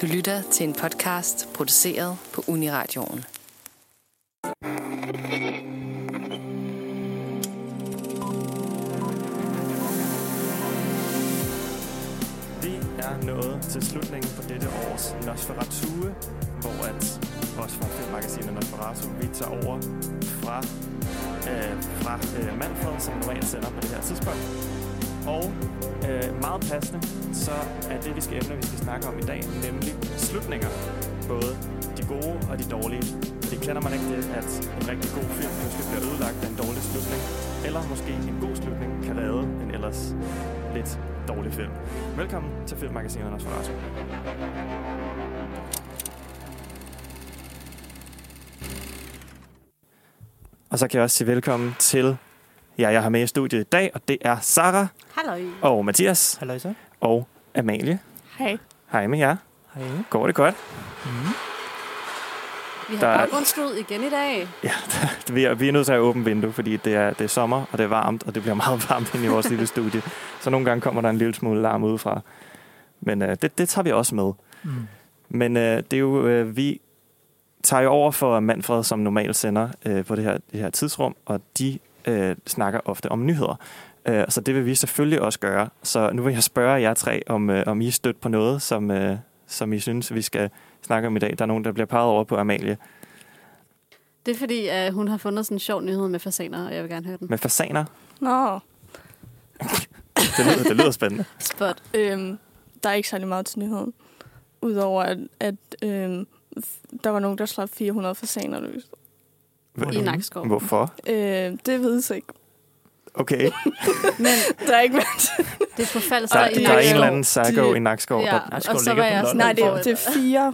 Du lytter til en podcast produceret på Uniradioen. Vi er nået til slutningen på dette års Nosferatu, hvor at vores filmmagasin Nosferatu, vi tager over fra, øh, fra øh, Manfred, som normalt sender på det her tidspunkt. Og øh, meget passende, så er det, vi skal emne, vi skal snakke om i dag, nemlig slutninger. Både de gode og de dårlige. Fordi kender man ikke det, at en rigtig god film pludselig bliver ødelagt af en dårlig slutning, eller måske en god slutning kan redde en ellers lidt dårlig film. Velkommen til Filmmagasinet Anders Farato. Og så kan jeg også sige velkommen til jer, jeg har med i studiet i dag, og det er Sara Halløj. og Mathias Halløj så. og Amalie. Hej. Hej med jer. Hej. Går det godt? Mm. Vi Der har er- baggrundslyd igen i dag. Ja, der, vi, er, vi er nødt til at have åbent vindue, fordi det er, det er sommer, og det er varmt, og det bliver meget varmt inde i vores lille studie. Så nogle gange kommer der en lille smule larm udefra. Men øh, det, det tager vi også med. Mm. Men øh, det er jo, øh, vi tager jo over for Manfred, som normalt sender øh, på det her, det her tidsrum, og de øh, snakker ofte om nyheder. Øh, så det vil vi selvfølgelig også gøre. Så nu vil jeg spørge jer tre, om, øh, om I er stødt på noget, som, øh, som I synes, vi skal snakke om i dag. Der er nogen, der bliver peget over på Amalie Det er fordi, at hun har fundet sådan en sjov nyhed med fasaner, og jeg vil gerne høre den. med fasaner. Nå, Det lyder, det lyder spændende. Spot. øhm, der er ikke særlig meget til nyheden. Udover at, at øhm, f- der var nogen, der slap 400 fasaner løs. I Nakskov. Hvorfor? Øh, det vides ikke. Okay, Men Der er ikke været. det forfalder der, sig i der, der er en eller anden psycho De- i Nakskov. Ja, Ja. Nakskov og så ligger var på jeg Lolland. sådan... Nej, det, hvor- er- det er fire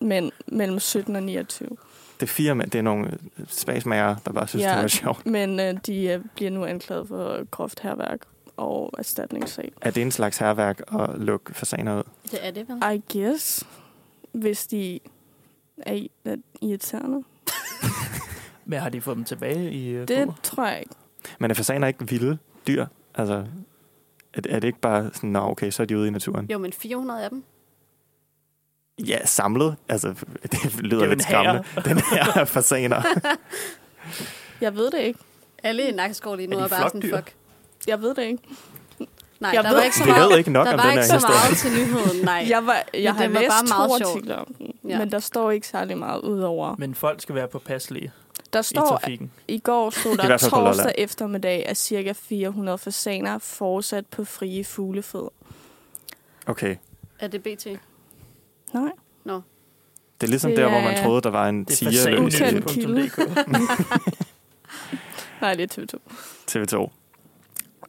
mænd mellem 17 og 29. Det er fire mænd, det er nogle spagsmager, der bare synes, ja. Ja. det var sjovt. Men øh, de øh, bliver nu anklaget for groft herværk og erstatningssag. Er det en slags herværk at lukke fasaner ud? Det er det, vel? I guess, hvis de er i- er irriterende. Men har de fået dem tilbage i øh, Det bur? tror jeg ikke. Men er fasaner ikke vilde dyr? Altså, er, det- er det ikke bare sådan, nå okay, så er de ude i naturen? Jo, men 400 af dem. Ja, samlet. Altså, det lyder Det er lidt en hær. skræmmende. Den her fasaner. Jeg ved det ikke. Alle i Nakskov lige nu Er de er, bare sådan, flokdyr? fuck. Jeg Jeg ved det ikke. Nej, Jeg der ved- var ikke så Vi meget, ved ikke nok der om var den her ikke så historie. meget til nyheden, nej. Jeg, var, jeg har det var læst bare meget to sjovt. artikler om den, Ja. ja. men der står ikke særlig meget udover. Men folk skal være påpasselige Der i står, at trafikken. i går stod I der hvert fald på Lolland. torsdag eftermiddag, at cirka 400 fasaner fortsat på frie fuglefed. Okay, Er det BT? Nej. det er ligesom Det der, hvor man er- troede, der var en Det er tiger løs i fasanen. fasanenyt.dk. Nej, det er TV2. TV2.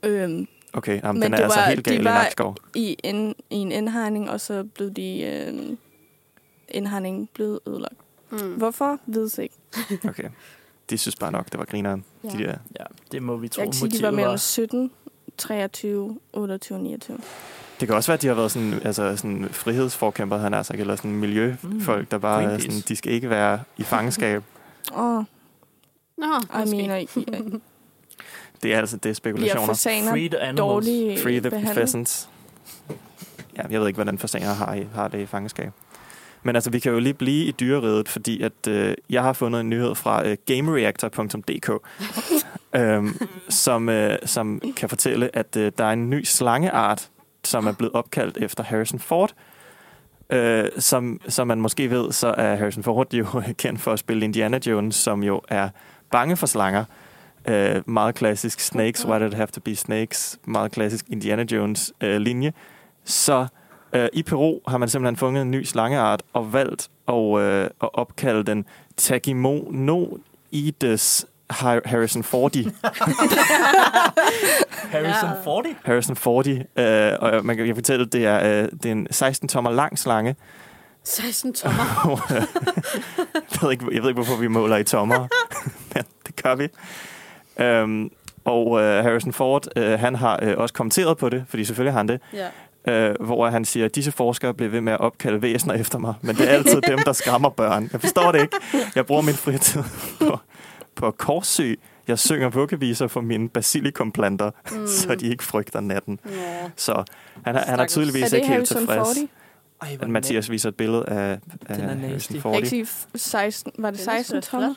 Øhm, Okay, jamen, Men den er det altså var- helt de gal i var- Nakskov. i, en, I en indhegning, og så blev de øhm, indhegningen blevet ødelagt. Mm. Hvorfor? Vides ikke. Okay. De synes bare nok, det var grineren. Ja. Ja. De der Ja, det må vi tro. Jeg kan sige, motivet de var mellem var- 17, 23, 28, 29. Det kan også være, at de har været sådan, altså sådan frihedsforkæmper, han er sagt, eller sådan miljøfolk, der bare er Greenpeace. sådan, de skal ikke være i fangenskab. Åh, oh, Nå, jeg måske. mener, I, I, Det er altså, det er bliver spekulationer. fasaner Free the animals. dårlige Free the behandling? pheasants. Ja, jeg ved ikke, hvordan fasaner har, i- har det i fangenskab. Men altså, vi kan jo lige blive i dyreredet, fordi at, øh, jeg har fundet en nyhed fra øh, gamereactor.dk, øhm, som, øh, som kan fortælle, at øh, der er en ny slangeart, som er blevet opkaldt efter Harrison Ford. Øh, som, som man måske ved, så er Harrison Ford jo kendt for at spille Indiana Jones, som jo er bange for slanger. Øh, meget klassisk Snakes, Why Did It Have To Be Snakes? Meget klassisk Indiana Jones øh, linje. Så øh, i Peru har man simpelthen fundet en ny slangeart og valgt at, øh, at opkalde den Tagimonoides Har- Harrison Fordi. Harrison Ja. 40? Harrison Fordy, øh, og man kan, jeg kan fortælle, det er, øh, det er en 16-tommer lang slange. 16 tommer. jeg, ved ikke, jeg ved ikke, hvorfor vi måler i tommer, men det gør vi. Øhm, og øh, Harrison Ford, øh, han har øh, også kommenteret på det, fordi selvfølgelig har han det, Ja. øh, hvor han siger, at disse forskere bliver ved med at opkalde væsener efter mig, men det er altid dem, der skræmmer børn. Jeg forstår det ikke. Jeg bruger min fritid på, på korssy. Jeg synger vuggeviser for mine basilikumplanter, Mm. mm. så de ikke frygter natten. Nå. Så han, er- han er Stakkels. tydeligvis Er det ikke helt Harrison tilfreds. Fordy? Ej, at Mathias viser et billede af, af er nasty. Harrison Jeg kan 40, ikke sige f- 16, var det Den er 16 så tommer?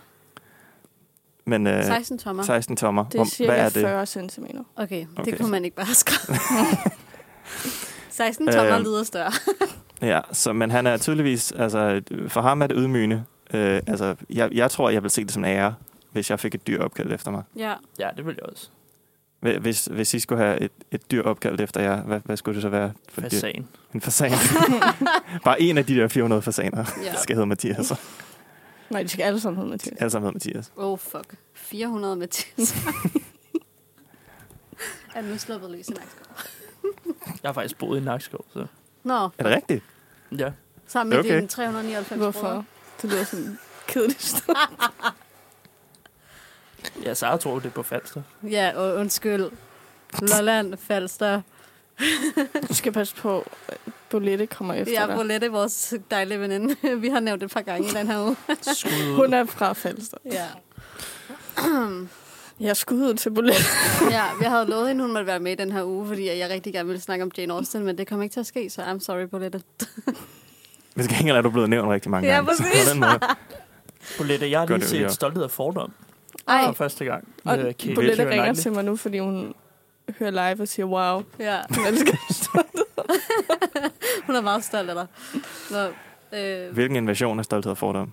men øh, 16 tommer. 16 tommer. Det er Hvor, hvad cirka er det? 40 cm. Okay, okay, Okay. det kunne man ikke bare skrive. 16 tommer Øhm. lyder større. Ja, så, men han er tydeligvis, altså for ham er det ydmygende. Øh, altså, jeg, jeg tror, jeg vil se det som en ære, hvis jeg fik et dyr opkaldt efter mig. Ja. Ja, det vil jeg også. Hvi- Hvis, hvis I skulle have et, et dyr opkaldt efter jer, hvad, hvad skulle det så være? For et dyr? Fasan. En fasan. Bare en af de der 400 fasaner ja. skal hedde Mathias. og Nej, de skal alle sammen hedde Mathias. Alle sammen hedder Mathias. Oh fuck. 400 med tisse. er nu sluppet løs i Nakskov. Jeg har faktisk boet i Nakskov, så... Nå, Er det rigtigt? Ja, sammen med Okay. okay. dine 399 Hvorfor? Det lyder sådan kedeligt sted. ja Sara tror det er på Falster. brødre. Ja, og undskyld. Lolland, Falster. Du skal passe på, at Bolette kommer efter Ja, dig. Bolette, vores dejlige veninde. Vi har nævnt det et par gange i den her uge. Skud. Hun er fra Falster. Ja. Jeg skuddet til Bolette. ja, jeg havde lovet hende, hun måtte være med i den her uge, fordi jeg rigtig gerne ville snakke om Jane Austen, men det kom ikke til at ske, så I'm sorry, Bolette. Hvis ikke er du blevet nævnt rigtig mange Ja, gange. Så præcis. på den måde, Bolette, jeg har Gør lige det jo, ja. set Stolthed og Fordom. Ej. For første gang. Og med Kate Bolette Keira ringer Knightley. til mig nu, fordi hun hører live og siger, wow, Ja, hun elsker hun er meget stolt af dig. Nå, øh, Hvilken invasion af stolthed og fordom?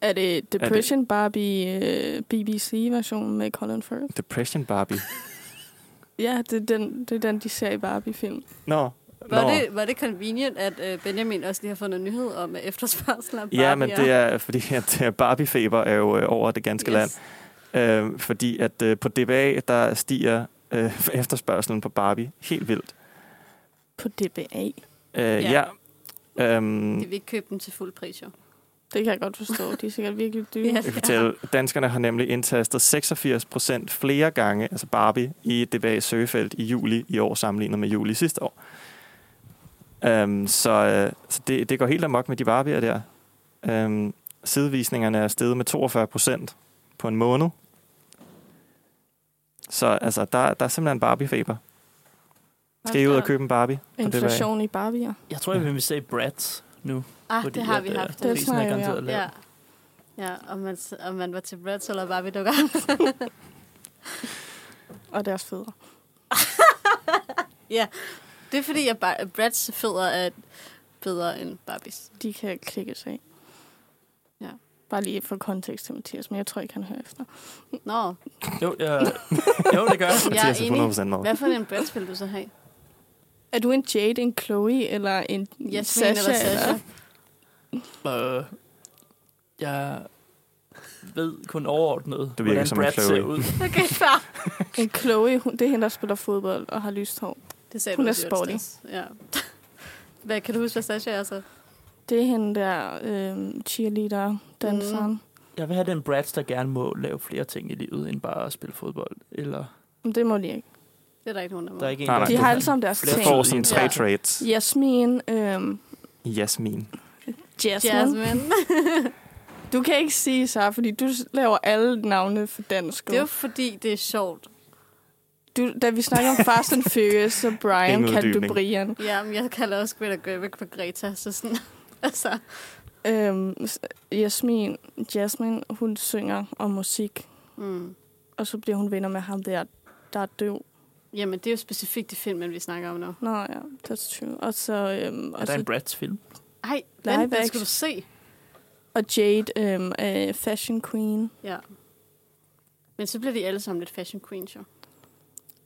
Er det Depression Barbie øh, BBC-versionen med Colin Firth? Depression Barbie. Ja, det er den, det er den de ser i Barbie-film. Nå. var, Nå. det, var det convenient, at øh, Benjamin også lige har fået en nyhed om at efterspørgsel af Ja, men det er fordi, at øh, Barbie-feber er jo øh, over det ganske yes. land. Øh, fordi at øh, på DBA, der stiger øh, efterspørgselen på Barbie helt vildt. På DBA. Øh, ja. Ja. ja. De Øhm, vil ikke købe den til fuld pris, jo. Det kan jeg godt forstå. De er sikkert virkelig dyre. Ja. jeg kan fortælle, danskerne har nemlig indtastet 86 procent flere gange, altså Barbie, i DBA's søgefelt i juli i år, sammenlignet med juli sidste år. Øhm, så øh, så det, det går helt amok med de Barbie'er der. Øhm, sidevisningerne er steget med 42 procent på en måned. Så altså, der, der er simpelthen Barbie-feber. Skal I ud og købe en Barbie? på DBA? Inflation i Barbier. Jeg tror, jeg vil se Bratz nu. Ah, fordi det har at, vi øh, haft. Det Det. prisen er snakker vi garanteret lav. Ja. Ja, om man, om man var til Bratz eller Barbie dukker. Og deres fædre. Det er fordi, at Bar- Bratz fødder er bedre end Barbies. De kan klikkes af. Ja. Bare lige for kontekst til Mathias, men jeg tror ikke, han hører efter. Nå, Jo, jeg, jo det gør jeg. jeg Mathias er er enig. 100% med. Hvad for en Bratz vil du så have? Er du en Jade, en Chloe eller en Jasmin Sasha? eller Sasha? Øh, jeg ved kun overordnet, virker hvordan som en Bratz ser Chloe. ud. Okay, fair. En Chloe, hun, det er hende, der spiller fodbold og har lyst hår. Det sagde Hun du er også i sporty. onsdags. Ja. Hvad, kan du huske, hvad Sasha er så? Det er hende der øh, cheerleader, danseren. Mm. Jeg vil have den Bratz, der gerne må lave flere ting i livet, end bare at spille fodbold. Eller, Men det må de ikke. Det er der ikke nogen, der må. der er ikke en, Nej, der nej. De det har er- alle sammen deres Flere Jeg ting. får sådan tre Ja. traits. Jasmin, øhm, Jasmin. Jasmine. Jasmine. Jasmine. Du kan ikke sige så, fordi du laver alle navne for dansk. Det er jo fordi, det er sjovt. Du, da vi snakker om Fast and Furious, så Brian Ingen kaldte du uddybning. Brian. Ja, men jeg kalder også Greta Gerwig for Greta, så sådan... altså, Øhm, s- Jasmin, Jasmine, hun synger om musik, mm. og så bliver hun venner med ham der, der er døv. Jamen, det er jo specifikt i filmen, vi snakker om nu. Nå ja, that's true. Og så, øhm, er og, der en Altså- så, Bratz-film? Ej, Live vent, den action. skal du se. og Jade øhm, er fashion queen, Ja. Men så bliver de alle sammen lidt fashion queens, jo.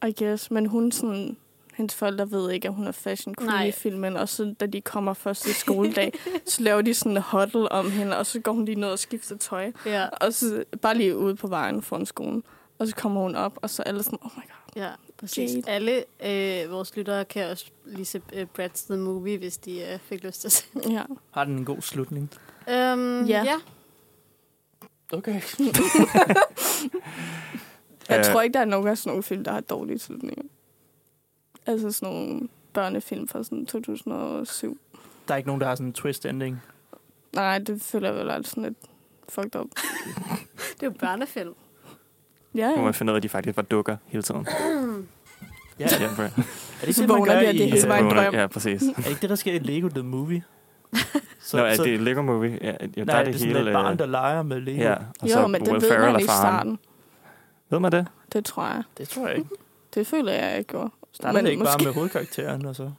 I guess. Men hun sådan, hendes forældre ved ikke, at hun er fashion queen Nej. i filmen. Og så da de kommer første skoledag, så laver de sådan en huddle om hende, og så går hun lige ned og skifter tøj. Ja, Og så bare lige ude på vejen foran skolen. Og så kommer hun op, og så er alle sådan, oh my god. ja præcis. Jade. Jade. Alle øh, vores lyttere kan også lige se øh, Brad's The Movie, hvis de øh, fik lyst til at se den. Ja. Har den en god slutning? Øhm, Ja. ja. ja. Okay. Jeg Øh. tror ikke, der er nogen af sådan nogle film, der har dårlige slutninger. Altså sådan nogle børnefilm fra sådan 2007. Der er ikke nogen, der har sådan en twist-ending. Nej, det føler jeg vel altså sådan lidt fucked up. Det er jo børnefilm. Ja, Nu må ja. man finde ud af, at de faktisk var dukker hele tiden. Ja, Derfor. det ikke Så det, man vågner gør de, og i, det er hele øh, vejen. Vågner- drøm. Ja, præcis. er det ikke det, der sker i Lego The Movie? Så, Nå, er det Lego Movie? Ja, jo, nej, der er det, det, er hele... sådan et barn, øh, der leger med Lego. Ja, og så jo, men det altså Will ved Ferrell man er ikke i faren. starten. Ved man det? Det tror jeg. Det tror jeg ikke. Det føler jeg, jeg gjorde. Starter Men det ikke måske- bare med hovedkarakteren, og så...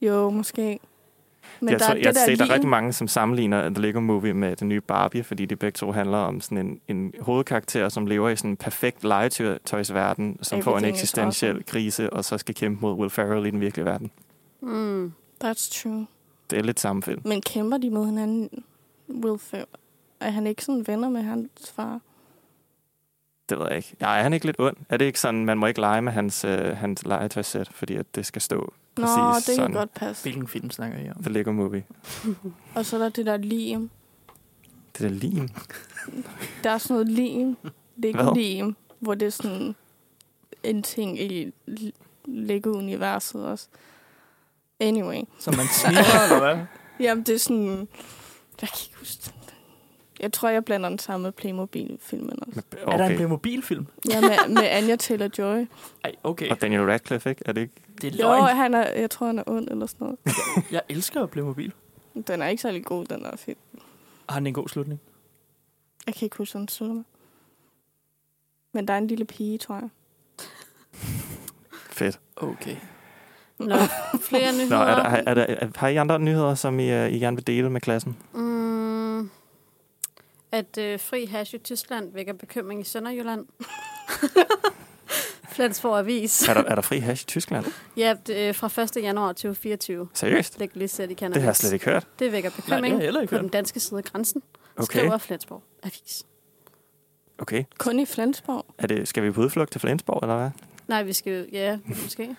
Jo, måske. Men jeg der tror, er det jeg der ser, der er lin. rigtig mange, som sammenligner The Lego Movie med den nye Barbie, fordi de begge to handler om sådan en, en hovedkarakter, som lever i sådan en perfekt legetøjsverden, som får en Everything is eksistentiel awesome. krise, og så skal kæmpe mod Will Ferrell i den virkelige verden. Mm. That's true. Det er lidt samme film. Men kæmper de mod hinanden? Will Ferrell? Er han ikke sådan venner med hans far? Det ved jeg ikke. Nej, er han ikke lidt ond? Er det ikke sådan, man må ikke lege med hans, øh, hans legetøjsæt, fordi at det skal stå Nå, præcis det sådan? kan godt passe. Hvilken film snakker I om? The Lego Movie. Og så er der det der lim. Det er da lim. Der er sådan noget lim. Det er Hvad? ikke lim, hvor det er sådan en ting i l- Lego-universet også. Anyway. Som man sniger, eller hvad? Jamen, det er sådan... Jeg kan ikke huske det. Jeg tror, jeg blander den sammen med Playmobil-filmen også. Okay. Er der en Okay. Playmobil-film? Ja, med, med Anja Taylor-Joy. Ej, okay. Og Daniel Radcliffe, ikke? Er det ikke? Det er Jo, løgn. han er, jeg tror, han er ond eller sådan noget. Jeg elsker Playmobil. Den er ikke særlig god, den der film. Har den en god slutning? Jeg kan ikke huske, hvordan den slutter. Men der er en lille pige, tror jeg. Fedt. Okay. Nå, flere nyheder. Nå, er der, er der, er, har I andre nyheder, som I, øh, I gerne vil dele med klassen? Mm. At øh, fri hash i Tyskland vækker bekymring i Sønderjylland. Flensborg Avis. Er der, er der fri hash i Tyskland? Ja, det, øh, fra 1. januar 2024. Seriøst? Det kan lige sætte i cannabis. Det har jeg slet ikke hørt. Det vækker Nej, det bekymring har jeg heller ikke på den hørt. danske side af grænsen, okay. Okay, skriver Flensborg Avis. okay. Kun i Flensborg. Er det, skal vi på udflugt til Flensborg, eller hvad? Nej, vi skal jo- ja, måske.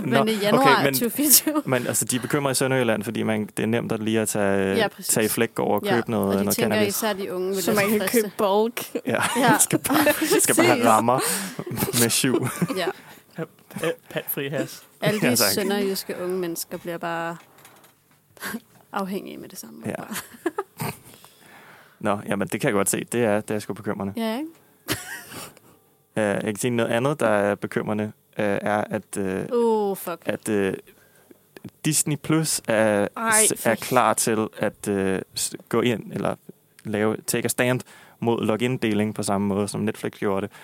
men Nå, i januar okay, okay, men- men... 2024. Men altså, de er bekymret i Sønderjylland, fordi man, det er nemt at lige at tage, Ja, ja, præcis. tage Flækgaard og købe noget, og de noget tænker cannabis. især de unge vil Så man kan købe bulk. Ja, Ja, skal bare, skal bare have rammer med syv. ja. Øh, Patfri has. Alle de Ja, ja, tak. sønderjyske unge mennesker bliver bare afhængige med det samme. Ja. Nå, jamen, det kan jeg godt se. Det er, det er sgu bekymrende. ja ikke? Uh, jeg kan sige noget andet, der er bekymrende, uh, er, at, uh, Oh, fuck. at uh, Disney Plus er, Ej, s- er for- klar til at uh, s- gå ind eller lave take a stand mod login-deling på samme måde, som Netflix gjorde det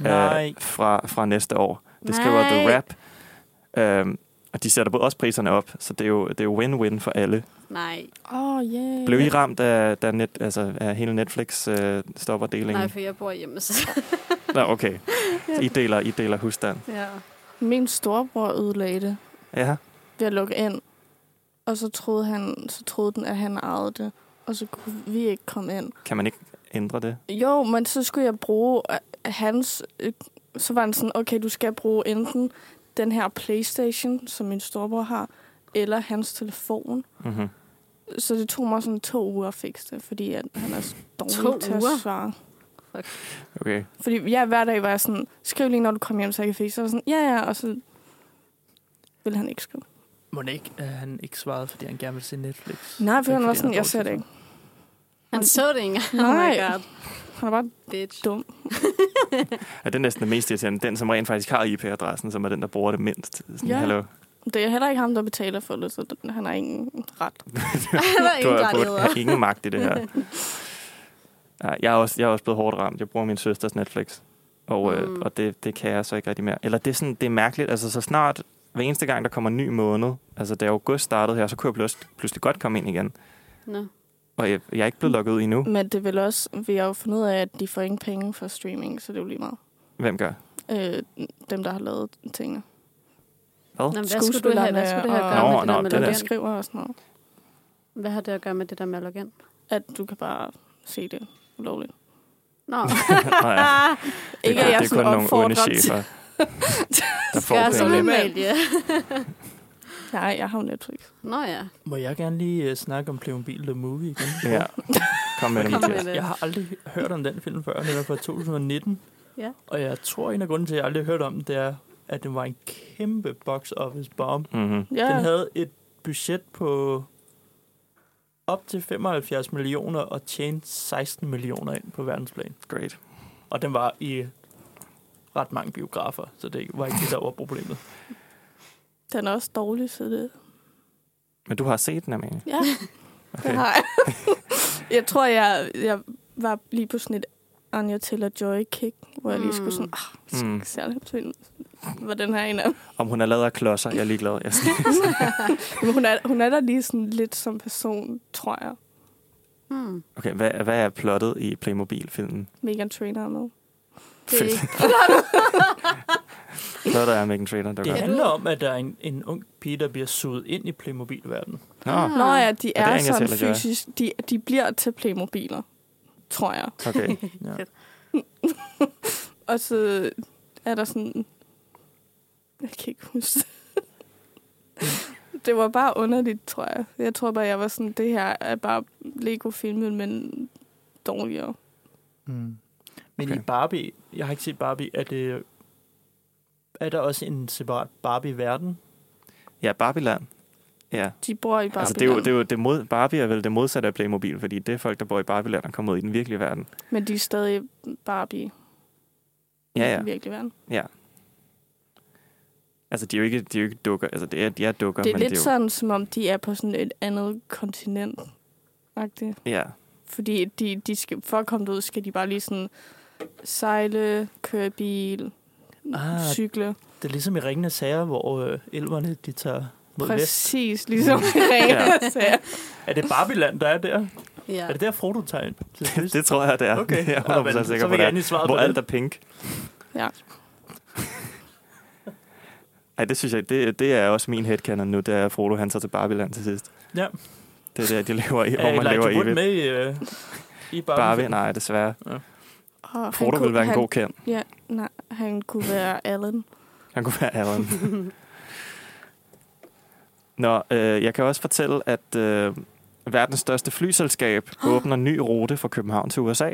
øh, Nej. fra, fra næste år. Det skriver The Nej. Rap. Øhm, og de sætter både også priserne op, så det er jo, det er jo win-win for alle. Nej, Åh, oh, yeah. Blev I ramt af, da net, altså, af hele Netflix øh, stopper nej, delingen? for jeg bor hjemme. Så. Nå, okay. Så I deler, I deler husstand. Ja. Min storebror ødelagde det Ja, ved at lukke ind. Og så troede, han, så troede den, at han ejede det. Og så kunne vi ikke komme ind. kan man ikke ændre det? Jo, men så skulle jeg bruge øh, hans... Øh, så var han sådan, okay, du skal bruge enten den her Playstation, som min storebror har, eller hans telefon. Mm-hmm. Så det tog mig sådan to uger at fikse det, fordi at han er så To dårlig til uger? at svare. Okay. Fordi jeg hver dag var jeg sådan, skriv lige, når du kommer hjem, så jeg kan fikse. Så var jeg sådan, ja, ja, og så ville han ikke skrive. Må det ikke, at han ikke svarede, fordi han gerne vil se Netflix? Nej, Ikke, for han var fordi sådan, er jeg ser det dårlig ikke. Han så det ikke engang. Oh Nej. my god, Han er bare bitch. dum. Ja, det er næsten det mest irriterende. Den, som rent faktisk har IP-adressen, som er den, der bruger det mindst. Sådan, Ja. Hallo. Det er heller ikke ham, der betaler for det, så den- han har ingen ret. Han var Du ingen har fået rettigheder. har ingen magt i det her. Nej, jeg, er også, jeg er også blevet hårdt ramt. Jeg bruger min søsters Netflix, og, mm. øh, Mm. og det, det kan jeg så ikke rigtig mere. Eller det er, sådan, det er mærkeligt. Altså, så snart hver eneste gang, der kommer en ny måned, altså da august startede her, så kunne jeg pludselig, pludselig godt komme ind igen. Nå. Og jeg, jeg er ikke blevet lukket ud endnu. Men det vil også, vi har jo fundet ud af, at de får ingen penge for streaming, så det er jo lige meget. Hvem gør? Øh, dem, der har lavet tingene. Nå, men Hvad? hvad skulle du have, hvad skulle det have at gøre Nå, med det nå, der det med Dem, er der login? skriver og sådan noget. Hvad har det at gøre med det der med login? At du kan bare se det ulovligt. Nå, Nå, ja. Det, Ikke, er, at jeg kun- det er kun sådan nogle onde opfordrer til- chefer, der får gør som penge. normalt, ja. Nej, jeg har jo Netflix. Nå ja, Må jeg gerne lige uh, snakke om Playmobil The Movie igen? Ja. Kom med det, kom med Mathias. det. Jeg har aldrig hørt om den film før, den var fra 2019. Ja. Og jeg tror, en af grunden til, at jeg aldrig har hørt om den, det er, at den var en kæmpe box office bomb. Mm-hmm. Ja, Den havde et budget på op til 75 millioner og tjente 16 millioner ind på verdensplan. Great. Og den var i ret mange biografer, så det var ikke det, der var problemet. Den er også dårlig, så det... Men du har set den, Amalie. Ja, okay. det har jeg. jeg tror, jeg, jeg var lige på sådan et Anja Taylor-Joy-kick, hvor jeg lige skulle sådan... Ah, jeg skal Mm. ikke særlig film. Var den her en af Om hun er lavet af klodser, jeg er ligeglad. Jeg skal... Jamen, hun, er, hun er der lige sådan lidt som person, tror jeg. Hmm. Okay, hvad, hvad er plottet i Playmobil-filmen? Megan Trainor er med. Det er Fedt. ikke Plottet er Megan Trainor, der Det gør. handler om, at der er en, en ung pige, der bliver suget ind i Playmobil-verdenen. Nå, Nå ja, de Ah. er er, Anja sådan Taylor-Joy. fysisk... De, de bliver til Playmobiler, tror jeg. okay. Ja. Og så er der sådan... Jeg kan ikke huske det. var bare underligt, tror jeg. Jeg tror bare, jeg var sådan, det her er bare Lego-filmen, men dårligere. Mm. Men Okay. i Barbie, jeg har ikke set Barbie, er, det, er der også en separat Barbie-verden? Ja, Barbieland. Ja, De bor i bare altså det er jo, det er jo det mod, Barbie er vel det modsatte af Playmobil, fordi det er folk, der bor i Barbieland og kommer ud i den virkelige verden. Men de er stadig Barbie Ja, i ja. den virkelige verden. Altså, de er jo ikke, de er jo ikke dukker. Altså, det er, de er dukker, Det er men lidt det er jo... sådan, som om de er på sådan et andet kontinent. -agtigt. Ja, Fordi de, de skal, for at komme derud, skal de bare lige sådan sejle, køre i bil, Ah, cykle. Det er ligesom i Ringende Sager, hvor øh, elverne de tager mod vest. Præcis, ligesom Ringer sagde. Er det Barbieland, der er der? Ja. Er det der, Frodo tager ind? til sidst? det tror jeg, det er. Okay. Jeg er 100% Ja, men sikker så på, vil det jeg er. endelig svare på Hvor det. alt er pink. Ja. Ej, det synes jeg, det, det er også min headcanon nu, det er at Frodo, han tager til Barbieland til sidst. Ja. Det er der, de lever i, hvor Er man lever evigt. Elijah Wood Øh, med i, øh, i Barbie? Barbie, nej, desværre. Og Frodo ville være en han, god kendt. Ja, nej, han kunne være Alan. Han kunne være Alan. Nå, øh, jeg kan også fortælle, at øh, verdens største flyselskab åbner ny rute fra København til USA.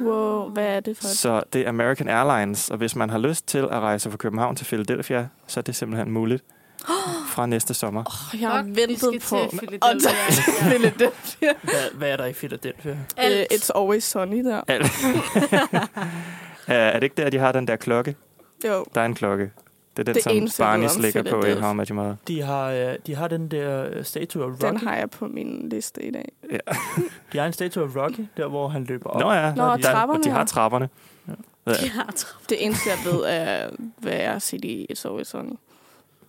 Wow, hvad er det for et? Så det er American Airlines, og hvis man har lyst til at rejse fra København til Philadelphia, så er det simpelthen muligt fra næste sommer. Oh, jeg har ventet på. øh, Og Og tage Philadelphia. Hvad, hvad er der i Philadelphia? Øh, It's always sunny der. Al- Øh, er det ikke der, de har den der klokke? Jo. Der er en klokke. Det er den, Det det eneste, som jeg ved Barney om slikker på i Philadelphia. How I Met Your Mother. De har, øh, de har den der øh, statue af Rocky. Den har jeg på min liste i dag. De har en statue af Rocky, der hvor han løber op. Nå ja, Nå, og der, trapperne, de har ja. trapperne. Ja. Ja. Det eneste, jeg ved, er, hvad jeg har set i It's always sunny.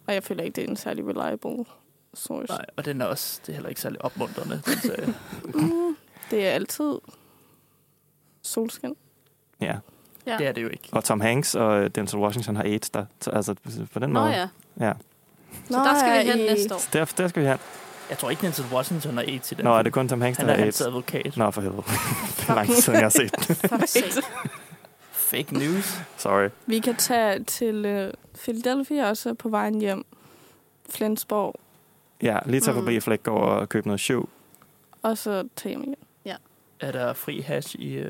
Og jeg føler ikke, det er en særlig reliable source. Nej, og den er også, det er heller ikke særlig opmuntrende. Den, serie. Mm, det er altid solskin. Ja. det er det jo ikke. Og Tom Hanks og øh, Denzel Washington har AIDS der. Så, altså, på den Nå måde. ja, ja. så der skal vi hen i- næste år. Så der, der skal vi hen. Jeg tror ikke, Denzel Washington er AIDS i den. Nå, er det kun Tom Hanks, der Han er har hans AIDS? advokat. Nå, for helvede. det er lang tid siden, jeg har set den. For sent. Fake news. Sorry. Vi kan tage til øh, Philadelphia også på vejen hjem. Flensborg, Ja, lige tage Mm. forbi Flækgaard og købe noget show og så tage hjem igen. Er der fri hash i uh, i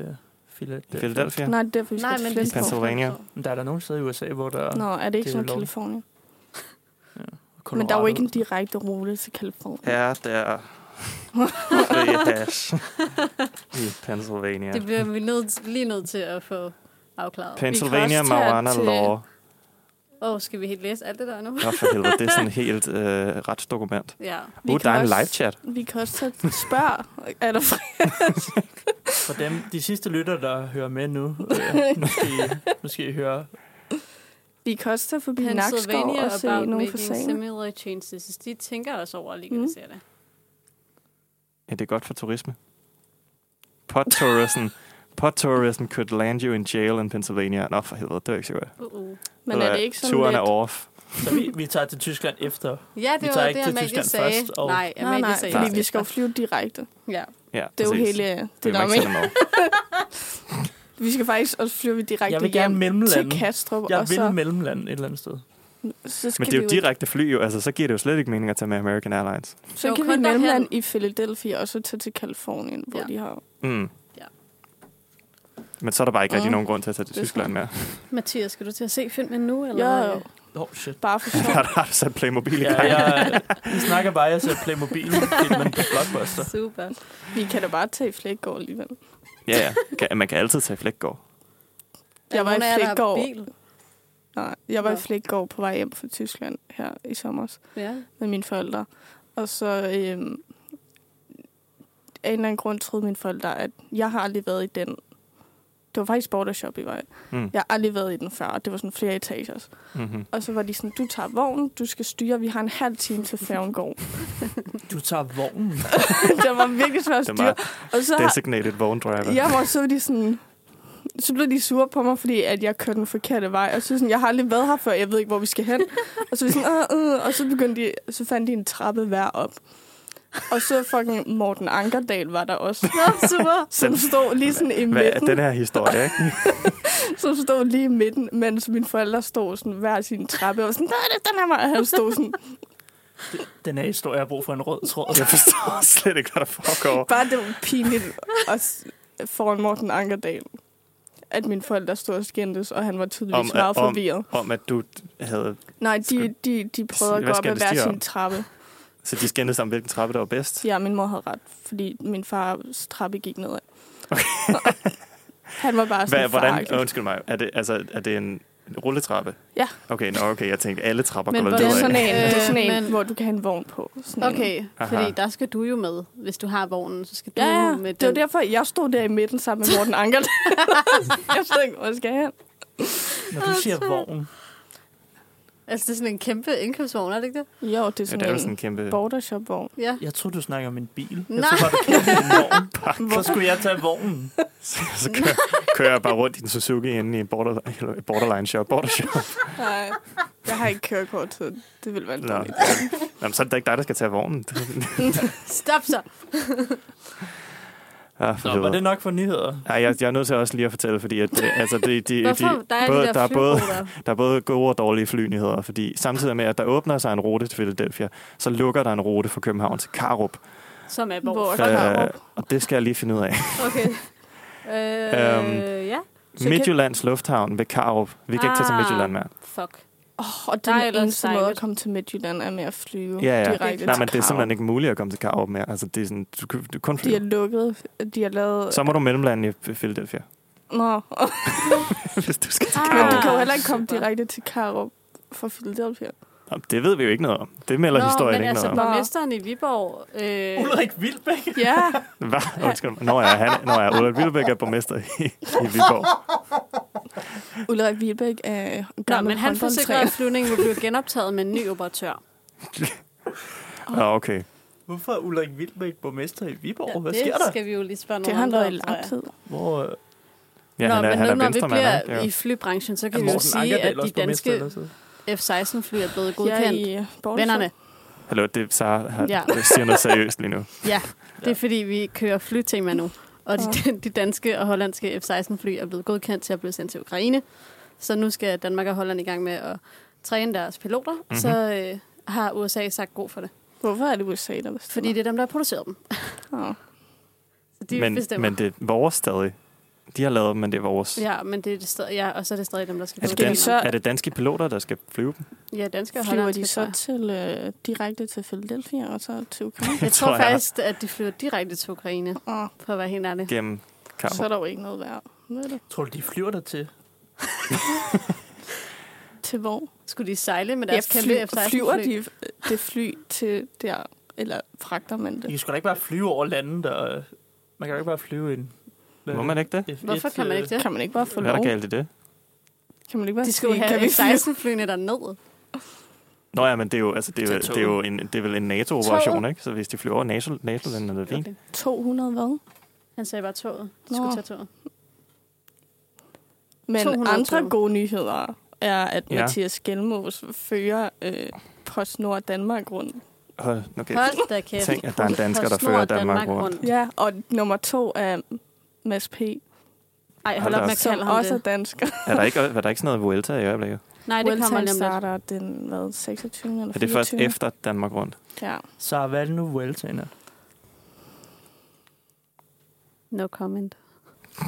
Philadelphia? Philadelphia. Nej, det er derfor, vi Nej, skal men til vi skal Flensborg. Pennsylvania. Men Der er der nogle steder i USA, hvor der Nå, er det ikke Det er sådan lov. Californien? Colorado. Men der er jo ikke en direkte rute til Californien. Ja, der fri hash i Pennsylvania. Det bliver vi nødt, lige nødt til at få afklaret. Pennsylvania Vi kan også tage Marijuana til- Law. Åh, oh, skal vi helt læse alt det der nu? Nå, for helvede, det er sådan et helt øh, retsdokument. Ja. Vi Uh, kan der er en også- live chat. Vi kan også tage spørg. er der fri? For dem, de sidste lytter, der hører med nu, øh, nu, skal I, nu skal I høre. Vi kan også tage forbi Nakskov Pennsylvania og se about nogle making fasaner. similar changes. De tænker også over at Mm. legalisere det. Ja, det er godt for turisme. Pot tourism. Pot tourism could land you in jail in Pennsylvania. Nå, for helvede, det er ikke så godt. Uh-uh. Men Ved du er det hvad, ikke sådan Turen lidt... er off. Så vi, vi tager til Tyskland efter. Ja, Vi tager det var ikke det, til Amalie Tyskland sagde. først, og- Nej, Nej, Amalie nej, sagde fordi Nej. vi skal jo flyve direkte. Ja. Ja, Det er jo præcis. hele Det det, der er er jo med. ikke sådan Vi skal faktisk også flyve direkte Jeg vil gerne hjem mellemlande. til Kastrup, Jeg og vil så, mellemland et eller andet sted. så skal Men det er jo vi direkte fly, jo. Altså, så giver det jo slet ikke mening at tage med American Airlines. Så Jo, kan vi kun derhen. mellemland i Philadelphia, og så tage til Kalifornien, hvor Ja. de har... Mm. Ja. Men så er der bare ikke rigtig Mm. nogen grund til at tage til Det er Tyskland med. Mathias, skal du til at se filmen nu? Eller? Ja, jo, Åh, oh, shit. bare for Har sjov. du- har du sat Playmobil i Ja, gang? jeg, I snakker bare, jeg ser Playmobil, filmen på Blockbuster. Super. Vi kan da bare tage i Flækgaard alligevel. ja. ja. Kan- Man kan altid tage Flækgaard. Jeg var i nogen af jer, der har Flækgaard. bil? Nej, jeg var i Nå. Flækgaard på vej hjem fra Tyskland her i sommer Ja. med mine forældre. Og så øhm, af en eller anden grund troede mine forældre, at jeg har aldrig været i den. Det var faktisk Bordershop i vej. Mm. Jeg har aldrig været i den før, og det var sådan flere etagers. Mm-hmm. Og så var de sådan, du tager vognen, du skal styre, vi har en halv time til færgen går. Du tager vognen. det var virkelig svært at Den styre. var Og så har, designated vogn driver. jeg var så var de sådan, så blev de sure på mig, fordi at jeg kørte den forkerte vej. Og så sådan, jeg har aldrig været her før, jeg ved ikke, hvor vi skal hen. Og så, var de sådan, øh, øh, og så, begyndte de, så fandt de en trappe hver op. Og så fucking Morten Ankerdal var der også. Nå, super. Som stod lige sådan i Hvad er midten. den her historie, ikke? som stod lige i midten, mens mine forældre stod sådan hver sin trappe, og var sådan, nej, det er den her vej, og han stod sådan, Den her historie jeg har brug for en rød tråd. Jeg forstår slet ikke, hvad der foregår. bare det var pinligt at s- foran Morten Ankerdal, at mine forældre stod og skændtes, og han var tydeligvis Om- om, meget om- forvirret. Om at du havde... Nej, de, skulle- de, de prøvede at Hvad gå op ad skændtes hver de om? sin trappe. Så de skændte sig om, hvilken trappe, der var bedst. Ja, min mor havde ret, fordi min fars trappe gik nedad. han var bare sådan Hvad, hvordan, forargelig. øh, undskyld mig, er det, altså, er det en en rulletrappe? Ja. Okay, nå, okay, jeg tænkte, alle trapper Men går vel Det er nedad. sådan en, det er Øh, sådan en men- hvor du kan have en vogn på. Sådan en- Okay, Aha. Aha. fordi der skal du jo med. Hvis du har vognen, så skal du Ja, ja. Uh, med det var den. derfor, jeg stod der i midten sammen med Morten Anker. jeg stod ikke, hvor jeg skal hen. Når du siger vogn, Altså, det er sådan en kæmpe indkøbsvogn, er det ikke det? Jo, det er Ja, sådan, det er jo en, sådan en kæmpe... bordershop-vogn. Ja. jeg tror du snakker om en bil. Jeg Nej. tror bare, du kaldte det en vogn. Så skulle jeg tage vognen. Så kører, kører jeg bare rundt i en Suzuki inde i en border, eller et borderline shop. Border shop. Nej, jeg har ikke kørekort, så det ville være en Nå. dårlig. Jamen, så er det da ikke dig, der skal tage vognen. Stop så! ah, for Nå, var helvede. det nok for nyheder? Nej, jeg, jeg er nødt til også lige at fortælle, fordi at, øh, altså, de, de, de, Hvorfor? Der er både, de der, der, er både, flyveruter. der er både gode og dårlige flynyheder, fordi samtidig med, at der åbner sig en rute til Philadelphia, så lukker der en rute fra København til Karup. Som er Hvor hvor? Fra Øh, Karup. og det skal jeg lige finde ud af. Okay. Øhm. Øh, ja. Så kan- Midtjyllands Lufthavn ved Karup. Vi kan ikke tage til Ah. Midtjylland mere. Fuck. Oh, og det Der er er den ellers eneste dejligt. måde at komme til Midtjylland er med at flyve Ja, ja. direkte Nej, men det er Karup. simpelthen ikke muligt at komme til Karup mere. Altså, det er sådan, du, kan- du kun De flyver. har lukket, de har lavet... Så må du mellemlande i Philadelphia, Nå, hvis du skal til Ah. men du Karup. kan jo heller ikke komme Super. direkte til Karup fra Philadelphia. Nå, Det ved vi jo ikke noget om. Det melder Nå, historien men ikke altså, noget om. borgmesteren i Viborg... Øh, Ulrik Vilbæk. Ja, Hvad? Undskyld mig. Nå ja, han, nå ja, Ulrik Vilbæk er borgmester i, i Viborg. Ulrik Wilbæk er Nå, gammel men han forsikrer, håndboldtræner. at flyvningen vil blive genoptaget med en ny operatør. Ja, okay. Hvorfor er Ulrik Vilbæk borgmester i Viborg? Hvad det sker der? skal vi jo lige spørge Det nogle har han været i andre om, tror lang jeg. tid. Hvor øh, Ja, Nå, han er, men han er nu, når vi venstremand. bliver ikke? Ja. i flybranchen, så er kan vi jo Morten sige, Ankerdal at de også borgmester? danske Eller så? F-16-fly er blevet Jeg er godkendt. i øh, Bordeaux. Vennerne, Hallo, det er Sara, her, Ja. ja. siger noget seriøst lige nu. ja. Det er fordi, vi kører flytema nu. Og de, de danske og hollandske F-16-fly er blevet godkendt til at blive sendt til Ukraine. Så nu skal Danmark og Holland i gang med at træne deres piloter. Mm-hmm. Mhm. Så øh, har USA sagt god for det. Hvorfor er det USA, der bestemmer? Fordi det er dem, der har produceret dem. Åh. Så de men, bestemmer. men det er vores stadig. De har lavet dem, men det er vores. Ja, men det er det stadig, ja, og så er det stadig dem, der skal Er, det Skal godkende. de danske, så- er det danske piloter, der skal flyve dem? Ja, danskere og Flyver de hollandske, tror så jeg. til, øh, direkte til Philadelphia og så til Ukraine? Jeg tror tror jeg. faktisk, at de flyver direkte til Ukraine, Åh, for at være helt ærlig. Gennem så er Karup. der jo ikke noget værd. Ved du? Tror du, de flyver der til? Til hvor? Skulle de sejle med deres ja, kæmpe fly, F-16 flyver fly? de øh, det fly til der, eller fragter man De det? kan sgu da ikke bare flyve over landet. Og, øh, man kan jo ikke bare flyve ind. Øh, Må man ikke det? Hvorfor kan man ikke det? Kan man ikke bare få Hvad er lov? der galt i det? Kan man ikke bare De skulle sige, have kan vi flyve? F-16-flyene derned. Nå ja, men det er jo, altså, det er, jo- det Til toget. er jo, en, det er vel en NATO-operation, Toget. ikke? Så hvis de flyver over NATO, NATO-landet, er det fint. 200 hvad? Han sagde bare toget. De Nå. skulle tage toget. Men 200 andre tog. gode nyheder er, at Ja. ja. Mathias Gjelmos fører øh, PostNord Danmark rundt. Hold, okay. Hold da kæft. Tænk, at der er en dansker, der PostNord fører Danmark rundt. Ja, og nummer to er Mads P., Ej, Hold hold op da med at som kalde ham også er det. dansker. Er der ikke, er der ikke sådan noget Vuelta i øjeblikket? Nej, det kommer lige om lidt. starter den, hvad, 26. eller 24. Er det først efter Danmark rundt? Ja. Så hvad er det nu, Vueltaen er? No comment. Det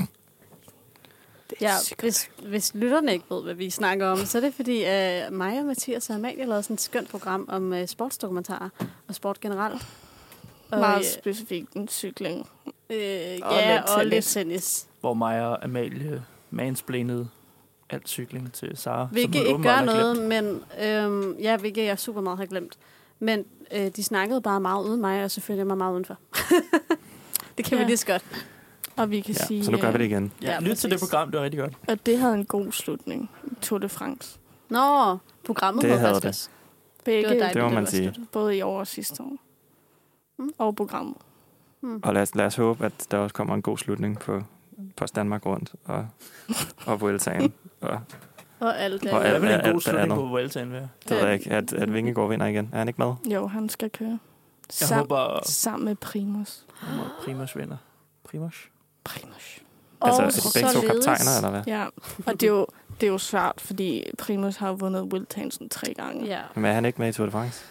er Ja, sikkert. hvis, hvis lytterne ikke ved, hvad vi snakker om, så er det fordi, uh, mig og Mathias og Amalie lavede sådan et skønt program om uh, sportsdokumentarer og sport generelt. Og, Meget specifikt en cykling. øh, øh, og ja, lidt og lidt tennis. tennis. Hvor mig og Amalie mansplænede alt cykling til Sara. Hvilket ikke gør noget, men øhm, ja, hvilket jeg super meget har glemt. Men øh, de snakkede bare meget uden mig, og selvfølgelig mig meget udenfor. det kan ja. Ja. vi lige så godt. Og vi kan Ja, sige, så nu gør vi det øh, igen. Ja, Ja, lyt til det præcis. program, det var rigtig godt. at det havde en god slutning. Tour de France. Nå, programmet Det hed havde faktisk det. også. Begge, Det var dejligt, Det må det man var sige. slut. både i år og sidste år. Mm. Og programmet. Hmm. Og lad os, lad os håbe, at der også kommer en god slutning på Post Danmark rundt og, og Vueltaen. og Og alt det. Og Hvad alt- vil alt- en god alt slutning andet. på Vueltaen være? det ved jeg ikke, at, at Vingegaard vinder igen. Er han ikke med? Jo, han skal køre. Jeg Sam, håber, Sammen med Primus. at Primus vinder. Primus? Primus. Og altså, er de begge to således- kaptajner, eller hvad? Ja, og det er jo, det er jo svært, fordi Primus har vundet Wiltagen sådan tre gange. Ja, Men er han ikke med i Tour de France?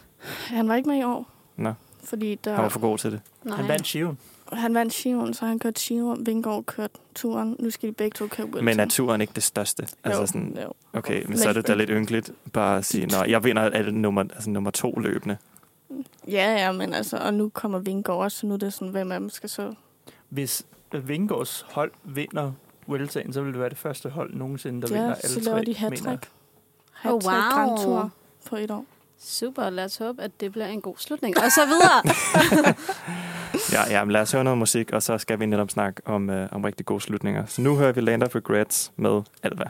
Han var ikke med i år. Nå. Fordi der, Han var for god til det. nej. Han vandt Shiven. han vandt Shion, så han kørte Shion. Vingård kørte turen. Nu skal de begge to køre Wiltagen. Men er turen ikke det største? Altså sådan, jo. okay, men Men- så er det da lidt ynkeligt bare at sige, nå, jeg vinder alt nummer, altså nummer to løbende. Ja, ja, men altså, og nu kommer Vingård også, så nu er det sådan, hvem af dem skal så... Hvis Vingegaards hold vinder Vueltaen, så vil det være det første hold nogensinde, der vinder ja, alle så laver tre, de hat mener jeg. Oh, øh, wow. Grand Tour på et år. Super, lad os håbe, at det bliver en god slutning. Og så videre. Ja, ja, men lad os høre noget musik, og så skal vi netop snakke om, øh, om rigtig gode slutninger. Så nu hører vi Land of Regrets med Alva.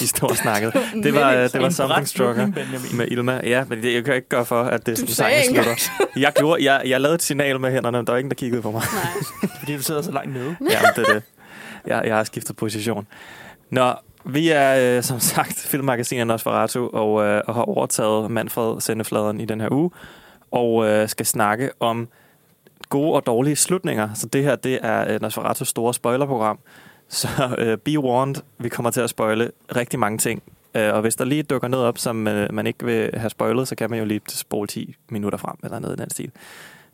de stod og snakkede. var Det var, midt i- øh, det var En Something bræt Stronger slutning, Benjamin. med Ilma. Ja, men det, jeg kan ikke gøre for, at det Du sådan sagde sangen ikke slutter. Jeg, gjorde, jeg, jeg lavede et signal med hænderne, men der var ingen, der kiggede på mig. Nej. Fordi du sidder så langt nede. Ja, men det er det. Jeg, jeg har skiftet position. Nå, vi er øh, som sagt filmmagasinet Nosferatu og, øh, og har overtaget Manfred Sendefladeren i den her uge og øh, skal snakke om gode og dårlige slutninger. Så det her, det er øh, Nosferatus store spoilerprogram. Så øh, be warned, vi kommer til at spoile rigtig mange ting. Øh, og hvis der lige dukker noget op, som øh, man ikke vil have spoilet, så kan man jo lige spole 10 minutter frem eller noget i den stil.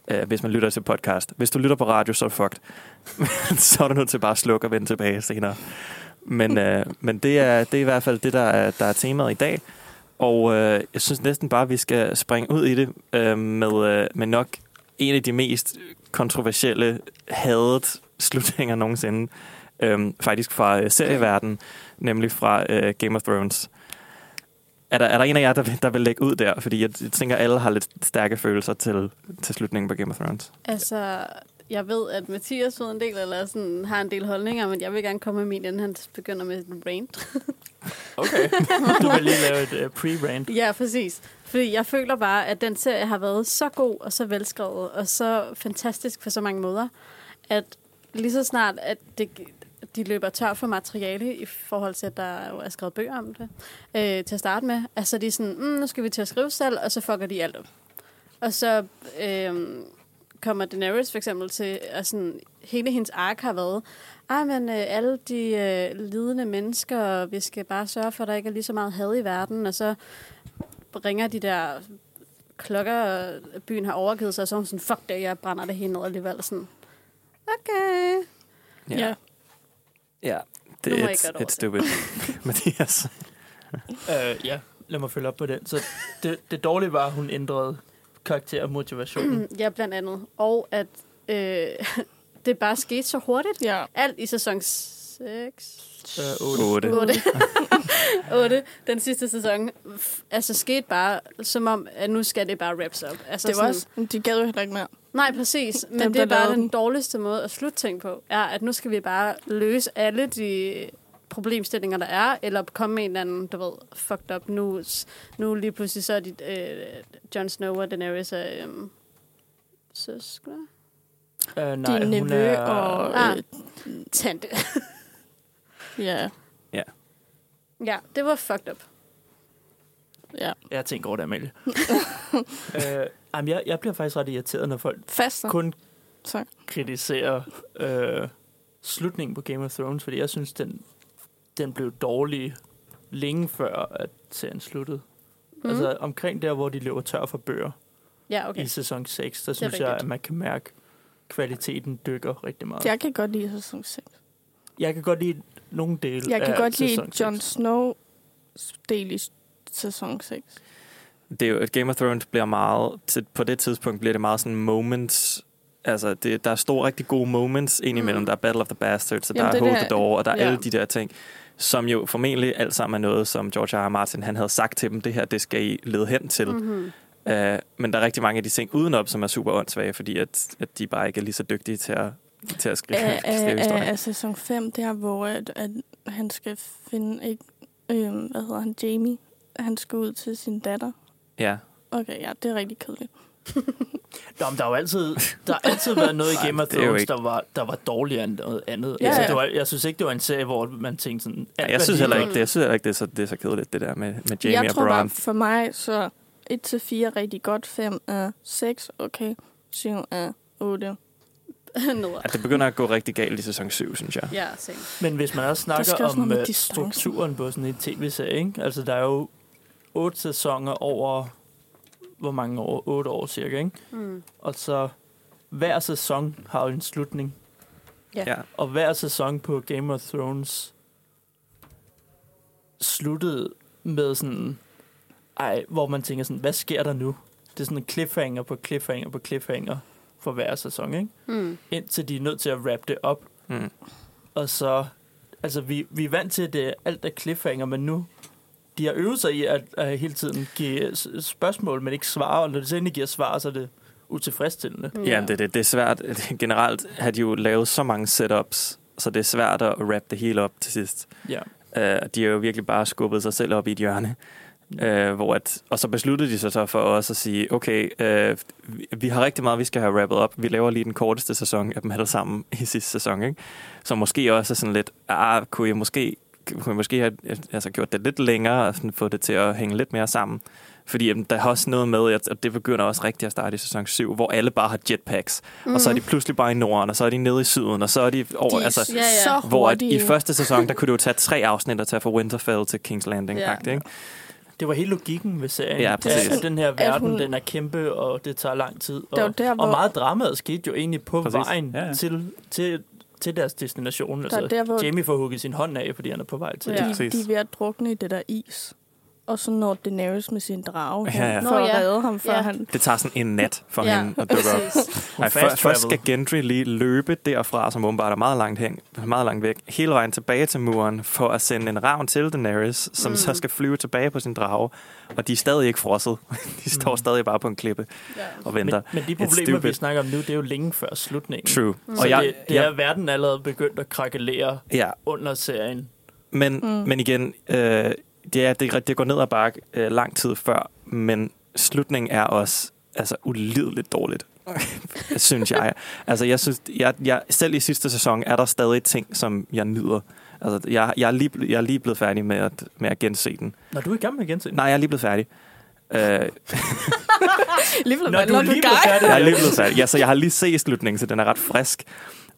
Øh, hvis man lytter til podcast. Hvis du lytter på radio, så er du fucked så er du nødt til bare at slukke og vende tilbage senere. Men, øh, men det, er, det er i hvert fald det, der er, der er temaet i dag. Og øh, jeg synes næsten bare, at vi skal springe ud i det øh, med, øh, med nok en af de mest kontroversielle, hadet slutninger nogensinde. Øh, faktisk fra øh, serieverdenen, nemlig fra øh, Game of Thrones. Er der, er der en af jer, der vil, der vil lægge ud der? Fordi jeg tænker, alle har lidt stærke følelser til, til slutningen på Game of Thrones. Altså, jeg ved, at Mathias ved en del, eller sådan, har en del holdninger, men jeg vil gerne komme med min, inden han begynder med en rant. Okay. du vil lige lave et uh, pre-rant. ja, præcis. Fordi jeg føler bare, at den serie har været så god og så velskrevet, og så fantastisk på så mange måder, at lige så snart, at det, de løber tør for materiale i forhold til, at der jo er skrevet bøger om det, øh, til at starte med, altså de er sådan, mm, nu skal vi til at skrive selv, og så fucker de alt op. Og så øh, kommer Daenerys for eksempel til, at sådan, hele hendes ark har været, ej, men øh, alle de øh, lidende mennesker, og vi skal bare sørge for, at der ikke er lige så meget had i verden, og så ringer de der klokker, og byen har overgivet sig, og så er hun sådan, fuck det, jeg brænder det hele ned alligevel. Sådan, okay. Ja. Ja, Nu det må er jeg et, godt et stupid. Mathias. Uh, ja, lad mig følge op på den. Så det, det dårlige var, at hun ændrede karakter og motivationen. Ja, blandt andet. Og at øh, det bare skete så hurtigt. Ja. Alt i sæson 6, Uh, 8. 8. 8. 8, den sidste sæson, f- altså skete bare, som om, at nu skal det bare wraps up. Altså Det var også, de gad jo heller ikke mere. Nej, præcis. Men Dem, det er der bare lavede den den. dårligste måde at slutte ting på, er, at nu skal vi bare løse alle de problemstillinger, der er, eller komme med en eller anden, du ved, fucked up nu. Nu lige pludselig så er de, øh, Jon Snow og Daenerys er øh, søskende. Uh, nej, Din hun nevø er... og... Ah. Øh, Tante. ja, ja, det var fucked up. ja. Jeg tænker over det, Amalie. uh, jamen, jeg, jeg bliver faktisk ret irriteret, når folk Faster. kun Så. kritisere øh, slutningen på Game of Thrones, fordi jeg synes, den, den blev dårlig længe før, at serien sluttede. Mhm. Mm. Altså omkring der, hvor de løber tør for bøger Ja, okay. okay. Mhm. i sæson 6, der synes jeg, rigtigt. at man kan mærke, at kvaliteten dykker rigtig meget. Jeg, Jeg kan godt lide sæson 6. jeg kan godt lide nogle dele Jeg kan af godt lide sæson Jon 6. Snow del i sæson 6. Det er jo, at Game of Thrones bliver meget, til, på det tidspunkt bliver det meget sådan moments, altså det, der er store, rigtig gode moments indimellem, Mm. mm. der er Battle of the Bastards, og Jamen, der er det er Hold det the Door, og der er her- alle de der ting, som jo formentlig alt sammen er noget, som George R. R. Martin, han havde sagt til dem, det her, det skal I lede hen til. Mm. Mm-hmm. Uh, men der er rigtig mange af de ting udenop, som er super åndssvage, fordi at, at de bare ikke er lige så dygtige til at, til at skrive, Af, skrive af, af, historier. af sæson 5, der hvor at, at han skal finde, ikke, øhm, hvad hedder han, Jamie, han skal ud til sin datter. Ja. Okay, ja, det er rigtig kedeligt. Nå, men der har jo altid, der har altid været noget i Game of det er jo Thrones, ikke- der var, der var dårligere end noget andet. Ja, altså, ja. Det var, jeg synes ikke, det var en serie, hvor man tænkte sådan... alt, Ja, hvad jeg synes de heller gør- ikke, det, jeg synes heller ikke, det er så, det er så kedeligt, det der med, med Jamie jeg og tror Bronn. bare, for mig, så 1-4 er rigtig godt, 5 er 6, okay, 7 er 8. At det begynder at gå rigtig galt i sæson 7, synes jeg. Ja, same. Men hvis man også Der skal snakker også om noget med øh, distancen. strukturen på sådan en tv-serie, ikke? altså der er jo otte sæsoner over, hvor mange år? Otte år cirka, ikke? Mm. Og så hver sæson har jo en slutning, Ja. Ja. og hver sæson på Game of Thrones sluttede med sådan, ej, hvor man tænker sådan, hvad sker der nu? Det er sådan en cliffhanger på cliffhanger på cliffhanger for hver sæson, ikke? Mm. Indtil de er nødt til at wrap det op, Mm. Og så, altså vi, vi er vant til, at det alt er cliffhanger, men nu, de har øvet sig i at, at hele tiden give s- spørgsmål, men ikke svare, og når de så endelig giver svar, så er det utilfredsstillende. Ja, det, det, det er svært. Generelt har de jo lavet så mange setups, så det er svært at wrap det hele op til sidst. Ja. Øh, de har jo virkelig bare skubbet sig selv op i et hjørne. Øh, hvor at, og så besluttede de sig så for også at sige, okay, øh, vi- vi har rigtig meget, vi skal have wrappet op. Vi laver lige den korteste sæson af dem alle sammen i sidste sæson. Ikke? Så måske også er sådan lidt, ah, kunne jeg måske, kunne jeg måske have altså, gjort det lidt længere og sådan, få det til at hænge lidt mere sammen. Fordi jamen, der er også noget med, at at det begynder også rigtigt at starte i sæson 7, hvor alle bare har jetpacks. Mm. Og så er de pludselig bare i Norden, og så er de nede i Syden, og så er de over... de er altså, ja, Ja, ja. ja. så hurtige. hvor at i første sæson, der kunne det jo tage tre afsnit og tage fra Winterfell til King's Landing. Ja. Ja. Ikke? Det var hele logikken ved serien. Ja, Det er, præcis. At den her verden, hun- den er kæmpe, og det tager lang tid. Og, Det var der, hvor- og meget dramaet skete jo egentlig på Præcis. præcis. vejen Ja, ja, ja. ja. Til, til, til deres destination. Der er Altså, der, hvor Jamie får hugget sin hånd af, fordi han er på vej til. Ja. ja. de, præcis. de er ved at drukne i det der is. Og så når Daenerys med sin drage Ja, ja. hen for Nå, at ja. redde ham, før Ja. han... Det tager sådan en nat for ja. Ja, hende at dukke op. præcis. Hun Nej, fast før, først skal traveled. Gendry lige løbe derfra, som åbenbart er meget langt, hen, meget langt væk, hele vejen tilbage til muren, for at sende en ravn til Daenerys, som mm. Mm. så skal flyve tilbage på sin drage. Og de er stadig ikke frosset. De står Mm. stadig bare på en klippe Ja. og Men, venter. men de It's problemer, vi stupid. snakker om nu, det er jo længe før slutningen. True. Mm. Så Og jeg, det, det er jeg, verden allerede begyndt at krakelere ja, under serien. Men, Mm. mm. men igen, øh, det, er, det, er- det går ned ad bakke øh, lang tid før, men slutningen er også altså, ulideligt dårligt, synes jeg. Altså, jeg synes, jeg, jeg, selv i sidste sæson er der stadig ting, som jeg nyder. Altså, jeg, jeg, er, lige, ble- jeg er lige blevet færdig med at, med at gense den. Når du er i gang med gensyn. Nej, jeg er lige blevet færdig. Øh, jeg Lige blevet Når valgt du er noget lige guy. blevet færdig. er lige blevet færdig. Ja, så jeg har lige set slutningen, så den er ret frisk.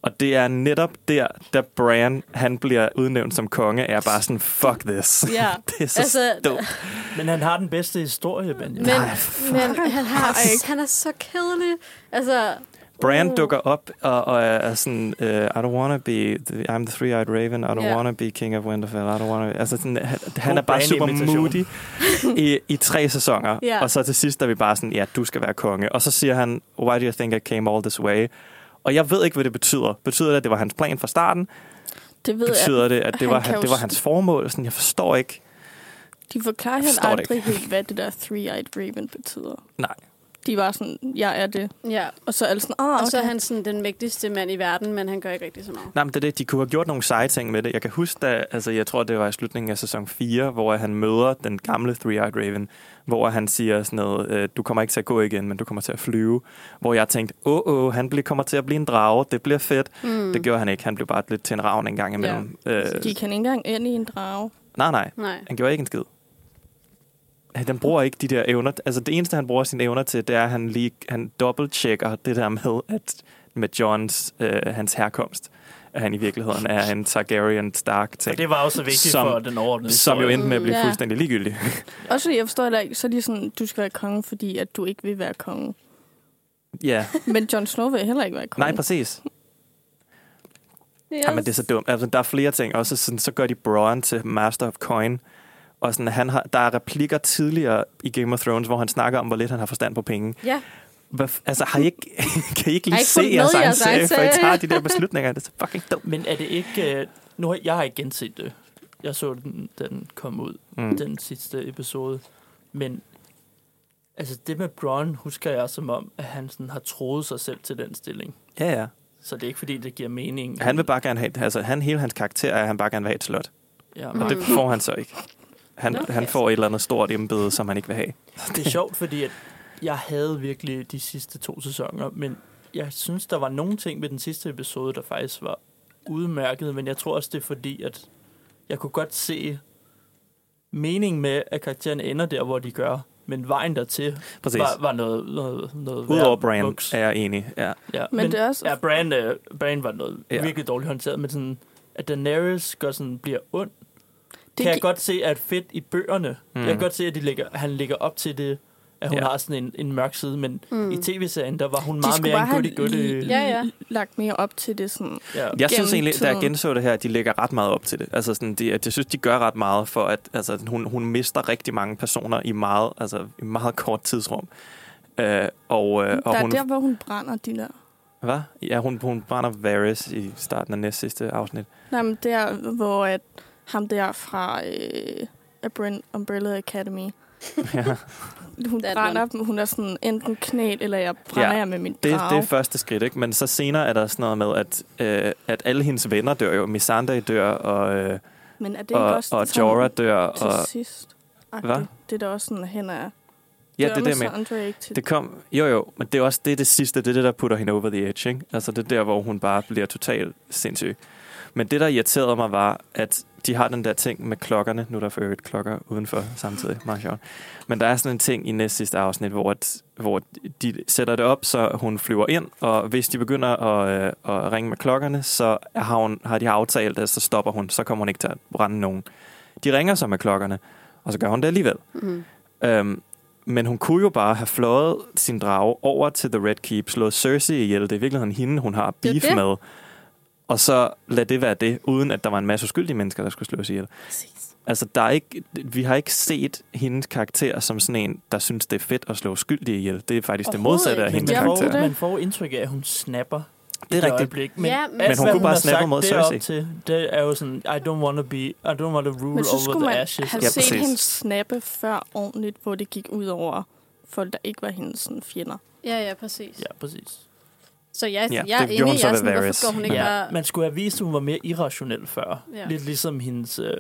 Og det er netop der, da Bran, han bliver udnævnt som konge, er bare sådan, fuck this. ja. Det er så Altså, dumt. Men han har den bedste historie, Benjamin. Men, Nej, fuck. men han, har, Nej. han er så kedelig. Altså, Brand Uh. dukker op og, og er er sådan, uh, I don't wanna be, the, I'm the three-eyed raven, I don't Ja. yeah. wanna be king of Winterfell, I don't wanna, altså sådan, han, han er bare super Bran-imitation. moody i, i tre sæsoner, Ja. og så til sidst er vi bare sådan, ja, du skal være konge, og så siger han, why do you think I came all this way? Og jeg ved ikke, hvad det betyder. Betyder det, at det var hans plan fra starten? Det ved jeg. Betyder det, at det, han var, kan jo det var s- hans formål? Sådan, jeg forstår ikke. De forklarer heller Forstår det aldrig helt, hvad det der three-eyed raven betyder. Nej. De var sådan, jeg er det. ja. Og så er alle sådan, ah, okay. Og så er han sådan den mægtigste mand i verden, men han gør ikke rigtig så meget. Nej, men det er det. De kunne have gjort nogle seje ting med det. Jeg kan huske, da, altså, jeg tror, det var i slutningen af sæson 4, hvor han møder den gamle Three-Eyed Raven, hvor han siger sådan noget, øh, du kommer ikke til at gå igen, men du kommer til at flyve. Hvor jeg tænkte, åh, åh, han bliver, kommer til at blive en drage, det bliver fedt. Mm. Det gjorde han ikke, han blev bare lidt til en ravn en gang imellem. Ja. Øh, De kan ikke engang ind i en drage. nej, nej, Nej. han gjorde ikke en skid. Han bruger ikke de der evner. Altså det eneste, han bruger sine evner til, det er, at han, lige, han dobbelt-checker det der med, at med Johns, øh, hans herkomst, at han i virkeligheden er en Targaryen Og Stark-ting, det var også vigtigt Som- som, for den overordnede som jo historie. endte med at blive Mm, ja. ja. fuldstændig ligegyldig. Og så jeg forstår heller ikke, så er de sådan, du skal være konge, fordi at du ikke vil være konge. ja, Men Jon Snow vil heller ikke være konge. nej, præcis. Jamen, det er så dumt. Altså, der er flere ting. Også sådan, så gør de Bronn til Master of Coin. Og sådan, han har, der er replikker tidligere i Game of Thrones, hvor han snakker om, hvor lidt han har forstand på penge. Ja, Hvad, f- altså, har I ikke, kan I ikke Har lige I ikke se fulgt med jeres i egen jeres serie, egen for I serie? tager de der beslutninger? Det er så fucking dumt. Men er det ikke... øh, Nu har jeg har ikke genset det. Jeg så den, da den kom ud, Mm. den sidste episode. Men altså det med Bron husker jeg som om, at han sådan har troet sig selv til den stilling. Ja, ja. Så det er ikke fordi, det giver mening. Han vil bare gerne have, altså han, hele hans karakter er, at han bare gerne vil have et slot. Ja, Og men det får han så ikke. Han, Mm. Nå, han ja. får et eller andet stort embede, som han ikke vil have. Det er sjovt, fordi at jeg havde virkelig de sidste to sæsoner, men jeg synes, der var nogle ting med den sidste episode, der faktisk var udmærket, men jeg tror også, det er fordi, at jeg kunne godt se mening med, at karaktererne ender der, hvor de gør, men vejen dertil Præcis. var, var noget, noget, noget værre Udover Brand vuks. er jeg enig. Ja. Ja, Men, men det er også... ja, Brand, uh, Brand var noget Ja. ja. virkelig dårligt håndteret, men sådan, at Daenerys gør sådan, bliver ond, det det kan jeg gi- godt se, at fedt i bøgerne, Mm. mm. jeg kan godt se, at de ligger, han ligger op til det, at hun Ja. ja. har sådan en, en mørk side, men Mm. mm. i tv-serien, der var hun de meget skulle mere bare en have goody goody. lige- Ja, ja. lagt mere op til det sådan... Ja. Jeg synes Gennem egentlig, da jeg tiden. genså det her, at de lægger ret meget op til det. Altså sådan, de, at jeg synes, de gør ret meget for, at altså, hun, hun mister rigtig mange personer i meget, altså, i meget kort tidsrum. Øh, og, øh, og der hun, er der, hvor hun brænder de der... Hvad? Ja, hun, hun brænder Varys i starten af næst sidste afsnit. Nej, men der, hvor at ham der fra øh, Abrin Umbrella Academy, ja. hun That brænder one. dem. Hun er sådan, enten knæl, eller jeg brænder Ja, jer med min det, drage. det er første skridt, ikke? Men så senere er der sådan noget med, at, øh, at alle hendes venner dør jo. Missandei dør, og, øh, Men er det ikke og, også og det samme Jorah dør. til Og, sidst? Hvad? Hvad? Det er da også sådan, at hen er... ja, det er det, med. med. Andre ikke til Det kom, jo jo, men det er også det, er det sidste, det er det, der putter hende over the edge, ikke? Altså det er der, hvor hun bare bliver totalt sindssyg. Men det, der irriterede mig, var, at de har den der ting med klokkerne. Nu er der for øvrigt klokker udenfor samtidig. Meget sjovt. Men der er sådan en ting i næst sidste afsnit, hvor, at- hvor de sætter det op, så hun flyver ind, og hvis de begynder at, øh, at ringe med klokkerne, så har, hun, har de aftalt, at så stopper hun, så kommer hun ikke til at brænde nogen. De ringer så med klokkerne, og så gør hun det alligevel. Mm. Øhm, men hun kunne jo bare have fløjet sin drage over til The Red Keep, slået Cersei ihjel. Det er i virkeligheden hende, hun har Det er beef det. med. Og så lad det være det, uden at der var en masse uskyldige mennesker, der skulle slås ihjel. Præcis. Altså, der er ikke, vi har ikke set hendes karakter som sådan en, der synes, det er fedt at slå uskyldige ihjel. Det er faktisk det Overhovedet modsatte af ikke. hendes Det man, er karakter. får, det. man får indtryk af, at hun snapper. Det i er rigtigt. Øjeblik. Men, ja, men, alt, Men hun hvad kunne bare har snappe sagt mod derop Cersei. Til, det er jo sådan, I don't want to be, I don't want to rule Men så over skulle the man ashes. have Ja, set præcis. hende snappe før ordentligt, hvor det gik ud over folk, der ikke var hendes sådan, fjender. ja, ja, præcis. Ja. Ja, præcis. Så jeg, Ja, ja, jeg er det gjorde enig, hun jeg så er ved sådan, Varys. hvorfor går hun ikke ja, ja. bare... man skulle have vist, at hun var mere irrationel før. Ja. Ja. Lidt ligesom hendes øh,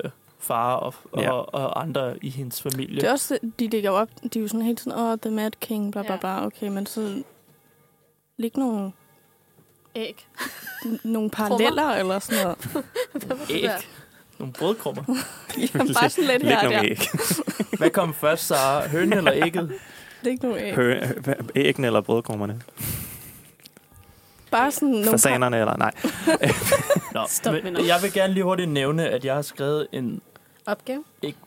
far og, og, Ja. ja. og, andre i hendes familie. Det er også, det, de ligger jo op, de er jo sådan hele tiden, åh, oh, The Mad King, bla bla Ja. bla, okay, men så ligge nogle, Æg. nogle paralleller eller sådan noget. æg. Nogle brødkrummer. Jamen, bare sådan lidt Læg her og der. nogle æg. Hvad kom først, Sara? Hønen eller ægget? Det er ikke nogle æg. Hø- hø- æggene eller brødkrummerne. Bare sådan nogle par- Fasanerne eller nej. Nå, Stop med men noget. jeg vil gerne lige hurtigt nævne, at jeg har skrevet en, Opgave.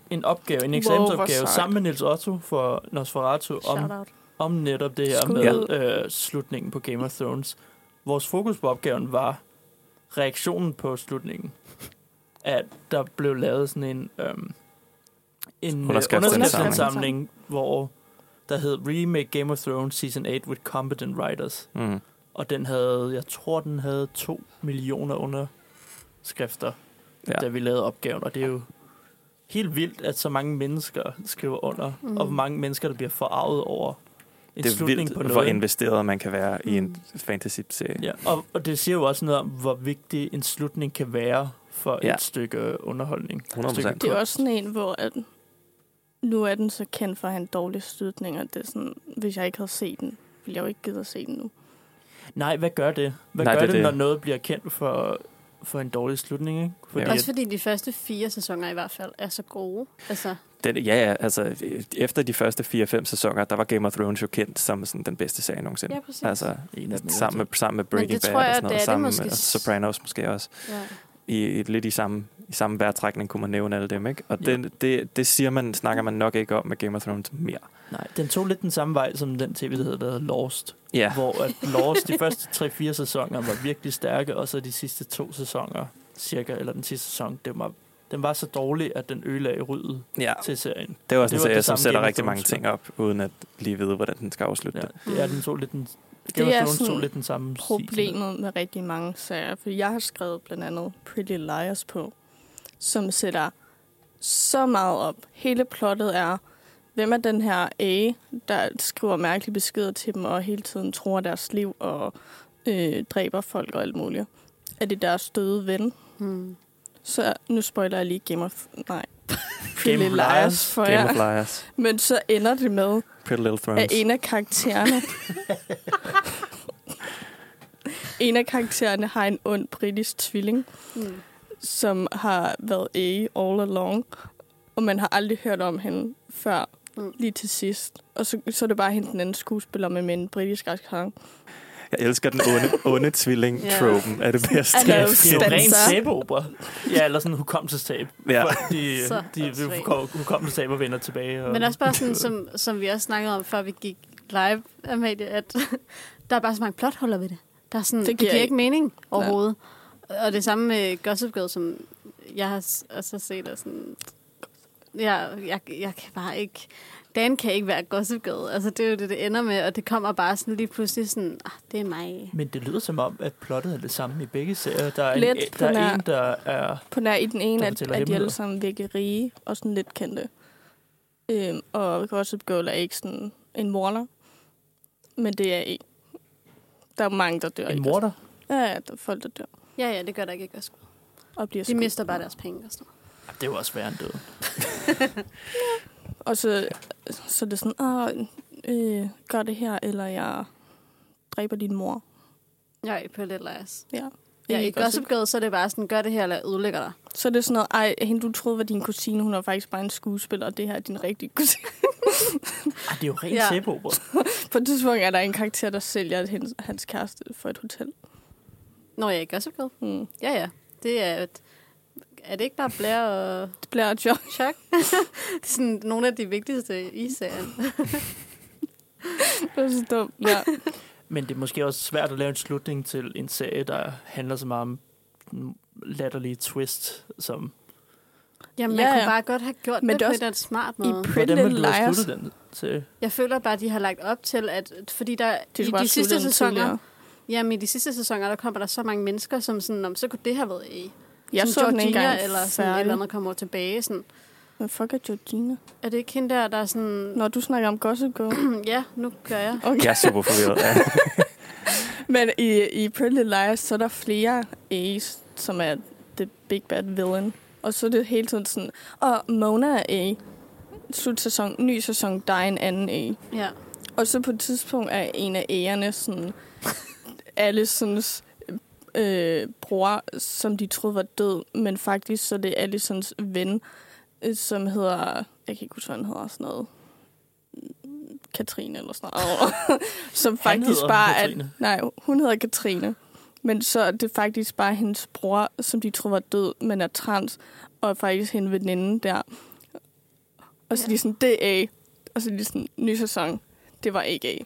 en opgave, en Wow, hvor eksamensopgave, sejt. sammen med Nils Otto for Nosferatu om Shout out. om netop det her Skud. med øh, slutningen på Game of Thrones. Vores fokus på opgaven var reaktionen på slutningen. At der blev lavet sådan en, øhm, en øh, Underskriftsindsamling. underskriftsindsamling, hvor der hed Remake Game of Thrones Season 8 with Competent Writers. Mm. Og den havde, jeg tror den havde 2 millioner underskrifter, Ja. ja. da vi lavede opgaven. Og det er jo helt vildt, at så mange mennesker skriver under, Mhm. mm. og hvor mange mennesker, der bliver forarvet over en Det er slutning vildt, på hvor noget. investeret man kan være i en Mm. fantasy-serie. ja, og, og det siger jo også noget om, hvor vigtig en slutning kan være for ja. Ja. et stykke underholdning. 100%. Et stykke Det er kunst. også sådan en, hvor at nu er den så kendt for at have en dårlig slutning, og det er sådan, hvis jeg ikke havde set den, ville jeg jo ikke gide at se den nu. Nej, hvad gør det? Hvad Nej, Nej, gør det er det, det, det. når noget bliver kendt for, for en dårlig slutning? Ikke? Fordi Ja. Også at, fordi de første fire sæsoner i hvert fald er så gode. Altså, Den, ja, ja, altså efter de første 4-5 sæsoner, der var Game of Thrones jo kendt som sådan, den bedste serie nogensinde. ja, præcis. altså, en af dem, sammen med, sammen med Men det Breaking Bad tror jeg, og sådan noget, det er det sammen måske med og s- Sopranos måske også. Ja. I, i, lidt i samme, i samme vejrtrækning kunne man nævne alle dem, ikke? Og Ja. det, det, det siger man, snakker man nok ikke om med Game of Thrones mere. Nej, den tog lidt den samme vej som den tv, der hedder- der hedder Lost. Ja, Hvor at Lost de første 3-4 sæsoner var virkelig stærke, og så de sidste to sæsoner cirka, eller den sidste sæson, den var, den var så dårlig, at den ødelagde ryddet ja. til serien. det var det også en var serie, det som samme sætter Game of rigtig mange Thrones, ting op, uden at lige vide, hvordan den skal afslutte Ja, det. det er den tog lidt den, Game of er Thrones tog sådan lidt den samme stil. Problemet med rigtig mange serier, for jeg har skrevet blandt andet Pretty Liars på, som sætter så meget op. Hele plottet er, hvem er den her A, der skriver mærkelige beskeder til dem, og hele tiden tror deres liv og øh, dræber folk og alt muligt. Er det deres døde ven? Hmm. Så nu spoiler jeg lige Game of... Nej. Pretty Game of Liars Liars. for Game jer. of Liars, Men så ender det med, Pretty Little Thrones. at en af karaktererne... en af karaktererne har en ond britisk tvilling, Hmm. som har været A all along, og man har aldrig hørt om hende før Mm. lige til sidst. Og så, så er det bare hende den anden skuespiller med, med en britisk accent. Jeg elsker den onde, onde tvilling-tropen af det bedste. I know, Det er jo rent Spencer. sæbeopera. Ja, eller sådan hukommelsestab. Ja. Folk, De, Så de, de åndssvagt. hukommelsestab og vender tilbage. Og, Men også bare sådan, som, som vi også snakkede om, før vi gik live, Amalie, at der er bare så mange plothuller ved det. Der er sådan, Det det giver, giver det giver ikke- ikke mening overhovedet. Og det samme med Gossip Girl, som jeg har s- også har set, og sådan, jeg, jeg, jeg kan bare ikke, Dan kan ikke være Gossip Girl. Altså, det er jo det, det ender med, og det kommer bare sådan lige pludselig sådan, ah, det er mig. Men det lyder som om, at plottet er det samme i begge serier. Der er, en, Lidt på der, er nær- en, der er... På nær i den ene, Der at, fortæller at de alle hemmeligheder. sammen virkelig rige og sådan lidt kendte. Øhm, og Gossip Girl er ikke sådan en morder. Men det er ikke. Der er mange, der dør. i En Gossip- morder. Ja, ja, der er folk, der dør Ja, ja, det gør der ikke i Gossip Girl. og bliver De skudt. mister bare deres penge og sådan noget. Det er jo også værre end død. Og så, så er det sådan, Åh, øh, gør det her, eller jeg dræber din mor. Jeg er i parallellejs. Ja. Ja, i Ikke Gossip Girl, så er det bare sådan, gør det her, eller jeg ødelægger dig. Så er det sådan noget, ej, hende du troede var din kusine, hun er faktisk bare en skuespiller, og det her er din rigtige kusine. Ej, det er jo rent Ja. ja. sæbeopera. På et tidspunkt er der en karakter, der sælger hans, hans kæreste for et hotel. Nå, jeg er i Gossip Girl. Mm. Ja, ja. Det er et, er det ikke bare Blair og Det bliver et job. Chuck? det er sådan nogle af de vigtigste i serien. Det er så dumt. Ja. Men det er måske også svært at lave en slutning til en serie, der handler så meget om den latterlige twist, som... Jamen, Ja, man ja. kunne bare godt have gjort Men Men det, det er det på en smart måde. I Pretty Hvordan ville Little du have Liars. sluttet den serie? Jeg føler bare, at de har lagt op til, at fordi der De de i skulle bare de have sluttet sidste den sæsoner, tidligere. jamen, i de sidste sæsoner, der kommer der så mange mennesker, som sådan, om, så kunne det have været i. Jeg Som så den ikke Georgina engang eller sådan et færdig. eller andet kommer tilbage. Sådan. Men fuck er Georgina? Er det ikke hende der, der er sådan, Når du snakker om Gossip Girl. ja, nu gør jeg. Okay. Jeg er super forvirret. Ja. Men i, i Pretty Little Liars, så er der flere A's, som er the big bad villain. Og så er det hele tiden sådan, og Mona er A. Slut sæson, ny sæson, der er en anden A. Ja. Og så på et tidspunkt er en af A'erne sådan, Allisons øh, bror, som de troede var død, men faktisk så er det Allisons ven, øh, som hedder, jeg kan ikke huske, hvad han hedder, sådan noget, mm, Katrine eller sådan noget, som faktisk hedder bare er, Katrine. nej, hun hedder Katrine, men så er det faktisk bare hendes bror, som de troede var død, men er trans, og er faktisk hende veninde der. Og så ja. Ja. de er sådan, det er A. Og så er de sådan, ny sæson, det var ikke A.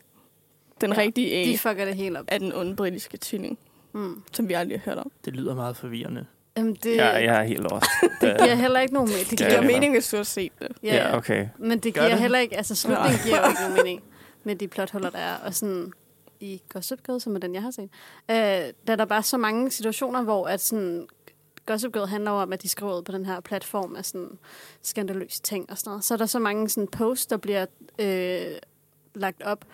Den ja, Ja, rigtige A De fucker det helt op. af den onde britiske tvilling, Mm. som vi aldrig har hørt om. Det lyder meget forvirrende. Jamen, det, Jeg, jeg er helt lost. Det giver heller ikke nogen mening. Øh. Det Ja, giver, Det giver det er mening, hvis du har set det. ja, Ja, ja. okay. Men det Gør giver det? heller ikke, altså slutningen Nej. giver jo ikke nogen mening med de plothuller, der er. Og sådan i Gossip Girl, som er den, jeg har set, øh, der er der bare så mange situationer, hvor at sådan, Gossip Girl handler om, at de skriver ud på den her platform af sådan skandaløse ting og sådan noget. Så er der så mange sådan posts, der bliver øh, lagt op,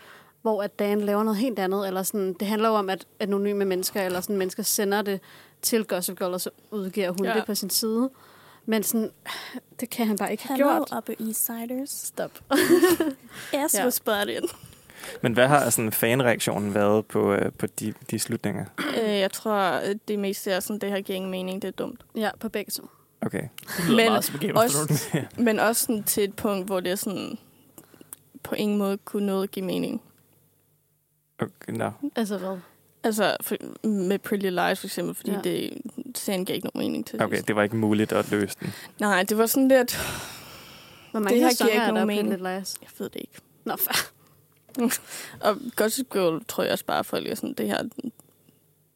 hvor at Dan laver noget helt andet, eller sådan, det handler jo om, at anonyme mennesker, eller sådan mennesker sender det til Gossip Girl, og så udgiver hun Ja. ja. det på sin side. Men sådan, det kan han bare ikke have gjort. Upper East Siders. Stop. Yes, Ja. ja. was spotted. Men hvad har sådan fanreaktionen været på, øh, på de, de slutninger? Øh, jeg tror, at det meste er sådan, det her giver ingen mening, det er dumt. Ja, på begge to. Okay. Det lyder Men Men meget som Game of også- Thrones. Men også sådan til et punkt, hvor det er sådan, på ingen måde kunne noget give mening. okay no. Altså hvad? Altså for, med Pretty Little Lies for eksempel, fordi Ja. ja. det, serien gav ikke nogen mening til okay, sidst. det var ikke muligt at løse den. Nej, det var sådan lidt, Hvor Det mange her det sæsoner giver ikke er der nogen på mening. lidt Lies? jeg ved det ikke. Nå, fa- Og Gossip Girl tror jeg også bare, folk er sådan, det her er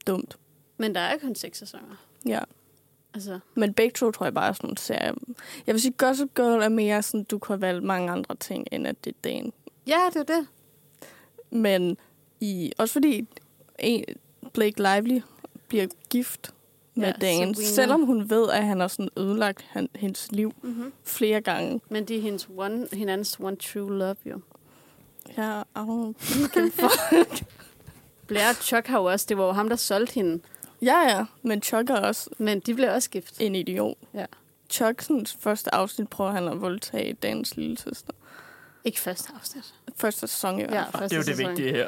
dumt. men der er kun seks sæsoner. Ja. Altså, Men begge to tror jeg bare er sådan en serie. Jeg vil sige, Gossip Girl er mere sådan, du kunne have valgt mange andre ting, end at det er dagen. ja, det er det. Men i, også fordi en, Blake Lively bliver gift med Ja, ja, Dan, Sabrina. selvom hun ved, at han har sådan ødelagt han, hendes liv Mm-hmm. flere gange. Men det er hendes one, hinandens one true love, jo. Ja, I don't- Blair og Chuck har jo også, det var jo ham, der solgte hende. ja, ja, men Chuck er også Men de blev også gift. en idiot. Ja. Chucksens første afsnit prøver han at voldtage Dans lille søster. Ikke første afsnit. Første sæson i hvert fald. første Det er jo det sæson. vigtige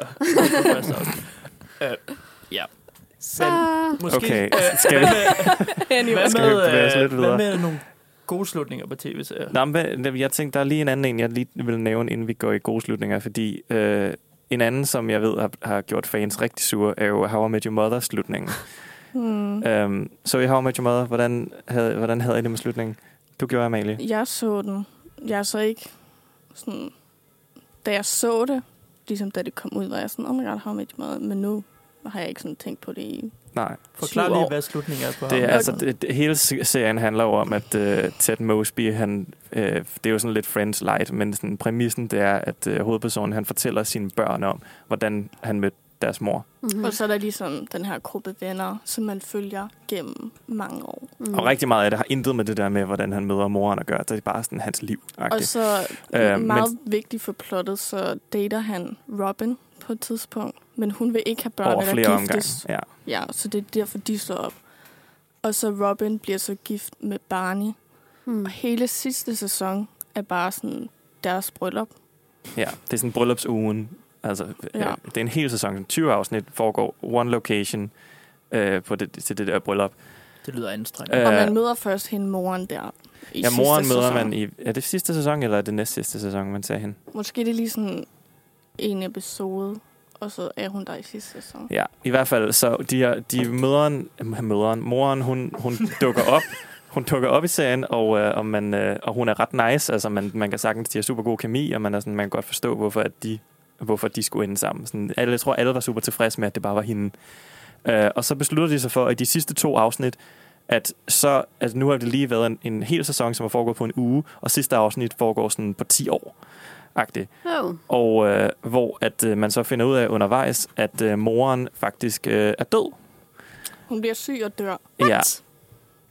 her. Øh, ja. Så Måske, Okay, øh, skal vi- Anyway. Skal vi bevæge os lidt øh, videre? hvad med nogle gode slutninger på tv-serier? Nå, men hvad- jeg tænkte, der er lige en anden en, jeg lige vil nævne, inden vi går i gode slutninger, fordi øh, en anden, som jeg ved har, har gjort fans rigtig sure, er jo How I Met Your Mother-slutningen. Hmm. Øhm, så i How I Met Your Mother, hvordan havde, hvordan havde I det med slutningen? Du gjorde, Amalie. Jeg så den. Jeg så ikke sådan... Da jeg så det, ligesom da det kom ud, var jeg sådan, oh my god, how much mad? Men nu har jeg ikke sådan tænkt på det i... Nej. Forklar Syv lige, år. hvad slutningen er på Det er, ham. altså, det, det, hele se- serien handler jo om, at øh, Ted Mosby, han, øh, det er jo sådan lidt Friends light, men sådan, præmissen det er, at øh, hovedpersonen han fortæller sine børn om, hvordan han mødte deres mor. mm-hmm. Og så er der ligesom den her gruppe venner, som man følger gennem mange år. Mm. Og rigtig meget af det har intet med det der med, hvordan han møder moren at gøre. Det er bare sådan hans liv. Og så Øh, øh, meget men... vigtigt for plottet, så dater han Robin på et tidspunkt, men hun vil ikke have børn over eller flere omgange. giftes. Ja. Ja, så det er derfor, de slår op. Og så Robin bliver så gift med Barney, Hmm. Og hele sidste sæson er bare sådan deres bryllup. Ja, det er sådan bryllupsugen. Altså, ja. Ja. øh, det er en hel sæson. 20 afsnit foregår one location øh, på det, til det der bryllup. Det lyder anstrengende. Øh, og Øh, man møder først hende moren der. I ja, moren sidste møder sæson. man i... Er det sidste sæson, eller er det næst sidste sæson, man ser hende? Måske det er lige sådan en episode, og så er hun der i sidste sæson. Ja, i hvert fald. Så de, her, de møderen, øh, møderen, moren, hun, hun dukker op. Hun dukker op i serien, og, øh, og, man, øh, og hun er ret nice. Altså, man, man kan sagtens, de har super god kemi, og man, er sådan, man kan godt forstå, hvorfor, at de, hvorfor de skulle ende sammen. Sådan, alle, jeg tror, alle var super tilfredse med, at det bare var hende. Øh, og så beslutter de sig for, at i de sidste to afsnit, at så, altså nu har det lige været en, en hel sæson, som har foregået på en uge, og sidste afsnit foregår sådan på 10 år. Agtigt. Oh. Og øh, hvor at øh, man så finder ud af undervejs, at øh, moren faktisk øh, er død. Hun bliver syg og dør. Ja.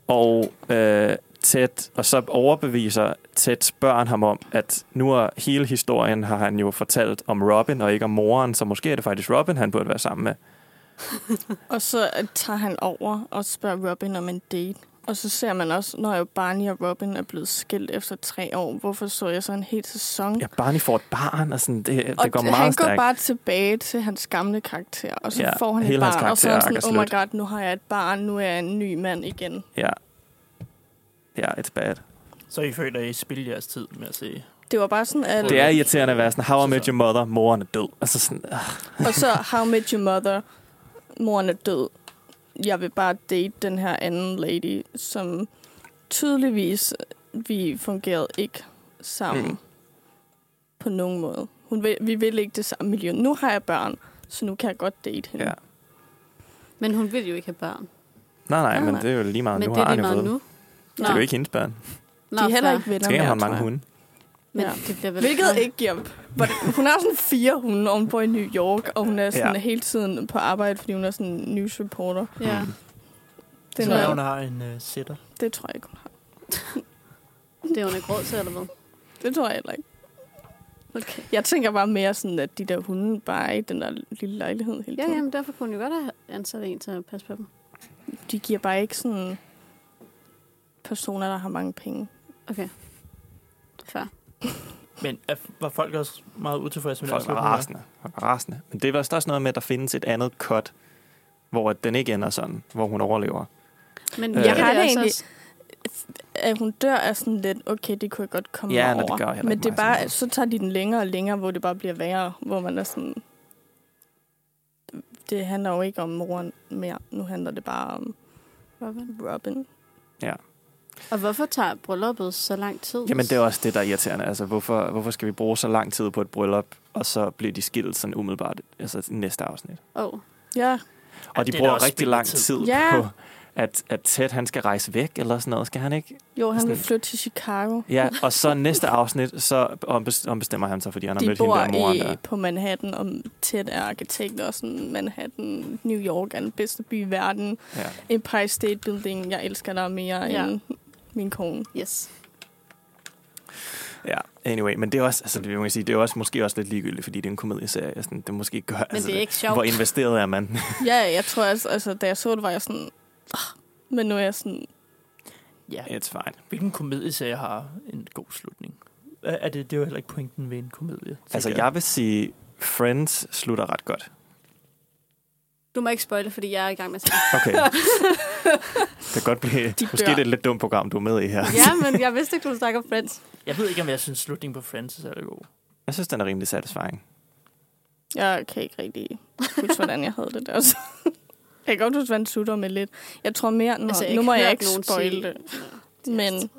Og øh, Ted, og så overbeviser Teds børn ham om, at nu er hele historien, har han jo fortalt om Robin, og ikke om moren, så måske er det faktisk Robin, han burde være sammen med. Og så øh, tager han over og spørger Robin om en date. Og så ser man også, når jo Barney og Robin er blevet skilt efter tre år, hvorfor så jeg så en hel sæson? Ja, Barney får et barn, og sådan, det, og det går d- meget han stærkt. går bare tilbage til hans gamle karakter, og så Ja, ja, får han et hele hans barn, og så er karakter han er sådan, oh my slut." god, nu har jeg et barn, nu er jeg en ny mand igen. Ja. Ja, it's bad. Så I føler, at I spilder jeres tid med at se. Det var bare sådan, at... Det er irriterende at være sådan, how I met your mother, moren er død. Altså sådan, ah, Og så How I Met Your Mother. Moren er død. Jeg vil bare date den her anden lady, som tydeligvis vi fungerede ikke sammen Mm. mm. på nogen måde. Hun vil, vi vil ikke det samme miljø. Nu har jeg børn, så nu kan jeg godt date hende. ja. Men hun vil jo ikke have børn. Nej, nej, Nej, men nej. det er jo lige meget. Men nu det har er han lige jo meget fået. nu. Det er jo ikke hendes børn. Nå, De er heller fair. ikke venner Skal han mere, have tror mange jeg. hunde? Men Ja. det bliver vel Hvilket ikke giver... hvordan- Hun har sådan fire hunde, og hun bor i New York, og hun er sådan Ja. ja. hele tiden på arbejde, fordi hun er sådan en newsreporter. Ja. Mm. Det, er så noget, hun har en øh, uh, sætter. det tror jeg ikke, hun har. Det er hun ikke råd til, eller hvad? Det tror jeg heller ikke. Okay. Jeg tænker bare mere sådan, at de der hunde bare er i den der lille lejlighed hele Ja, tiden. jamen, derfor kunne hun jo godt have ansat en til at passe på dem. De giver bare ikke sådan personer, der har mange penge. Okay. Fair. Men er, var folk også meget utilfredse med Folk var afslutning, rasende. Folk var rasende. Men det var også der er også noget med, at der findes et andet cut, hvor at den ikke ender sådan, hvor hun overlever. Men Øh, virker Jeg har det altså egentlig- også- At hun dør er sådan lidt, okay, det kunne jeg godt komme Ja, mig nej, det over. gør heller ikke Men det er mig så bare, meget. så tager de den længere og længere, hvor det bare bliver værre. Hvor man er sådan... Det handler jo ikke om moren mere. Nu handler det bare om Robin. Robin. Og hvorfor tager brylluppet så lang tid? Jamen, det er også det, der er irriterende. Altså, hvorfor, hvorfor skal vi bruge så lang tid på et bryllup, og så bliver de skilt sådan umiddelbart altså næste afsnit? Oh. Ja, Og de det er da bruger også rigtig lang spildtid. tid Ja. på, at, at Ted, han skal rejse væk, eller sådan noget. Skal han ikke? jo, han vil Sådan- flytte til Chicago. Ja, og så næste afsnit, så ombes- ombestemmer han sig, fordi han har de mødt hende bor der moren der. i, på Manhattan, og tæt er arkitekt og sådan Manhattan, New York er den bedste by i verden. Ja. Empire State Building, jeg elsker dig mere Ja. ja. end min kone. Yes. ja, anyway. Men det er også, altså, det, vil man sige, det er også, måske også lidt ligegyldigt, fordi det er en komedieserie. Sådan, det måske gør, Men altså, det er ikke sjovt. hvor investeret er man? Ja, jeg tror også, altså, da jeg så det, var jeg sådan, "Ah," men nu er jeg sådan, Ja. It's fine. Hvilken komedieserie har en god slutning? Er er det, det er jo heller ikke pointen ved en komedie. Altså, tænker jeg vil sige, Friends slutter ret godt. Du må ikke spoile, fordi jeg er i gang med at sige. Okay. det kan godt blive... De måske dør. det er et lidt dumt program, du er med i her. ja, men jeg vidste ikke, du snakker om Friends. Jeg ved ikke, om jeg synes, slutningen på Friends er særlig god. Jeg synes, den er rimelig satisfying. jeg kan ikke rigtig huske, hvordan jeg havde det der. Så. Jeg kan godt huske, hvordan sutter med lidt. Jeg tror mere, nå, altså, nu må jeg ikke spoil det. Men-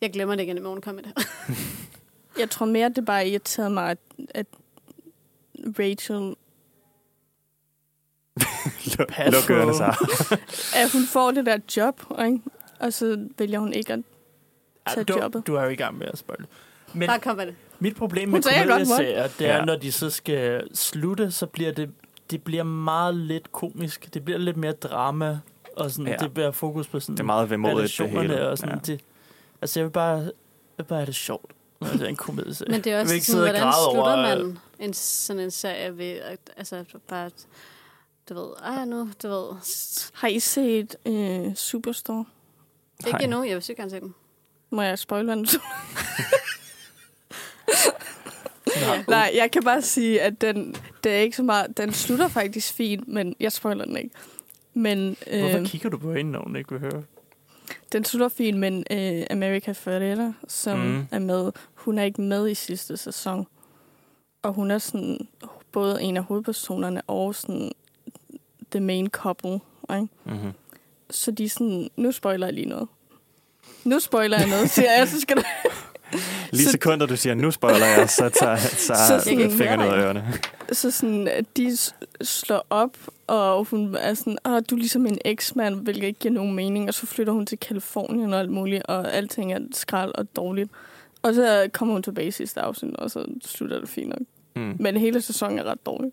Jeg glemmer det igen i morgen, kom med det. Jeg tror mere, det bare irriterede mig, at, at Rachel Luk- Pas Luk på. ørerne sig. at hun får det der job, ikke? og så vælger hun ikke at... Tag du, jobbet. du er jo i gang med at spoil. Men Bare kom med det. mit problem Hun med sagde, jeg godt måtte. komedieserier, det er, Ja. når de så skal slutte, så bliver det, det bliver meget lidt komisk. Det bliver lidt mere drama, og sådan, Ja. ja. det bliver fokus på sådan... Det er meget vemodigt, det relationerne hele. og sådan. Ja. Det, altså, jeg vil bare, jeg vil bare have det sjovt, når jeg ser en komedieserie. Men det er Jeg vil også ikke sådan, sidde og hvordan græde slutter over, øh, man en, sådan en serie ved, at- altså bare, du ved, ah nu, du ved, s- Har I set øh, Superstore? Nej. ikke endnu, jeg vil sygt gerne se den. Må jeg spoil, hvad den Nej. Nej, jeg kan bare sige, at den, det er ikke så meget... Den slutter faktisk fint, men jeg spoiler den ikke. Men Hvorfor øh, kigger du på hende, når hun ikke vil høre? den slutter fint, men øh, America Ferrera, som Mm. mm. er med, hun er ikke med i sidste sæson. Og hun er sådan både en af hovedpersonerne og sådan the main couple. Ikke? Mm-hmm. Så de er sådan, nu spoiler jeg lige noget. Nu spoiler jeg noget, siger jeg, så skal du... Lige Så- sekunder, du siger, nu spoiler jeg, så tager, tager Så så sådan- fingeren ud af ørerne. Så sådan, at de s- slår op, og hun er sådan, ah, du er ligesom en eksmand, hvilket ikke giver nogen mening. Og så flytter hun til Kalifornien og alt muligt, og alting er skrald og dårligt. Og så kommer hun tilbage i sidste afsnit, og så slutter det fint nok. Mm. Men hele sæsonen er ret dårlig.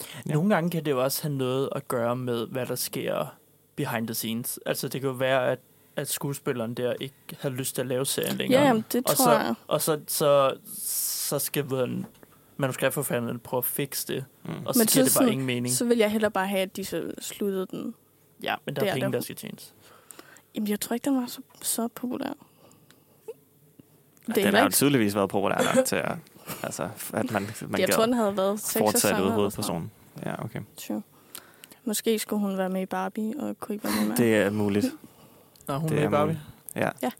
Ja. Ja. Nogle gange kan det jo også have noget at gøre med, hvad der sker behind the scenes. Altså, det kan jo være, at, at skuespilleren der ikke havde lyst til at lave serien længere. Ja, jamen, det og tror så, jeg. Og så, så, så skal man, manuskriptforfatteren prøve at fikse det, Mm. og så Men giver det så bare sådan- ingen mening. Så vil jeg heller bare have, at de så sluttede den. ja, men der det er er penge, der. der skal tjenes. Jamen, jeg tror ikke, den var så, så populær. Det heller den har jo ikke- tydeligvis været populær nok til, at, altså, at man, man jeg gad tror, den havde været seks fortsætte sæsoner. ud eller sådan hovedpersonen. noget. Ja, okay. Sure. Måske skulle hun være med i Barbie, og kunne ikke være med i det... Det er muligt. Nå, hun Det det er er Barbie. muligt. Ja,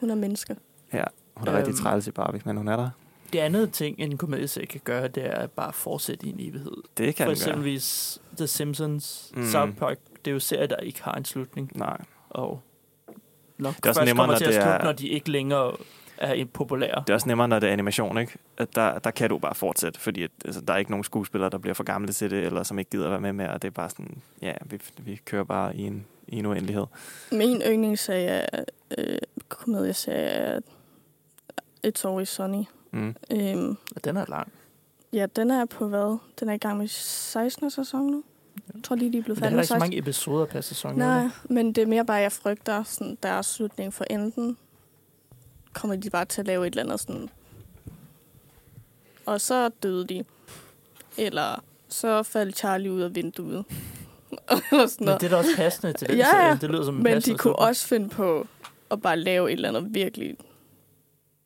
Hun er menneske. hun er rigtig Øhm. træls i Barbie, men hun er der. Det andet ting, en komedieserie kan gøre, det er at bare fortsætte i en evighed. Det kan For den gøre. eksempelvis The Simpsons, Mm. mm. South Park, det er jo serier, der ikke har en slutning. Nej. og nok det er også først nemmere, kommer når til at det slutte, er- når de ikke længere er en populære. Det er også nemmere, når det er animation, ikke? At der, der kan du bare fortsætte, fordi at, altså, der er ikke nogen skuespillere, der bliver for gamle til det, eller som ikke gider være med mere, og det er bare sådan, ja, vi, vi kører bare i en, i en uendelighed. Min yndlingsserie er, øh, komedieserie er It's Always Sunny. Mm. Øhm, Og den er lang. ja, den er på hvad? Den er i gang med 16. sæson nu. Jeg tror lige, de er blevet Men der er heller færdige med ikke så 16. mange episoder per sæson. er Nej, der? men det er mere bare, at jeg frygter sådan, deres slutning, for enten kommer de bare til at lave et eller andet sådan, og så døde de. Eller så faldt Charlie ud af vinduet. Eller sådan Men noget. det er da også passende til den Ja, ja. serie. Det lyder som en Men passende de kunne slutning. også finde på at bare lave et eller andet virkelig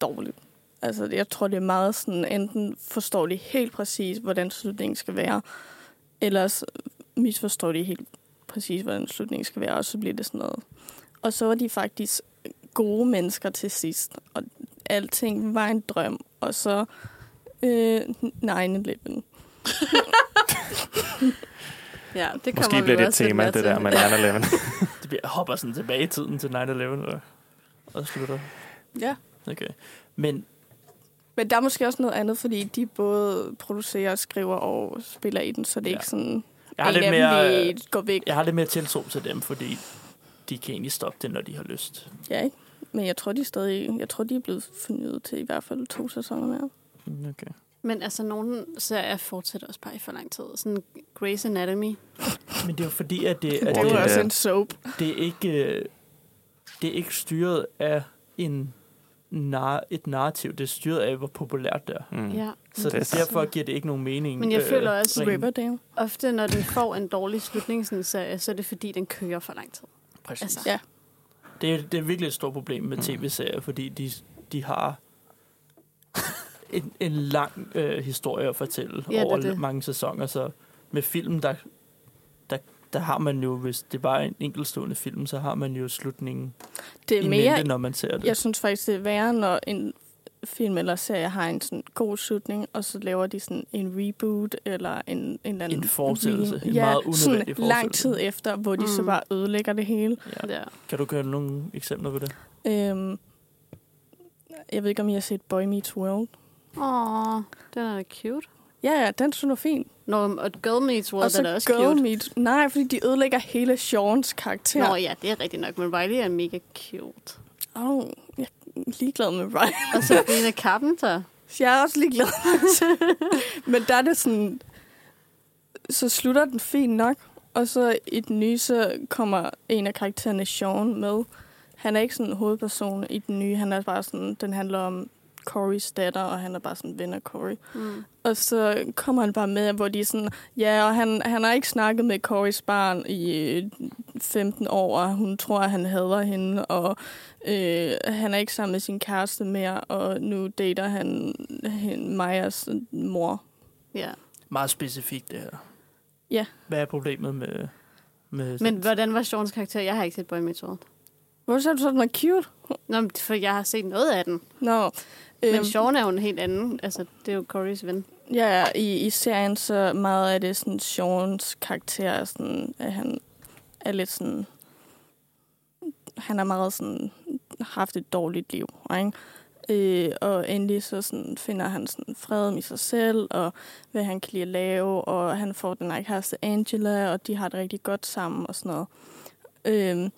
dårligt. Altså, jeg tror, det er meget sådan, enten forstår de helt præcis, hvordan slutningen skal være, ellers misforstår de helt præcis, hvordan slutningen skal være, og så bliver det sådan noget. Og så var de faktisk gode mennesker til sidst, og alting var en drøm, og så øh, 9-11. Ja, det kommer Måske vi bliver jo det et også lidt tema, mere det til. der med 9-11. Det bliver, hopper sådan tilbage i tiden til 9-11 og, og slutter. Ja. Okay. Men Men der er måske også noget andet, fordi de både producerer, skriver og spiller i den, så det er Ja. ikke sådan, jeg har, en lidt af mere, øh, dem lige går væk. jeg har lidt mere tiltro til dem, fordi de kan egentlig stoppe det, når de har lyst. Ja, ikke? Men jeg tror, de er stadig, jeg tror, de er blevet fornyet til i hvert fald to sæsoner mere. Mm, Okay. Men altså, nogen serier fortsætter også bare i for lang tid. Sådan Grey's Anatomy. Mm. Men det er jo fordi, at det, at Det er jo det, også en soap. det er ikke øh, det er ikke styret af en nar- et narrativ. Det er styret af, hvor populært det er. Mm. Mm. Ja. Så Det er det så- derfor giver det ikke nogen mening. øh, Men jeg føler også, rent- Riverdale. Ofte, når den får en dårlig slutning, sådan en serie, så er det fordi, den kører for lang tid. Præcis. Altså, Ja. Det, er, det er virkelig et stort problem med Mm. tv-serier, fordi de, de har en, en lang øh, historie at fortælle Ja, det ja, er over det. det. mange sæsoner. Så med film, der, der, der har man jo, hvis det bare er en enkeltstående film, så har man jo slutningen Det i er mente, mere, når man ser det. jeg synes faktisk, det er værre, når en film eller serie har en sådan god slutning, og så laver de sådan en reboot eller en, en eller anden... En fortsættelse. re- En ja, meget unødvendig sådan lang tid fortsættelse. efter, hvor de mm. så Mm. bare ødelægger det hele. Ja. Ja. Kan du gøre nogle eksempler på det? Øhm, jeg ved ikke, om I har set Boy Meets World. Åh, den er da cute. Ja, ja, den synes fint. Nå, og Girl Meets World og så er da også Girl cute. Meets... Nej, fordi de ødelægger hele Sean's karakter. Nå ja, det er rigtigt nok, men Riley er mega cute. Åh, oh, jeg er ligeglad med Ryan. Og Sabrina Carpenter. Jeg er også ligeglad. Men der er det sådan... Så slutter den fint nok, og så i den nye, så kommer en af karaktererne, Sean, med. Han er ikke sådan hovedperson i den nye. Han er bare sådan... Den handler om Corys datter, og han er bare sådan ven af Cory. Mm. Og så kommer han bare med, hvor de er sådan... Ja, og han, han har ikke snakket med Corys barn i øh, 15 år, og hun tror, at han hader hende, og øh, han er ikke sammen med sin kæreste mere, og nu dater han hende, Majas mor. Ja. Meget specifikt, det her. Ja. Hvad er problemet med... med Men hvordan var Sean's karakter? Jeg har ikke set Boy Meets World. Hvorfor sagde du så, den var cute? Nå, men for jeg har set noget af den. Nå, øhm, Men Sean er jo en helt anden. Altså, det er jo Corys ven. Ja, ja, i, i serien så meget af det sådan Sean's karakter, er sådan, at han er lidt sådan... Han har meget sådan haft et dårligt liv, ikke? Øh, og endelig så sådan finder han sådan fred med sig selv, og hvad han kan lide at lave, og han får den her kæreste Angela, og de har det rigtig godt sammen og sådan noget. Øh,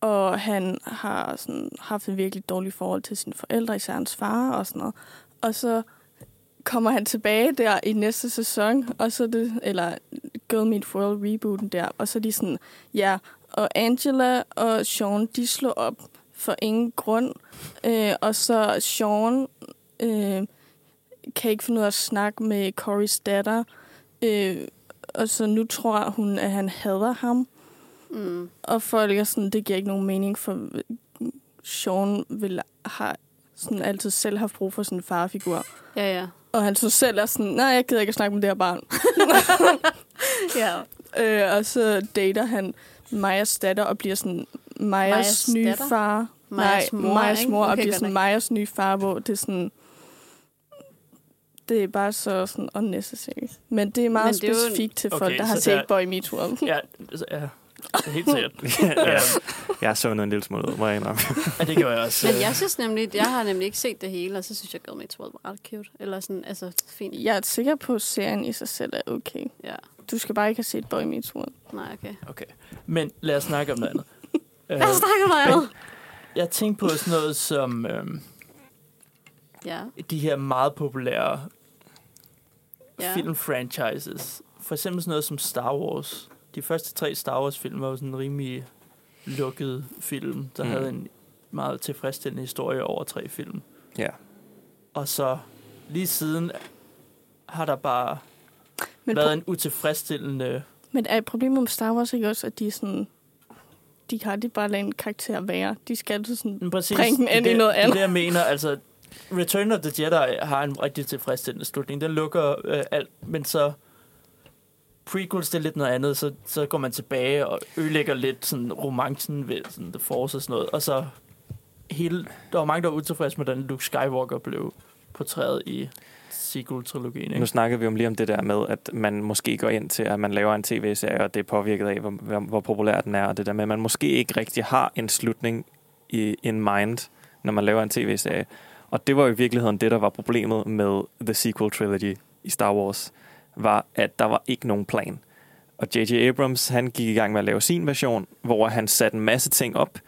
og han har sådan haft et virkelig dårligt forhold til sine forældre, især hans far og sådan noget. Og så kommer han tilbage der i næste sæson, og så er det, eller Girl Meet World rebooten der, og så er de sådan, ja, og Angela og Sean, de slår op for ingen grund, øh, og så Sean øh, kan ikke finde ud af at snakke med Corys datter, øh, og så nu tror hun, at han hader ham, Mm. og folk er sådan, det giver ikke nogen mening, for Sean vil, har sådan altid selv haft brug for sin farfigur. Ja, ja. Og han så selv er sådan, nej, jeg gider ikke at snakke med det her barn. ja. Øh, og så dater han Majas datter og bliver sådan Majas, Majas nye datter? far. Majas nej, mor, Majas ikke? mor og Okay, bliver godt sådan nok. Majas nye far, hvor det er sådan... Det er bare så sådan unnecessary. Men det er Men meget det er jo en- specifikt til folk, Okay, okay, der har så set der- Boy Meets World. Ja, altså, ja. Helt sikkert. ja, ja, jeg så noget en lille smule ud, må jeg indrømme. ja, det gjorde jeg også. Men jeg synes nemlig, jeg har nemlig ikke set det hele, og så synes jeg, Girl Meets World var ret cute. Eller sådan, altså, fint. Jeg er sikker på, at serien i sig selv er okay. Ja. Du skal bare ikke have set Boy Meets World. Nej, okay. Okay. Men lad os snakke om noget andet. Lad os øh, snakke om noget andet. jeg tænkte på sådan noget som øhm, Ja, de her meget populære ja. ja. filmfranchises. For eksempel sådan noget som Star Wars. De første tre Star Wars-film var jo sådan en rimelig lukket film, der Mm. mm. havde en meget tilfredsstillende historie over tre film. Ja. Og så lige siden har der bare Men, været en utilfredsstillende... Men er problemet med Star Wars ikke også, at de er sådan... De har det bare lavet en karakter være. De skal altid sådan... Men Præcis, Bring den det er ind i det- noget Det er andet. det, jeg mener. Altså, Return of the Jedi har en rigtig tilfredsstillende slutning. Den lukker øh, alt, men så prequels, det er lidt noget andet, så, så går man tilbage og ødelægger lidt sådan romancen ved sådan, The Force og sådan noget, og så hele, der var mange, der var utilfredse med, hvordan Luke Skywalker blev portræet i sequel-trilogien. Nu Ikke? snakker vi om lige om det der med, at man måske går ind til, at man laver en tv-serie, og det er påvirket af, hvor, hvor, hvor populær den er, og det der med, at man måske ikke rigtig har en slutning i in mind, når man laver en tv-serie. Og det var jo i virkeligheden det, der var problemet med The Sequel Trilogy i Star Wars, var, at der var ikke nogen plan. Og J.J. Abrams, han gik i gang med at lave sin version, hvor han satte en masse ting op.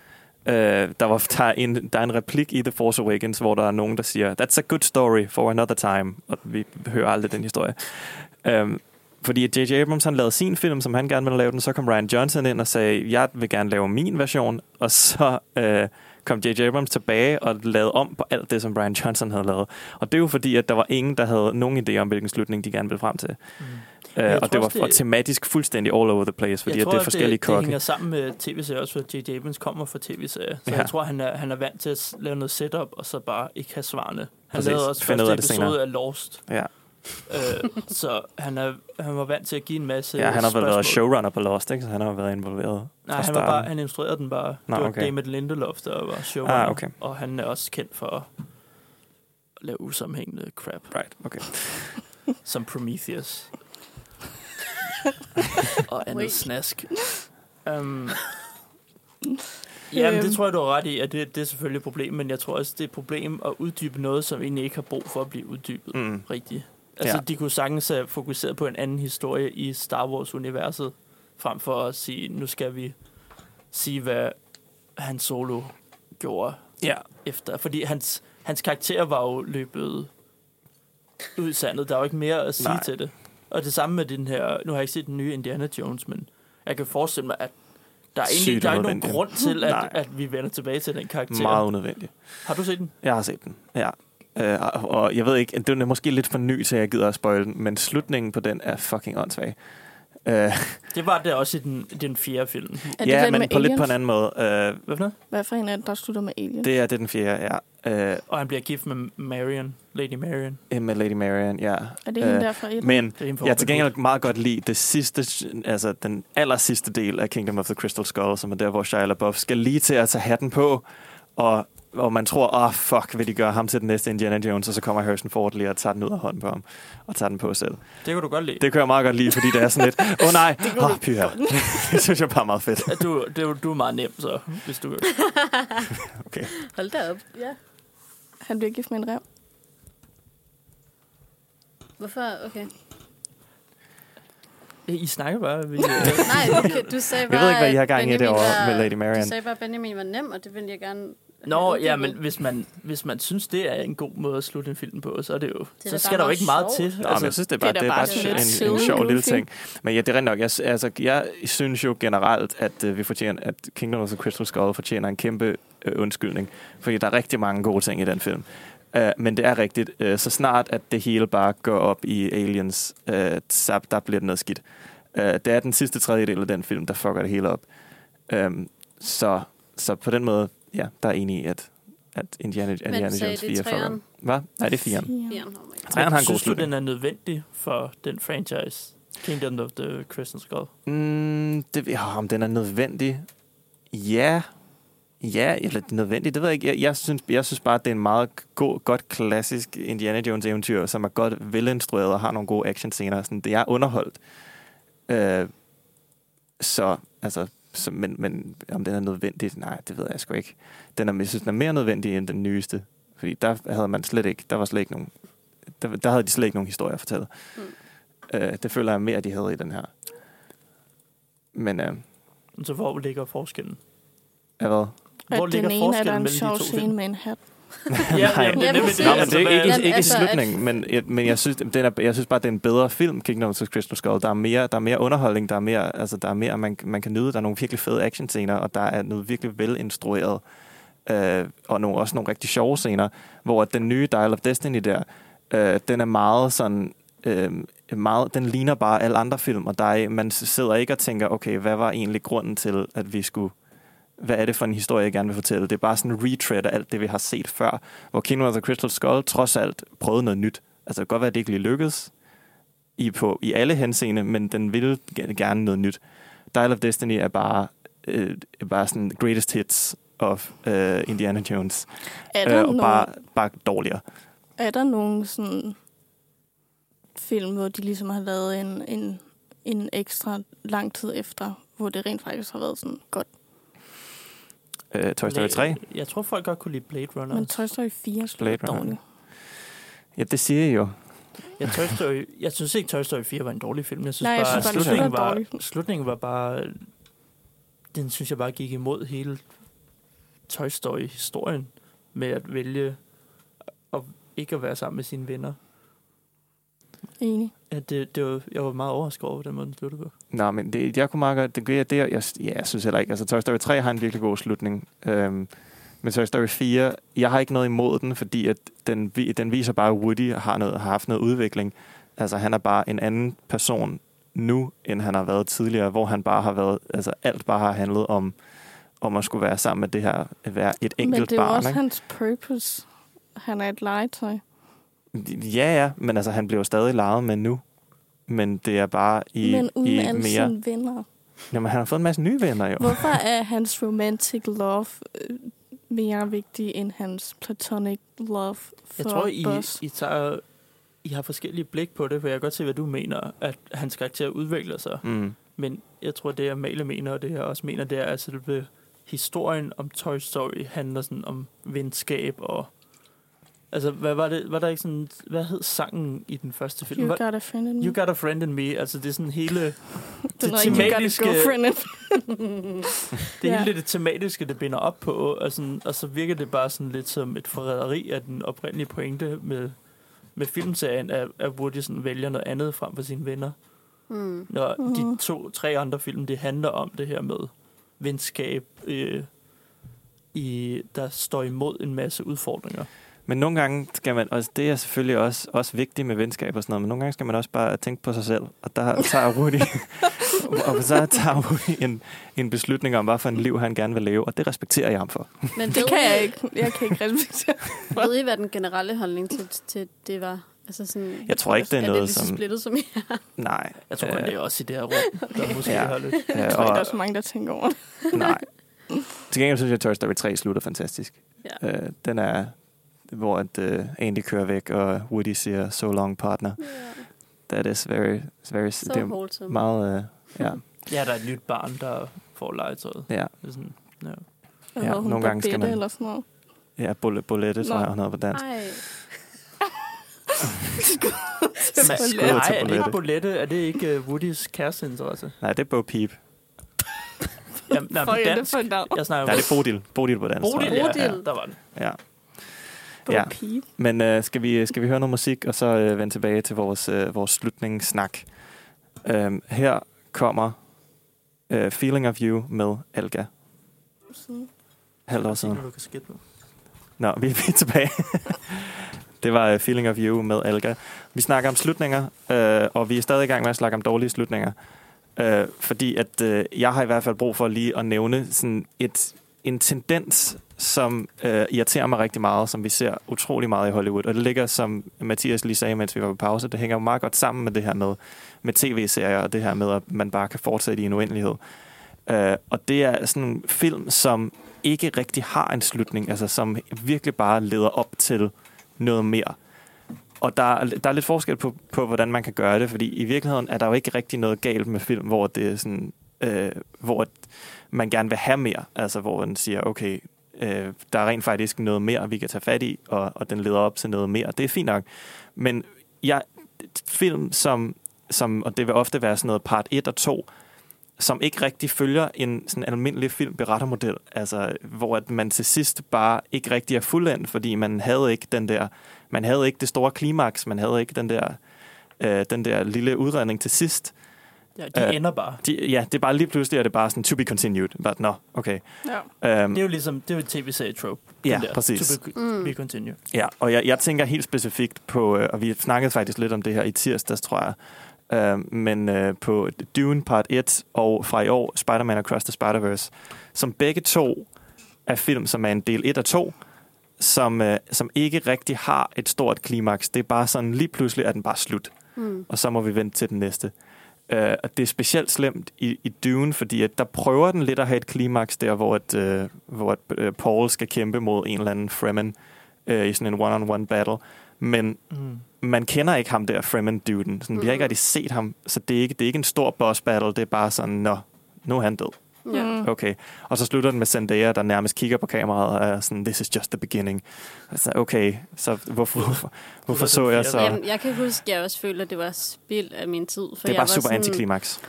Øh, der, var, der, er en, der er en replik i The Force Awakens, hvor der er nogen, der siger, that's a good story for another time. Og vi hører aldrig den historie. Øhm, fordi at J.J. Abrams, han lavede sin film, som han gerne ville lave den, så kom Ryan Johnson ind og sagde, jeg vil gerne lave min version. Og så øh, kom J.J. Abrams tilbage og lavede om på alt det, som Ryan Johnson havde lavet. Og det er jo fordi, at der var ingen, der havde nogen idé om, hvilken slutning de gerne ville frem til. Mm. Øh, Jeg og tror det var også, og det- tematisk fuldstændig all over the place, fordi jeg at tror, det er forskellige det, kokke. det hænger sammen med tv-serier også, for J.J. Abrams kommer fra tv-serier. Så Ja. ja. jeg tror, han er, han er vant til at s- lave noget setup, og så bare ikke have svarene. Han Præcis. lavede også Find ud første af det episode senere. af Lost. Ja. øh, så han, er, han var vant til at give en masse ja, han har vel spørgsmål. været showrunner på Lost, ikke? så han har været involveret fra Nej, han, var starten. bare, han instruerede den bare. Nå, Nå, det var okay. okay. David Lindelof, der var showrunner. Ah, okay. Og han er også kendt for at lave usammenhængende crap, Right, okay. som Prometheus. og andet Wait. snask. Um, Jamen, Øhm. det tror jeg, du har ret i, at det, det er selvfølgelig et problem, men jeg tror også, det er et problem at uddybe noget, som egentlig ikke har brug for at blive uddybet Mm. rigtigt. Altså, Ja. ja. de kunne sagtens have fokuseret på en anden historie i Star Wars-universet, frem for at sige, nu skal vi sige, hvad Han Solo gjorde Ja, efter. Fordi hans, hans karakter var jo løbet ud i sandet. Der er jo ikke mere at sige Nej. Nej. til det. Og det samme med den her... Nu har jeg ikke set den nye Indiana Jones, men jeg kan forestille mig, at der er, Sygt egentlig, der er ikke nogen unødvendigt. grund til, Nej. at, at vi vender tilbage til den karakter. meget unødvendigt. Har du set den? Jeg har set den, ja. Øh, og- og jeg ved ikke, det er måske lidt for ny, så jeg gider at spoil den, men slutningen på den er fucking åndssvag. Øh, Det var det også i den, i den fjerde film. Er det ja, den men med på lidt på en aliens? anden måde. Øh, Hvad for noget? Hvad for en af dem, der slutter med Alien? det er det er den fjerde, ja. Øh, Og han bliver gift med Marion. Lady Marion. med Lady Marian, ja. er det hende Øh, der fra et? Men Det er hende fra Jeg har Robin til gengæld meget godt lide det sidste, altså den aller sidste del af Kingdom of the Crystal Skull, som er der, hvor Shia LaBeouf skal lige til at tage hatten på, og, og man tror, åh oh, fuck, vil de gøre ham til den næste Indiana Jones, og så kommer Harrison Ford lige og tager den ud af hånden på ham, og tager den på selv. Hood. Det kunne du godt lide. Det kører jeg meget godt lide, fordi det er sådan lidt, åh oh, nej, åh oh, pyha. det synes jeg bare er meget fedt. Ja, Du, det, du er meget nem, så hvis du Hold da op. Ja. Han bliver gift med en rev. Hvorfor? Okay. I snakker bare. Vi, Nej, okay, du sagde bare, Jeg ved ikke, hvad I har at gang i Benjamin derovre var- med Lady Du Marian. sagde bare, at Benjamin var nem, og det ville jeg gerne... Nå, have ja, uddybet. men hvis man, hvis man synes, det er en god måde at slutte en film på, så, er det jo, da så bare skal der jo meget ikke meget sjovt. til. Altså, Nå, men jeg synes, det er bare, Altså, det det er da er bare bare, sådan lidt en, en, silly sjov lille goofy. ting. Men ja, det er rent nok. Jeg, altså, jeg synes jo generelt, at øh, vi fortjener, at Kingdom of the Crystal Skull fortjener en kæmpe øh, undskyldning, fordi der er rigtig mange gode ting i den film. Uh, men det er rigtigt. Uh, så snart, at det hele bare går op i Aliens, uh, så der bliver det noget skidt. Uh, det er den sidste tredjedel af den film, der fucker det hele op. Um, så, så på den måde, ja, der er enig i, at, at Indiana, Indiana sagde Jones det 4 fucker. træeren? Hvad? Nej, det er 4'eren. Ja, oh my God. Træerne har en god synes du, slutning. den er nødvendig for den franchise? Kingdom of the Crystal Skull. Mm, det, ja, om den er nødvendig? Ja. Ja, eller nødvendig, det ved jeg ikke. Jeg, jeg, synes, jeg synes bare, at det er en meget god, godt klassisk Indiana Jones eventyr, som er godt velinstrueret og har nogle gode actionscener. Sådan, det er underholdt. Øh, så, altså, så, men, men om den er nødvendig, nej, det ved jeg sgu ikke. Den er, jeg synes, den er mere nødvendig end den nyeste. Fordi der havde man slet ikke, der var slet ikke nogen, der, der havde de slet ikke nogen historier at fortælle. Mm. Øh, det føler jeg mere, de havde i den her. Men øh, Så hvor ligger forskellen? ja, hvad? Hvor at ligger den ene er der forskellen en mellem de sjov to scene film? med en hat. ja, Nej. jamen, det er Jamen, nemlig det. Nå, men det Altså, er ikke, hvad- ikke, ikke i altså, at- slutningen, men, jeg- men jeg synes, den er, jeg synes bare, det er en bedre film, Kingdom of the Crystal Skull. Der er mere, der er mere underholdning, der er mere, altså, der er mere man, man kan nyde. Der er nogle virkelig fede actionscener, og der er noget virkelig velinstrueret. Øh, og nogle, også nogle rigtig sjove scener, hvor den nye Dial of Destiny der, øh, den er meget sådan... Øh, meget, den ligner bare alle andre film, og der er, man sidder ikke og tænker, okay, hvad var egentlig grunden til, at vi skulle hvad er det for en historie, jeg gerne vil fortælle? Det er bare sådan en retread af alt det, vi har set før, hvor Kingdom of the Crystal Skull trods alt prøvede noget nyt. Altså, det kan godt være, at det ikke lige lykkedes i, på, i alle henseende, men den ville ge- gerne noget nyt. Dial of Destiny er bare, øh, er bare sådan greatest hits of øh, Indiana Jones. Er der, Øh, og nogen, bare, bare dårligere. er der nogen sådan film, hvor de ligesom har lavet en, en, en ekstra lang tid efter, hvor det rent faktisk har været sådan godt? Øh, Toy Story 3. Jeg tror, folk godt kunne lide Blade Runner. Men også. Toy Story 4 Blade slutter Runner. dårligt. Ja, det siger jeg jo. Jeg, Toy Story, jeg synes ikke, Toy Story 4 var en dårlig film. Jeg synes Nej, jeg bare, synes bare, den slutningen, slutter var, dårligt. slutningen var bare... Den synes jeg bare gik imod hele Toy Story-historien med at vælge at ikke at være sammen med sine venner. Enig. Ja, det, det var, jeg var meget overrasket over den måde, den sluttede på. Nej, men det, jeg kunne meget godt... Det, det, det, jeg, ja, jeg synes heller ikke... Altså, Toy Story 3 har en virkelig god slutning. Øhm, men Toy Story 4... Jeg har ikke noget imod den, fordi at den, vi- den viser bare, at Woody har, noget, har haft noget udvikling. Altså, han er bare en anden person nu, end han har været tidligere, hvor han bare har været... Altså, alt bare har handlet om, om at skulle være sammen med det her... At være et enkelt Men det er jo barn, også ikke? hans purpose. Han er et legetøj. Ja, ja, men altså, han bliver jo stadig leget med nu. Men det er bare i, men uden i alle mere... sine venner. Jamen, han har fået en masse nye venner, jo. Hvorfor er hans romantic love øh, mere vigtig end hans platonic love for Jeg tror, I, Buzz? I, tager, I har forskellige blik på det, for jeg kan godt se, hvad du mener, at hans karakter udvikler sig. Mm. Men jeg tror, det jeg Male mener, og det jeg også mener, det er, at selve historien om Toy Story handler sådan om venskab og... Altså, hvad var det? Var der ikke sådan... Hvad hed sangen i den første film? You Var- got a friend in me. you got a friend in me. Altså, det er sådan hele... det det er ikke, you got tematiske- a girlfriend in me. Det er Ja. hele det tematiske, det binder op på, og, sådan, og så virker det bare sådan lidt som et forræderi af den oprindelige pointe med, med filmserien, at, at Woody sådan vælger noget andet frem for sine venner. Hmm. Når mm. Mhm. de to-tre andre film, det handler om det her med venskab, øh, i, der står imod en masse udfordringer. Men nogle gange skal man, og det er selvfølgelig også, også vigtigt med venskab og sådan noget, men nogle gange skal man også bare tænke på sig selv. Og der tager Rudi, og så tager Rudi en, en beslutning om, hvad for en liv han gerne vil leve, og det respekterer jeg ham for. Men Det ved kan I- jeg ikke. Jeg kan ikke respektere. Ved I, hvad den generelle holdning til, til det var? Altså sådan, Jeg tror ikke, det er noget, er det lige så som- splittet som I er? Nej. Jeg tror kun, øh, det er også i det her rum, der måske Ja. ja. holdet. Jeg tror ikke, der er så mange, der tænker over det. Nej. Til gengæld synes jeg, at Toy Story 3 slutter fantastisk. Ja. Øh, den er, hvor at, øh, Andy kører væk, og Woody siger, so long partner. That is very, it's very, Så det er wholesome. meget, øh, ja, Ja, der er et nyt barn, der får legetøjet. ja, Det er sådan, ja. Jeg Ja, ved, hun nogle gange skal Babette man- Eller sådan noget. ja, bullet, bullette, tror Nå. jeg, hun hedder på dansk. Ej, Men- Bulette. Nej, er det Bulette. ikke Bolette? Er det ikke uh, Woodys kæresteinteresse? Nej, det er Bo Peep. Jamen, nej, på Fuck, er det dansk. for et navn? Jeg snakker Nej, om det er Bodil. Bodil på dansk, tror Bodil. jeg. Ja, Bodil. ja, der var den. Ja. Bo Ja. Peep. Men øh, skal, vi, skal vi høre noget musik, og så øh, vende tilbage til vores, øh, vores slutningssnak. Øhm, her kommer øh, Feeling of You med Alga. Sådan. Halvt år Jeg siden. tænker, du kan skippe nu. Nå, vi vi er tilbage. det var øh, Feeling of You med Alga. Vi snakker om slutninger, øh, og vi er stadig i gang med at snakke om dårlige slutninger. Øh, fordi at øh, jeg har i hvert fald brug for lige at nævne sådan et, en tendens, som øh, irriterer mig rigtig meget, som vi ser utrolig meget i Hollywood. Og det ligger, som Mathias lige sagde, mens vi var på pause, det hænger jo meget godt sammen med det her med, med tv-serier, og det her med, at man bare kan fortsætte i en uendelighed. Øh, og det er sådan en film, som ikke rigtig har en slutning, altså som virkelig bare leder op til noget mere. Og der, er- der er lidt forskel på, på, hvordan man kan gøre det, fordi i virkeligheden er der jo ikke rigtig noget galt med film, hvor det er sådan, øh, hvor man gerne vil have mere, altså hvor man siger, okay, øh, der er rent faktisk noget mere, vi kan tage fat i, og, og den leder op til noget mere. Det er fint nok. Men jeg, film, som, som, og det vil ofte være sådan noget part 1 og 2, som ikke rigtig følger en sådan almindelig filmberettermodel, altså hvor at man til sidst bare ikke rigtig er fuldendt, fordi man havde ikke den der, man havde ikke det store klimaks, man havde ikke den der, øh, den der lille udredning til sidst. Ja, de Øh, ender bare. De, ja, det er bare lige pludselig, at det bare sådan to be continued. But, no, okay. Ja. Um, Det er jo ligesom, det er jo et tv-serie-trope. ja, den der. præcis. To be, Mm. be continue. Ja, og jeg, jeg tænker helt specifikt på, øh, og vi snakkede faktisk lidt om det her i tirsdags, tror jeg, øh, men øh, på Dune Part 1 og fra i år Spider-Man Across the Spider-Verse, som begge to er film, som er en del 1 og 2, som, øh, som ikke rigtig har et stort klimaks. Det er bare sådan, lige pludselig er den bare slut mm. og så må vi vente til den næste. Uh, og det er specielt slemt i, i Dune, fordi at der prøver den lidt at have et klimaks der, hvor, at, uh, hvor at, uh, Paul skal kæmpe mod en eller anden Fremen uh, i sådan en one-on-one battle. Men Mm. man kender ikke ham der, Fremen-duden. Sådan, Vi har ikke Mhm. rigtig set ham, så det er ikke, det er ikke en stor boss battle. Det er bare sådan, nå, nu er han død. Ja. Mm. Okay. Og så slutter den med Zendaya, der nærmest kigger på kameraet og er sådan, this is just the beginning. Altså, okay, så hvorfor, hvorfor, hvorfor så jeg så... Jamen, jeg kan huske, at jeg også følte, at det var spild af min tid. For Det er jeg bare var super sådan, antiklimaks.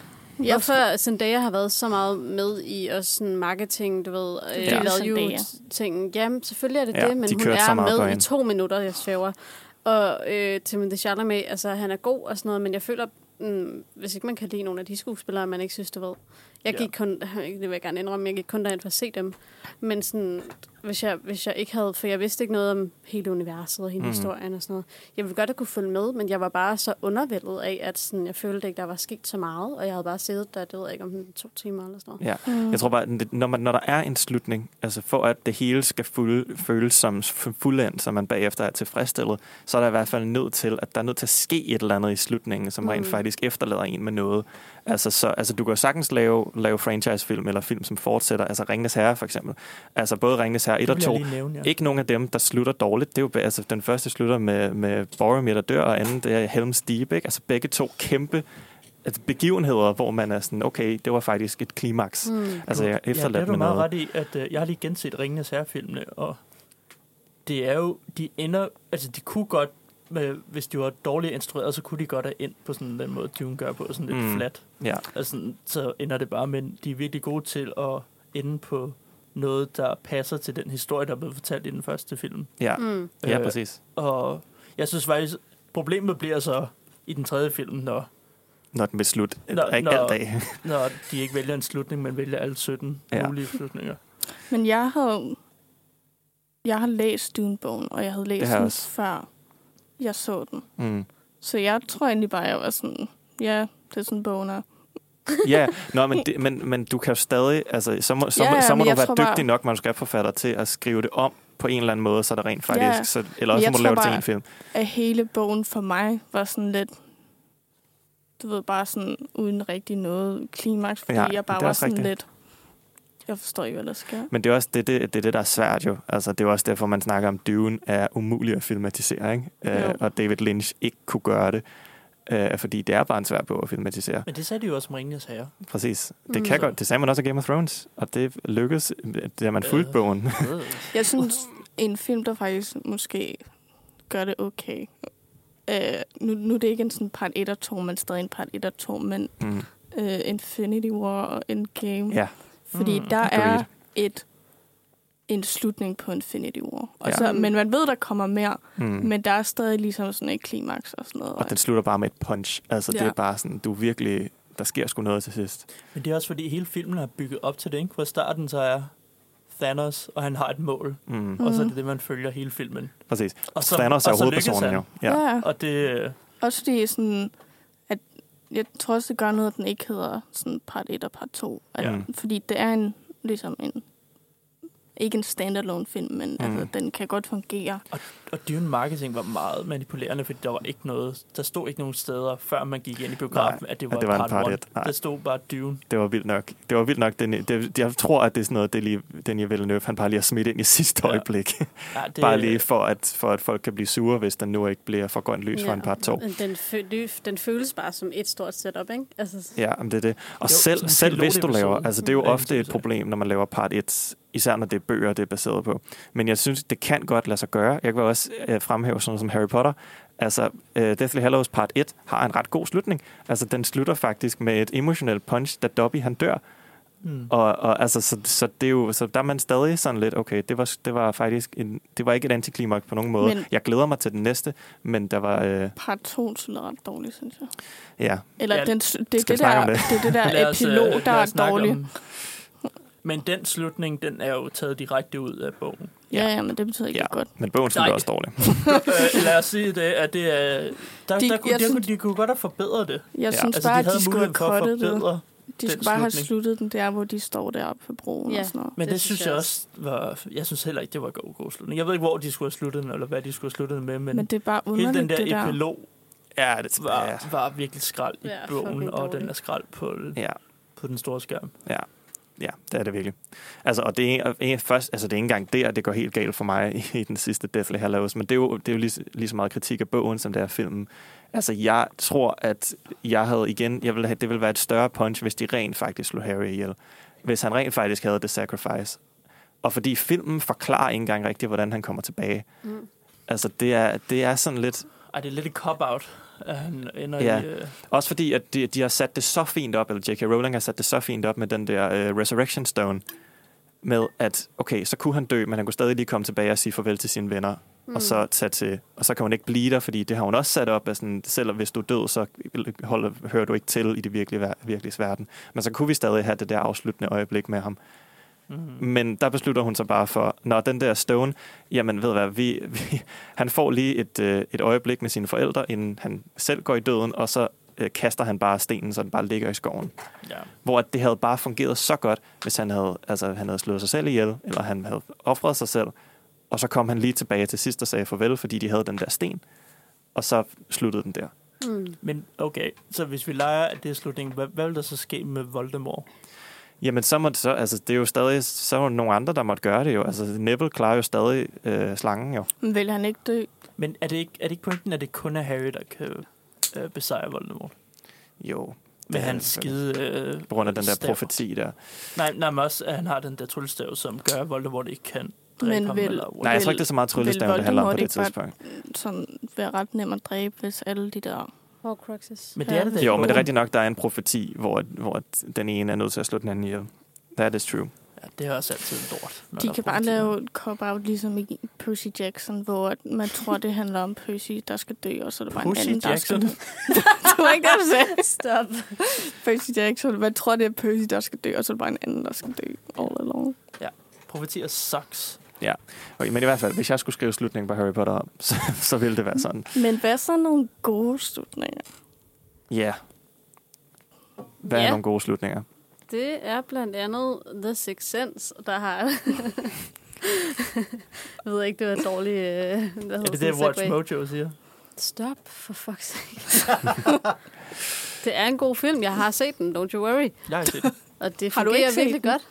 Ja, for Zendaya har været så meget med i også sådan marketing, du ved, øh, Ja. value Zendaya. ting. Jamen, selvfølgelig er det Ja, det, men de hun kørte så er meget på med i hende. to minutter, jeg svæver. Og øh, Timothée Chalamet, altså han er god og sådan noget, men jeg føler, mm, hvis ikke man kan lide nogle af de skuespillere, man ikke synes, du ved. Jeg Ja. gik kun, det vil jeg gerne indrømme, jeg gik kun derind for at se dem. Men sådan, hvis jeg, hvis jeg ikke havde, for jeg vidste ikke noget om hele universet og hele Mhm. mm. historien og sådan noget. Jeg ville godt have kunne følge med, men jeg var bare så undervældet af, at sådan, jeg følte ikke, der var sket så meget, og jeg havde bare siddet der, det ved jeg ikke, om to timer eller sådan noget. Ja. Mm. Jeg tror bare, at det- når, man, når der er en slutning, altså for at det hele skal fuld, føles som f- fuldendt, så man bagefter er tilfredsstillet, så er der i hvert fald nødt til, at der er nødt til at ske et eller andet i slutningen, som rent Mm. faktisk efterlader en med noget. Altså, så, altså du kan jo sagtens lave, lave franchisefilm eller film, som fortsætter, altså Ringnes Herre for eksempel. Altså både Ringnes Herre 1 og Det vil 2, jeg lige nævne, ja. ikke nogen af dem, der slutter dårligt. Det er jo, altså, den første slutter med, med Boromir, der dør, og anden det er Helm's Deep. Ikke? Altså begge to kæmpe altså, begivenheder, hvor man er sådan, okay, det var faktisk et klimaks. Mm. Mm. Altså jeg er ja, det er efterladt du med meget noget. ret i, at øh, jeg har lige genset Ringenes Herre-filmene, og det er jo, de ender, altså de kunne godt, med, hvis de var dårligt instrueret, så kunne de godt have endt på sådan den måde, Dune gør på, sådan lidt Mm. mm. flat. Ja, Altså, sådan, så ender det bare, men de er virkelig gode til at ende på noget, der passer til den historie, der er blevet fortalt i den første film. ja. Mm. ja Øh, præcis. Og jeg synes faktisk, problemet bliver så i den tredje film, når, Når den vil slut. Nå, Nå, ikke nå. alt dag. når de ikke vælger en slutning, men vælger alle 17 Ja. ja. mulige slutninger. Men jeg havde jeg har læst Dune-bogen, og jeg havde læst har jeg den, også. før jeg så den. Mm. Så jeg tror egentlig bare, jeg var sådan, ja, det er sådan, bogen er. Ja, Nå, men, det, men, men du kan jo stadig, altså, så må, så, Ja, ja, ja, så må men du jeg være tror dygtig bare- bare... nok manuskriptforfatter til at skrive det om på en eller anden måde, så det rent faktisk, Ja, ja. så, eller Men også så jeg må du tror lave det til bare- en film. At hele bogen for mig var sådan lidt, du ved, bare sådan uden rigtig noget klimaks, fordi Ja, ja, jeg det bare er var også sådan rigtigt. lidt, jeg forstår ikke, hvad der sker. Men det er også det, det, det, er det der er svært jo. Altså, det er jo også derfor, man snakker om, Dune er umulig at filmatisere, ikke? Jo. Øh, og David Lynch ikke kunne gøre det, øh, fordi det er bare en svær bog at filmatisere. Men det sagde de jo også om Ringens Herre. Præcis. Det Mm. kan godt. Det sagde man også af Game of Thrones, og det lykkedes, da man fulgte Øh. bogen. Øh. Jeg synes, en film, der faktisk måske gør det okay. Øh, nu, nu er det ikke en sådan part 1 og 2, men stadig en part 1 og 2, men Mm. øh, Infinity War og Endgame. Ja, Fordi Mm, mm, der agreed. er et en slutning på Infinity War. Og Ja. ja. så, men man ved, der kommer mere, mm. Mm. men der er stadig ligesom sådan et klimaks og sådan noget. Og den slutter bare med et punch. Altså, ja. det Ja. er bare sådan, du er virkelig... Der sker sgu noget til sidst. Men det er også fordi, hele filmen har bygget op til det, ikke? Hvor starten så er Thanos, og han har et mål. Mm. Mm. Og så er Mhm. det det, man følger hele filmen. Præcis. Og så, Thanos er og så lykkes hovedpersonen han. jo. Ja. ja. ja. Og det, øh, Også fordi sådan, at jeg tror også, det gør noget, at den ikke hedder sådan part 1 og part 2. At, Ja. ja. Fordi det er en, ligesom en, ikke en standalone film, men mm. Mm. altså, den kan godt fungere. og Dune Marketing var meget manipulerende, fordi der var ikke noget, der stod ikke nogen steder, før man gik ind i biografen, Nej, at det at var, det var en part part one. et. Nej. Der stod bare Dune. Det var vildt nok. Det var vildt nok. Den, det, jeg tror, at det er sådan noget, det er lige, Daniel Villeneuve, han bare lige har smidt ind i sidste Ja. ja. øjeblik. Det... Ja, det, Bare lige for at, for, at folk kan blive sure, hvis der nu ikke bliver for grønt lys ja. for Ja. en part 2. Men Den, fø- det- den føles bare som et stort setup, ikke? Altså, Ja, men det er det. Og Jo, jo, sådan selv, en selv hvis du laver, pilotepisode. altså det er jo Ja, ofte et sådan. problem, når man laver part 1, især når det er bøger, det er baseret på. Men jeg synes, det kan godt lade sig gøre. Jeg kan også øh, fremhæve sådan noget som Harry Potter. Altså, øh, Deathly Hallows part 1 har en ret god slutning. Altså, den slutter faktisk med et emotionelt punch, da Dobby han dør. Mm. Og, og altså, så, så, det er jo, så der er man stadig sådan lidt, okay, det var, det var faktisk en, det var ikke et antiklimaks på nogen måde. Men, Men- jeg glæder mig til den næste, men der var, øh, Part 2 lyder ret dårligt, synes jeg. ja, Eller Ja, ja, den, s- det, er skal vi det, snakke der, om det? det. det er det Lad der os, øh, epilog, der lad er os snakke dårlig. om- Men den slutning, den er jo taget direkte ud af bogen. Ja, ja, men det betyder ikke Ja. ja. godt. men bogen Nej. slutter også dårligt. øh, lad os sige det, at det er... Der, de, De- der, kunne, jeg der, kunne, synes- de kunne godt have forbedret det. Jeg Ja. ja. synes Altså, altså, bare, de at havde de skulle have muligheden for at kottet det. forbedre. Det. De den skulle bare have slutning. sluttet den der, hvor de står deroppe på broen Ja. og sådan noget. Men det, Det det synes synes jeg jeg også var... Jeg synes heller ikke, det var en god, god slutning. Jeg ved ikke, hvor de skulle have sluttet den, eller hvad de skulle have sluttet den med, men, Men, men det er bare hele den underligt, der det der. epilog Ja, det, ja, var, var virkelig skrald i Ja, bogen, fucking og den dårlig. er skrald på, ja. på den store skærm. Ja, det er det virkelig. Altså, og det er, og det er først, altså, det er ikke engang der, det går helt galt for mig i, i den sidste Deathly Hallows, men det er jo, det er jo lige, lige så meget kritik af bogen, som det er af filmen. Altså, jeg tror, at jeg havde igen, jeg ville have, det ville være et større punch, hvis de rent faktisk slog Harry ihjel. Hvis han rent faktisk havde The Sacrifice. Og fordi filmen forklarer ikke engang rigtigt, hvordan han kommer tilbage. mm. Altså, det er, det er sådan lidt, Ej, det er lidt et cop-out, at han ender Ja. i... Øh, også fordi, at de, de har sat det så fint op, eller J.K. Rowling har sat det så fint op med den der uh, Resurrection Stone, med at, okay, så kunne han dø, men han kunne stadig lige komme tilbage og sige farvel til sine venner, mm. og så tage til, og så kan hun ikke blive der, fordi det har hun også sat op, at sådan, selv hvis du er død, så holder, hører du ikke til i det virkelige, ver- virkelige verden. Men så kunne vi stadig have det der afsluttende øjeblik med ham. mm, Men der beslutter hun sig bare for, når den der Stone, jamen ved du hvad, vi, vi, han får lige et, øh, et øjeblik med sine forældre, inden han selv går i døden, og så øh, kaster han bare stenen, så den bare ligger i skoven. ja. Hvor at det havde bare fungeret så godt, hvis han havde, altså, han havde slået sig selv ihjel, eller han havde offret sig selv, og så kom han lige tilbage til sidst og sagde farvel, fordi de havde den der sten, og så sluttede den der. Mm. Men okay, så hvis vi leger, at det er slutningen, hvad, hvad vil der så ske med Voldemort? Jamen, så må det så, altså, det er jo stadig, så er der nogle andre, der måtte gøre det jo. Altså, Neville klarer jo stadig øh, slangen jo. Men vil han ikke dø? Men er det ikke, er det ikke pointen, at det kun er Harry, der kan øh, besejre Voldemort? Jo, Med er hans det. skide... Øh, på grund af den der stav. profeti der. Nej, nej, men også, at han har den der tryllestav, som gør, at Voldemort ikke kan dræbe Men ham. vil- Eller, Nej, jeg tror Vil- ikke, det er så meget vil tryllestaven, det handler om på Voldemort det ikke bare- tidspunkt. Sådan være ret nem at dræbe, hvis alle de der... Horcruxes. Men det er det da Jo, men det er bogen. rigtigt nok, der er en profeti, hvor, hvor den ene er nødt til at slå den anden ihjel. That is true. Ja, det er også altid en lort. når De der kan er bare profetier. lave et cop-out, ligesom i Percy Jackson, hvor at man tror, det handler om Percy, der skal dø, og så er der bare Percy en anden, der Jackson? skal dø. det var ikke det, jeg sagde. Stop. Percy Jackson, man tror, det er Percy, der skal dø, og så er der bare en anden, der skal dø all along. Profetier sucks. Okay, men i hvert fald, hvis jeg skulle skrive slutningen på Harry Potter om, så, så ville det være sådan. Men hvad så nogle gode slutninger? Ja. Yeah. Hvad yeah. Ja. er nogle gode slutninger? Det er blandt andet The Sixth Sense, der har... jeg ved ikke, det var et dårligt... Øh, hvad hedder Er det sådan det, en Watch segue? Mojo siger? Stop, for fuck's sake. det er en god film. Jeg har set den, don't you worry. Jeg har set den. Og det Har du fungerer ikke set virkelig den? godt.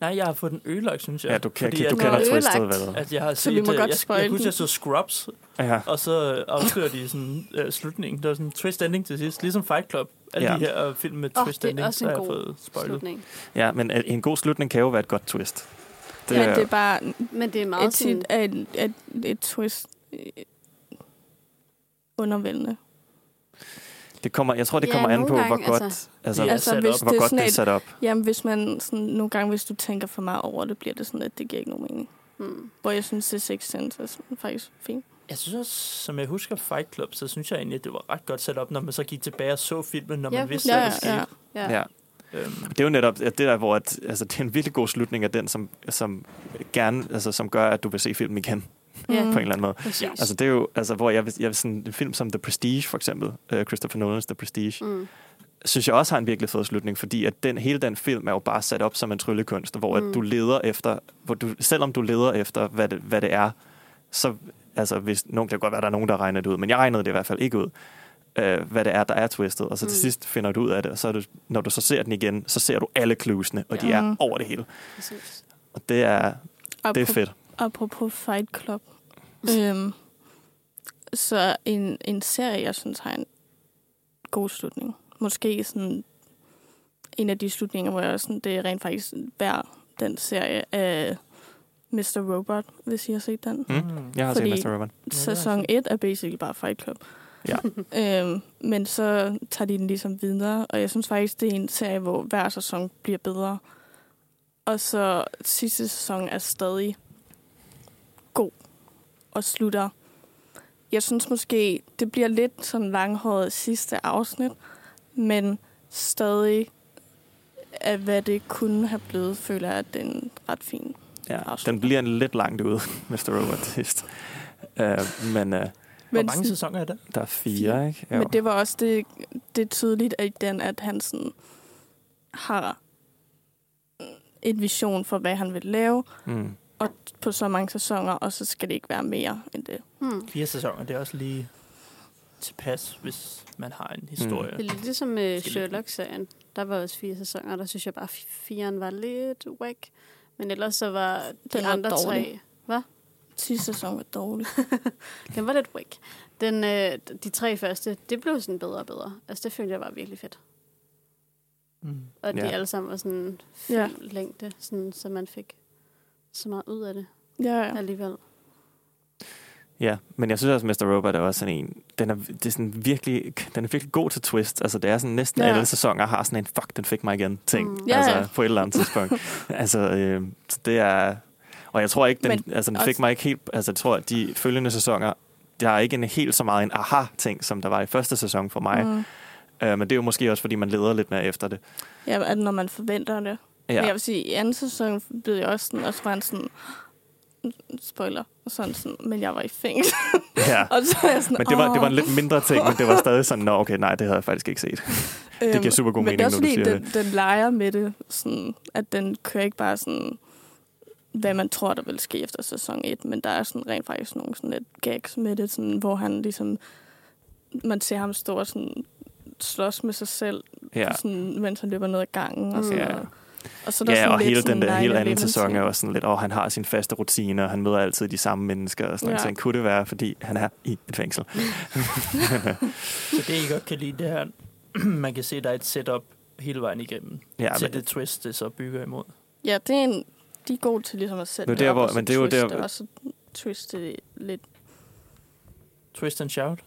Nej, jeg har fået den ødelagt, synes jeg. Ja, du, kan, Fordi du at- kender Nå, twistet, ødelagt. hvad? At jeg har Så set, vi må øh, godt jeg, spoil jeg, jeg husker, den. jeg så Scrubs, Ja. og så øh, afslører de sådan øh, slutningen. Der var sådan en twist ending til sidst, ligesom Fight Club. Alle Ja. ja. de her øh, film med Åh, twist det er ending, også en har jeg god fået spoilet. Slutning. ja, men øh, en god slutning kan jo være et godt twist. Det, Men det er bare Men det er meget et, sådan... tit er et, et, et twist øh, undervældende. det kommer, jeg tror, det Ja, kommer an nogle på, hvor gange, godt, altså. altså, altså, Ja, yes. altså, sat hvis op. det hvor er godt sådan det er et, sat op. Jamen, hvis man sådan, nogle gange, hvis du tænker for meget over det, bliver det sådan lidt, det giver ikke nogen mening. Hmm. Hvor jeg synes, det Sixth Sense er sådan faktisk fint. Jeg synes også, som jeg husker Fight Club, så synes jeg egentlig, at det var ret godt sat op, når man så gik tilbage og så filmen, når man Ja, vidste, Så Ja, hvad ja, der skete. ja. Ja. Ja. Øhm, Det er jo netop at det der, hvor at, altså, det er en virkelig god slutning af den, som, som, gerne, altså, som gør, at du vil se filmen igen mm. Ja. Mm. på en eller anden måde. Præcis. Altså det er jo, altså, hvor jeg, vil- jeg vil sådan, en film som The Prestige for eksempel, øh, Christopher Nolan's The Prestige, Mm. synes jeg også har en virkelig fed slutning, fordi at den, hele den film er jo bare sat op som en tryllekunst, hvor mm. Mm. at du leder efter, hvor du, selvom du leder efter, hvad det, hvad det er, så altså, hvis, nogen, det kan godt være, der er nogen, der regner det ud, men jeg regnede det i hvert fald ikke ud, øh, hvad det er, der er twistet, og så til Mm. sidst finder du ud af det, og så er du, når du så ser den igen, så ser du alle cluesene, og ja. de Ja. er Mm. over det hele. Præcis. Og det er, det er Apropos- fedt. Apropos Fight Club. øhm, så en, en serie, jeg synes har en god slutning. Måske sådan en af de slutninger, hvor jeg sådan, det er rent faktisk værd den serie af Mr. Robot, hvis I har set den. Mm? Jeg har fordi... Fordi- set Mr. Robin. det har jeg Sæson 1 er basically bare Fight Club. Ja. øhm, men så tager de den ligesom videre, og jeg synes faktisk, det er en serie, hvor hver sæson bliver bedre. Og så sidste sæson er stadig god og slutter. Jeg synes måske, det bliver lidt sådan langhåret sidste afsnit, men stadig af hvad det kunne have blevet, føler jeg, at det er en ret fin. Ja, den Afslutning. bliver en lidt langt ude, Mr. Robot til sidst. Uh, men uh, Hvor Men mange sådan- sæsoner er der? der er fire, ikke? Jo. Men det var også det, det er tydeligt, at den, at han sådan har et vision for, hvad han vil lave Mm. på så mange sæsoner, og så skal det ikke være mere end det. Hmm. Fire sæsoner, det er også lige tilpas, hvis man har en historie. Det er lidt ligesom med Skal vi- Sherlock-serien. Der var også fire sæsoner, og der synes jeg bare, at firen var lidt whack. Men ellers så var de Den var andre tre... dårlig. Hvad? Sidste sæson var dårlig. Den var lidt whack. Den, øh, de tre første, det blev sådan bedre og bedre. Altså, det følte jeg var virkelig fedt. Mm. Og at ja. Ja. de alle sammen var sådan fin ja. Ja. længde, sådan, så man fik så meget ud af det Ja, ja. ja. alligevel. Ja, men jeg synes også, at Mr. Robot er også sådan en... Den er, det er sådan virkelig, den er virkelig god til twist. Altså, det er sådan næsten Ja. ja. alle sæsoner har sådan en fuck, den fik mig igen ting. Mm. Mm. Ja, Altså, ja. på et eller andet tidspunkt. altså, øh, så det er... Og jeg tror ikke, den, Men altså, den også- fik mig ikke helt... Altså, jeg tror, at de følgende sæsoner, der er ikke en helt så meget en aha-ting, som der var i første sæson for mig. Mm. Mm. Øh, men det er jo måske også, fordi man leder lidt mere efter det. ja at når man forventer det. Ja. Men jeg Ja, vil sige, i anden sæson blev jeg også sådan, og så var han sådan, "Mm, spoiler, og sådan, sådan, men jeg var i fængsel. ja. og så er jeg sådan, Men det var, det var en "Åh." lidt mindre ting, men det var stadig sådan, nå okay, nej, det havde jeg faktisk ikke set. Det giver Øhm, super god men mening, det er når også du fordi, siger den, den leger med det, sådan, at den kører ikke bare sådan, hvad man tror, der vil ske efter sæson 1, men der er sådan rent faktisk nogle sådan lidt gags med det, sådan, hvor han ligesom, man ser ham stå og sådan, slås med sig selv, Ja. ja. sådan, mens han løber ned ad gangen. Og, sådan, Ja. noget. og så er der Ja, sådan og lidt hele sådan den der hele anden 9/11 sæson ting. er også sådan lidt, og han har sin faste rutine, og han møder altid de samme mennesker og sådan Ja. ja. noget. Kunne det være, fordi han er i et fængsel? Så det, I godt kan lide, det er, at man kan se, at der er et setup hele vejen igennem. Ja, Ja, til men, det twist, det så bygger imod. Ja, det er en, de er gode til ligesom at sætte Men det er, op, hvor- og så men det er jo twiste, der- og så twiste det lidt. Twist and shout.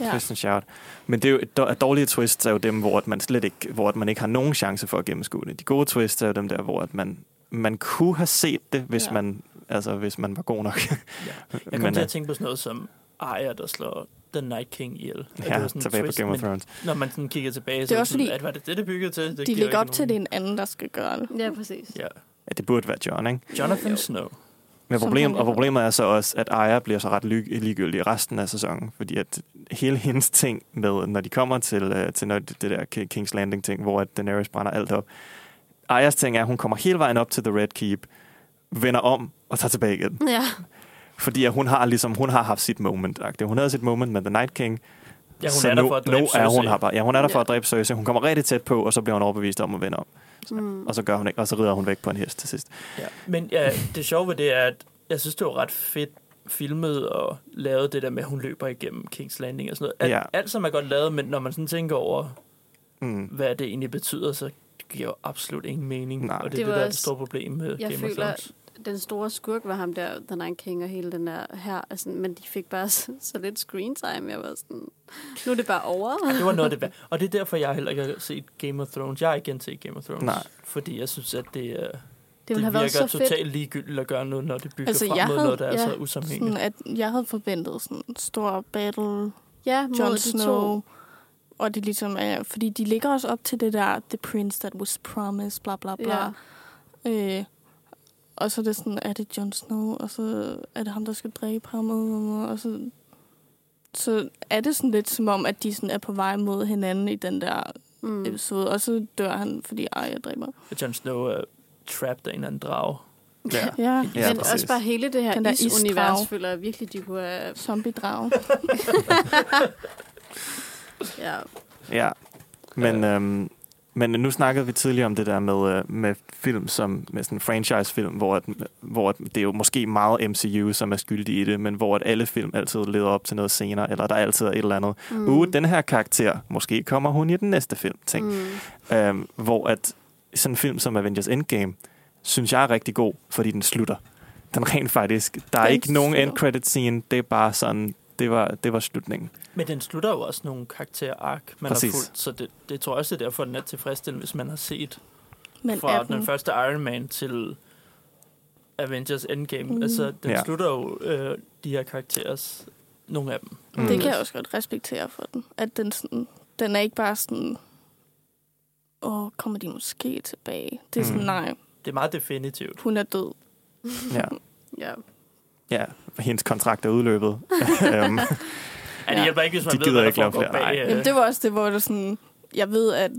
Ja. Twist and shout. Men det er jo, dår- dårlige twists er jo dem, hvor at man slet ikke, hvor at man ikke har nogen chance for at gennemskue det. De gode twists er jo dem der, hvor at man, man kunne have set det, hvis Ja. ja. man altså, hvis man var god nok. Ja. Jeg Men, kom til øh, at tænke på sådan noget som Arya, der slår The Night King ihjel. At det ja, var sådan en tilbage på twist, Game of men Thrones. Når man sådan kigger tilbage, Det så er er også sådan, fordi, at hvad er det, det, det byggede til? Det De giver lægger ikke op til, at det er nogen- en anden, der skal gøre det. Ja, præcis. Ja. Ja, det burde være John, ikke? Jonathan Jo. Snow. Men Som problem, han vil og have. problemet er så også, at Aya bliver så ret lig- ligegyldig i resten af sæsonen, fordi at hele hendes ting med, når de kommer til, øh, til når det det der Ki- King's Landing-ting, hvor at Daenerys brænder alt op. Ayas ting er, at hun kommer hele vejen op til The Red Keep, vender om og tager tilbage igen. Ja. Fordi at hun har ligesom, hun har haft sit moment. -agtigt. Hun havde sit moment med The Night King. Ja, hun så er nu, der for at dræbe nu er hun Cersei. her bare. Ja, hun er der for Ja. at dræbe Cersei. Hun kommer rigtig tæt på, og så bliver hun overbevist om at vende om. Mm. Og så gør hun ikke, og så rider hun væk på en hest til sidst. Ja. Men ja, det sjove ved det er, at jeg synes, det var ret fedt filmet og lavet det der med, at hun løber igennem King's Landing og sådan noget. Alt, Ja. ja. alt som er godt lavet, men når man sådan tænker over, Mm. hvad det egentlig betyder, så giver jo absolut ingen mening. Nej. Og det Det er det, var der er det også- store problem med jeg Game of føler- Thrones. Den store skurk var ham der, The Nine King og hele den der her, altså, men de fik bare så, så lidt screen time. Jeg var sådan, nu er det bare over. Det var noget af det værd. Og det er derfor, jeg heller ikke har set Game of Thrones. Jeg har ikke set Game of Thrones. Nej. Fordi jeg synes, at det, øh, Det ville det have været virker så fedt. totalt ligegyldigt at gøre noget, når det bygger Altså, altså, jeg frem mod havde- noget, der er ja, så usammenhængende. Sådan, at jeg havde forventet sådan en stor battle, Ja, mod Jon de Snow. to. Og det ligesom er, fordi de ligger også op til det der, the prince that was promised, bla bla bla. Ja. Øh, og så er det sådan, er det Jon Snow, og så er det ham, der skal dræbe ham, og og så, så er det sådan lidt som om, at de sådan er på vej mod hinanden i den der Mm. episode, og så dør han, fordi Arya dræber. At Jon Snow er trapped af en eller anden drage. Ja. Ja, Ja, men præcis. også bare hele det Den her der isunivers isdrag. føler jeg virkelig, de kunne have... zombie-drag. Ja, Ja, men, øh. øhm, men nu snakkede vi tidligere om det der med, øh, med film, som med sådan en franchise-film, hvor, at, hvor at det er jo måske meget MCU, som er skyldig i det, men hvor at alle film altid leder op til noget senere, eller der altid er et eller andet. Mm. Uh, den her karakter, måske kommer hun i den næste film, ting. Mm. Øhm, hvor at sådan en film som Avengers Endgame, synes jeg er rigtig god, fordi den slutter. Den rent faktisk, der er Den ikke nogen end slutter. credit scene, det er bare sådan, det var, det var slutningen. Men den slutter jo også nogle karakterark, man Præcis. har fulgt, så det, det tror jeg også, det er derfor, den er tilfredsstillende, hvis man har set Men fra er den den, første Iron Man til Avengers Endgame. Mm. Mm. Altså, Ja. den ja. slutter jo øh, de her karakterer, nogle af dem. Mm. det kan jeg også godt respektere for den, at den, sådan, den er ikke bare sådan, åh, kommer de måske tilbage? Det er sådan, Mm. nej, Det er meget definitivt. hun er død. Ja. ja. Ja, hendes kontrakt er udløbet. Øhm, Ja. Det hjælper ikke, hvis man De ved, gider hvad der ikke lave foregår flere, nej. bag. øh. Jamen, det var også det, hvor det sådan... Jeg ved, at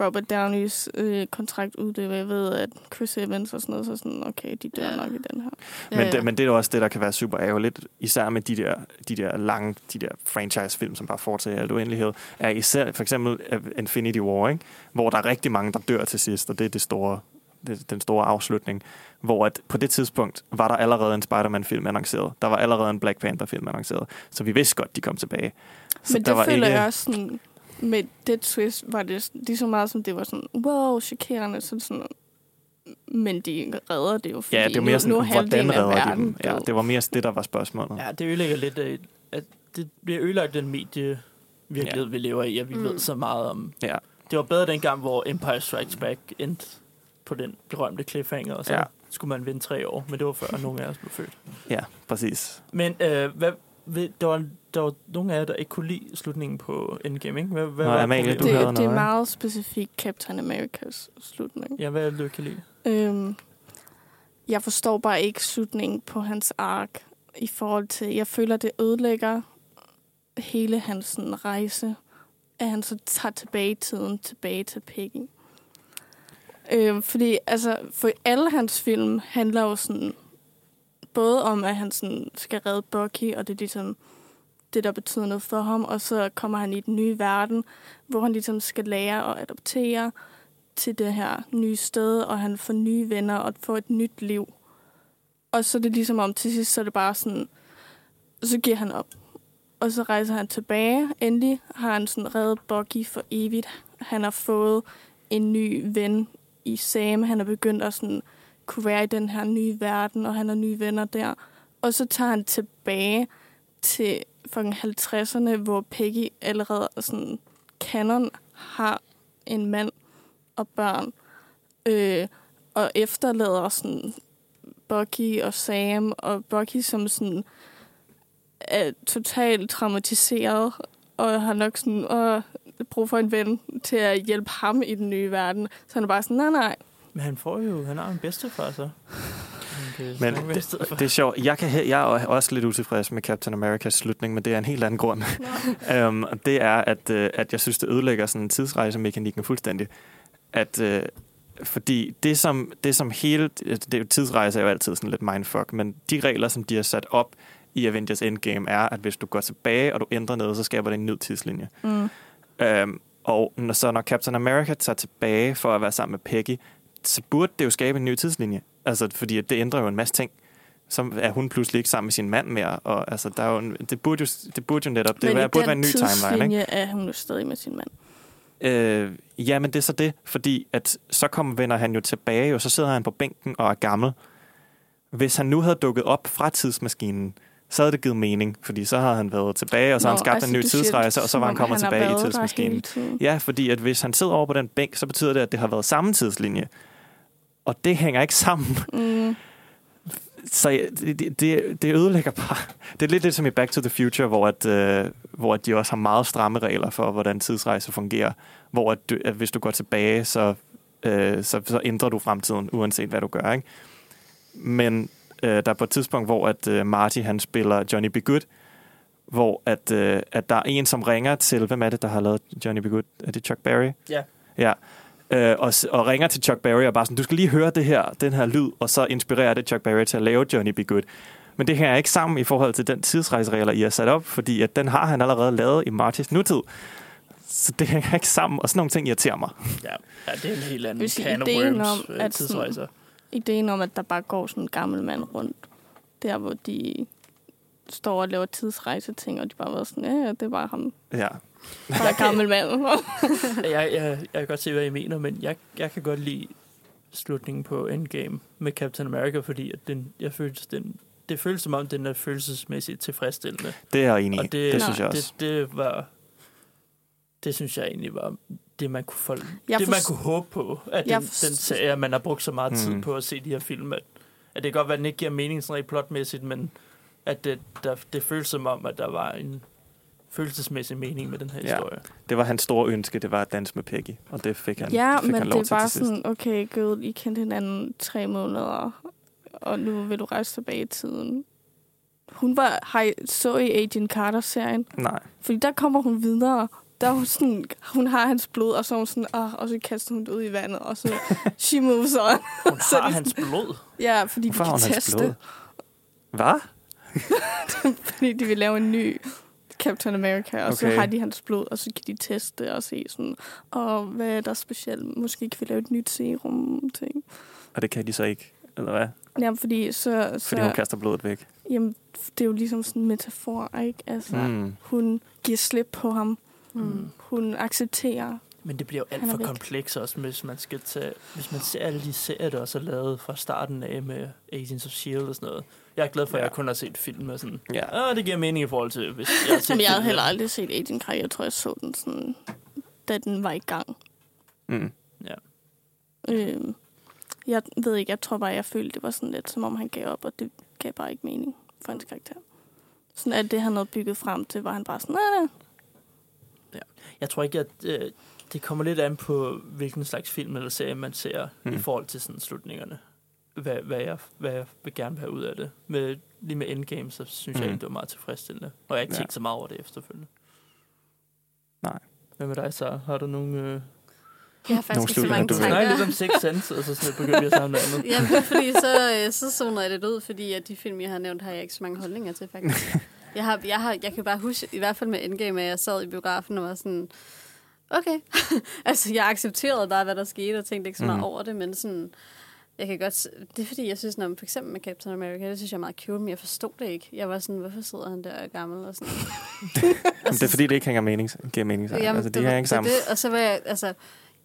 Robert Downeys øh, kontrakt udløber. Jeg ved, at Chris Evans og sådan noget, så sådan, okay, de dør Ja. nok i den her. Ja, Men, ja. det, men det er jo også det, der kan være super ærgerligt, især med de der, de der lange, de der franchise-film, som bare fortsætter i alt uendelighed, er især for eksempel øh, Infinity War, ikke? hvor der er rigtig mange, der dør til sidst, og det er det store, det, den store afslutning, hvor at på det tidspunkt var der allerede en Spider-Man-film annonceret, der var allerede en Black Panther-film annonceret, så vi vidste godt, de kom tilbage. Så Men der det var føler ikke- jeg også sådan... Med det twist var det sådan- lige så meget, som det var sådan, wow, chokerende, sådan sådan... Men de redder det jo, fordi Ja, det var mere sådan, nu, nu er halvdelen hvordan af redder de verden dem? Ja, død. det var mere det, der var spørgsmålet. Ja, det ødelægger lidt af, at det bliver ødelagt den medie virkelighed, ja. vi lever i, at vi mm. ved Mm. så meget om. Ja. Det var bedre dengang, hvor Empire Strikes Back endte på den berømte cliffhanger, og så Ja. ja. skulle man vente tre år, men det var før nogen af os blev født. Ja, præcis. Men øh, hvad, ved, der, var, der var nogle af jer, der ikke kunne lide slutningen på Endgame, ikke? Hvad, hvad Nå, var Amalie, problemet? du havde- det, det er noget. meget specifikt Captain Americas slutning. Ja, hvad er det, du ikke kan lide? Øhm, jeg forstår bare ikke slutningen på hans ark i forhold til... Jeg føler, det ødelægger hele hans sådan, rejse, at han så tager tilbage i tiden, tilbage til Peggy. Øhm, fordi altså, for alle hans film handler jo sådan... Både om, at han sådan, skal redde Bucky, og det er ligesom det, der betyder noget for ham, og så kommer han i den nye verden, hvor han ligesom skal lære og adoptere, til det her nye sted, og han får nye venner og får et nyt liv. Og så er det ligesom om til sidst, så er det bare sådan, så giver han op. Og så rejser han tilbage. Endelig har han sådan reddet Bucky for evigt. Han har fået en ny ven i Sam. Han er begyndt at sådan kunne være i den her nye verden, og han har nye venner der. Og så tager han tilbage til fucking 50'erne, hvor Peggy allerede er sådan kanon har en mand og børn. Øh, og efterlader sådan Bucky og Sam, og Bucky som sådan er totalt traumatiseret, og har nok sådan åh, brug for en ven til at hjælpe ham i den nye verden. Så han er bare sådan, nej, nej, Men han får jo, han har en bedstefar så. kan Men snakke med i stedet for. Det er sjovt. Jeg, kan, he- jeg er også lidt utilfreds med Captain America's slutning, men det er en helt anden grund. um, og det er, at, øh, at jeg synes, det ødelægger sådan tidsrejsemekanikken fuldstændig. At, øh, fordi det som, det som hele... øh, Det, er jo- tidsrejse er jo altid sådan lidt mindfuck, men de regler, som de har sat op i Avengers Endgame, er, at hvis du går tilbage, og du ændrer noget, så skaber det en ny tidslinje. Mm. Um, og når, så når Captain America tager tilbage for at være sammen med Peggy, så burde det jo skabe en ny tidslinje. Altså, fordi at det ændrer jo en masse ting. Så er hun pludselig ikke sammen med sin mand mere. Og, altså, der er jo en, det, burde jo, det burde jo netop... Det Men være, i burde den være en ny timeline, tidslinje er hun jo stadig med sin mand. ikke? Øh, ja, men det er så det. Fordi at så kommer vender han jo tilbage, og så sidder han på bænken og er gammel. Hvis han nu havde dukket op fra tidsmaskinen, så havde det givet mening. Fordi så havde han været tilbage, og så har han skabt en ny du siger altså, det, tidsrejse, og så som var han om kommet har tilbage været i der tidsmaskinen. hele tiden. Ja, fordi at hvis han sidder over på den bænk, så betyder det, at det har været samme tidslinje. Og det hænger ikke sammen. Mm. Så jeg- det, det- det, det ødelægger bare. Det er lidt lidt som i Back to the Future, hvor, at, øh, hvor at de også har meget stramme regler for, hvordan tidsrejse fungerer. Hvor at, du, at hvis du går tilbage, så, øh, så, så ændrer du fremtiden, uanset hvad du gør. Ikke? Men øh, der er på et tidspunkt, hvor at, øh, Marty han spiller Johnny B. Good, hvor at, øh, at der er en, som ringer til, hvem er det, der har lavet Johnny B. Good? Er det Chuck Berry? Ja. Ja. Øh, og, s- og ringer til Chuck Berry og bare sådan, du skal lige høre det her, den her lyd, og så inspirerer det Chuck Berry til at lave Johnny B. Good. Men det her er ikke sammen i forhold til den tidsrejseregler, I har sat op, fordi at den har han allerede lavet i Martys nutid. Så det hænger ikke sammen, og sådan nogle ting irriterer mig. Ja, ja, det er en helt Jeg vil anden sige, can of ideen worms, om, om, at at tidsrejser. Ideen om, at der bare går sådan en gammel mand rundt, der hvor de står og laver tidsrejseting, og de bare var sådan, ja, ja, det er bare ham, Ja. bare en gammel mand. Jeg, jeg, jeg kan godt se, hvad I mener, men jeg, jeg kan godt lide slutningen på Endgame med Captain America, fordi at den, jeg følte, den, det føles som om, den er følelsesmæssigt tilfredsstillende. Det er jeg enig i. Og Det, det- det Nå, synes jeg også. Det, det var... Det synes jeg egentlig var det, man kunne, folk, Jeg det, man forst- kunne håbe på, at Jeg den, den forst- serie, at man har brugt så meget mm. Mm. tid på at se de her film, at, at det kan godt være, at den ikke giver mening sådan rent plotmæssigt, men at det, der, det føles som om, at der var en følelsesmæssig mening med den her Ja. historie. det var hans store ønske, det var at danse med Peggy, og det fik han, ja, fik men han lov det er til bare til sidst. sådan, okay, gud, I kendte hinanden tre måneder, og nu vil du rejse tilbage i tiden. Hun var, har I, så I Agent Carter-serien? Nej. Fordi der kommer hun videre. Der er hun, sådan, hun har hans blod, og så er hun sådan, oh, og så kaster hun det ud i vandet, og så she moves on. Hun Så er har det hans blod. Ja, fordi Hvorfor de har hun kan hans teste, blod? Hvad? fordi de vil lave en ny Captain America, og okay. så Okay. har de hans blod, og så kan de teste og se sådan, og hvad er der specielt? Måske kan vi lave et nyt serum ting. Og det kan de så ikke, eller hvad? Jamen, fordi så... så Fordi hun kaster blodet væk. Jamen, det er jo ligesom sådan en metafor, ikke? Altså, mm. Mm. hun giver slip på ham. Mm. Hun accepterer. Men det bliver jo alt Han er for væk. kompleks også, hvis man, skal tage, hvis man ser alle de serier, der også er lavet fra starten af med Agents of S.H.I.E.L.D. E og sådan noget. Jeg er glad for, at Ja. jeg kun har set film og sådan. Ja. Åh, det giver mening i forhold til, hvis jeg har set Jamen, jeg havde film. heller aldrig set Agent Kai. Jeg tror, jeg så den sådan, da den var i gang. Mm. Øhm, jeg ved ikke, jeg tror bare, jeg følte, det var sådan lidt, som om han gav op, og det gav bare ikke mening for hans karakter. Sådan alt det, han havde bygget frem til, var han bare sådan, nej, nej. Jeg tror ikke, at øh, det kommer lidt an på, hvilken slags film eller serie man ser mm. i Mm. forhold til sådan slutningerne. Hvad, hvad, jeg, hvad jeg vil gerne have ud af det. Med, lige med Endgame, så synes mm. Mm. jeg, egentlig, det var meget tilfredsstillende. Og jeg har ikke Ja. ja. tænkt så meget over det efterfølgende. Nej. Hvad med dig, så Har du nogle... Øh... Jeg har faktisk ikke så slutninger, mange du Du ved. snakker lidt om tanker. Six Sense, og så sådan begyndte vi at snakke om noget andet. Ja, men fordi så, øh, så zoner jeg lidt ud, fordi at de film, jeg har nævnt, har jeg ikke så mange holdninger til, faktisk. Jeg, har, jeg, har, jeg kan bare huske, i hvert fald med Endgame, at jeg sad i biografen og var sådan, okay. altså, jeg accepterede bare, hvad der skete, og tænkte ikke så meget Mhm. mm. over det, men sådan, jeg kan godt... s- Det er fordi, jeg synes, når man for eksempel med Captain America, det synes jeg er meget cute, men jeg forstod det ikke. Jeg var sådan, hvorfor sidder han der og er gammel? Og sådan. Men det er fordi, det ikke hænger mening, giver mening sammen. altså, de Altså, det- hænger ikke det- sammen. Det, og så var jeg, altså,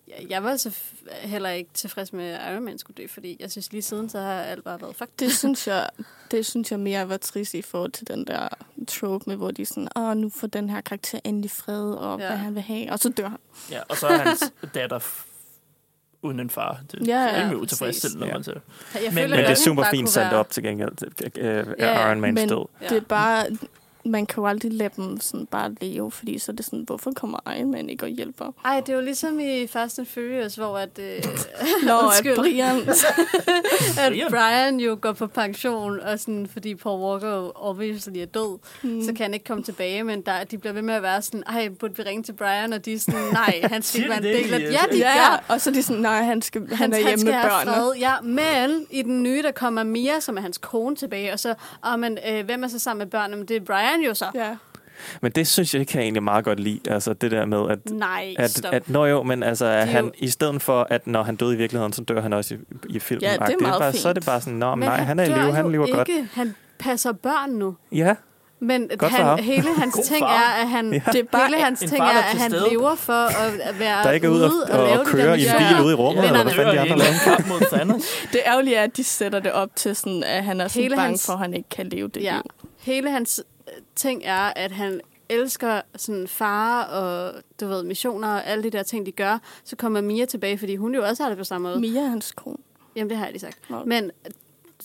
jeg, jeg var så f- heller ikke tilfreds med, at Iron Man skulle dø, fordi jeg synes lige siden, så har alt bare været fuck. Det synes jeg, det synes jeg mere var trist i forhold til den der trope med, hvor de sådan, åh, nu får den her karakter endelig fred, og ja. Ja. hvad han vil have, og så dør han. Ja, og så er hans datter f- uden en far. Det Ja, er ja, rimelig utilfredsstillende, når præcis. man ser det. Jeg Men Men- det er at den super bare fint kunne sat være- op til gengæld. Øh, Ja, Iron Man men død. det er bare man kan jo aldrig lade dem sådan bare leve, fordi så er det sådan, hvorfor kommer Iron Man ikke og hjælper? Ej, det er jo ligesom i Fast and Furious, hvor at, øh, Nå, Undskyld. at Brian... at Brian jo går på pension, og sådan, fordi Paul Walker jo obviously er død, mm. så kan han ikke komme tilbage, men der, de bliver ved med at være sådan, ej, burde vi ringe til Brian? Og de er sådan, nej, han skal Siger ikke være en de det del af egentlig? Ja, de ja, gør. og så er de sådan, nej, han, skal, han, han er hjemme med have børnene. fred, Ja, men i den nye, der kommer Mia, som er hans kone tilbage, og så, og men, øh, hvem er så sammen med børnene? Men det er Brian jo så. Ja. Ja. Men det synes jeg, kan jeg egentlig meget godt lide. Altså det der med, at Nej, at, stop. at, nå jo, men altså, at jo- han, i stedet for, at når han døde i virkeligheden, så dør han også i, i filmen. Ja, det er agtigt. meget bare, Så er fint. det bare sådan, nå, men men nej, han er i dør live, han jo lever ikke. godt. Han passer børn nu. Ja, Men for ham. han, hele hans God ting far. er, at han, Ja. ja. Det er bare hele hans en ting far, er, der er at til han stede. lever for at være der er ikke ud og, ude og, lave og de køre der i en missioner. bil ude i rummet, Men eller han hvad fanden de dør i andre en lavede. kamp mod Thanos. Det ærgerlige er, at de sætter det op til, sådan, at han er sådan Hele bange hans- for, at han ikke kan leve det Ja. liv. Hele hans øh, ting er, at han elsker sådan far og du ved, missioner og alle de der ting, de gør. Så kommer Mia tilbage, fordi hun jo også har det på samme måde. Mia er hans kone. Jamen, det har jeg lige sagt. Nå. Men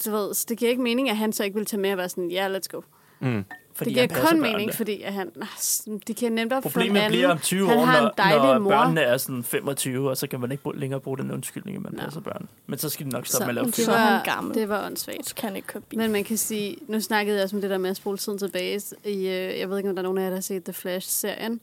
du ved, så det giver ikke mening, at han så ikke vil tage med og være sådan, ja, yeah, let's go. Mm. Fordi det han giver passer kun børnene. mening, fordi at han... Ah, s- Det giver nemt op for en Problemet anden. bliver om 20 han år, har en når, dejlig når mor. børnene er sådan 25, og så kan man ikke bruge- længere bruge den undskyldning, at man Nå. passer børn. Men så skal de nok stoppe med at lave Sådan. film. Så er han gammel. Det var åndssvagt. Så kan han ikke køre bil. Men man kan sige, nu snakkede jeg også om det der med at spole tiden tilbage. I, øh, jeg ved ikke, om der er nogen af jer, der har set The Flash-serien.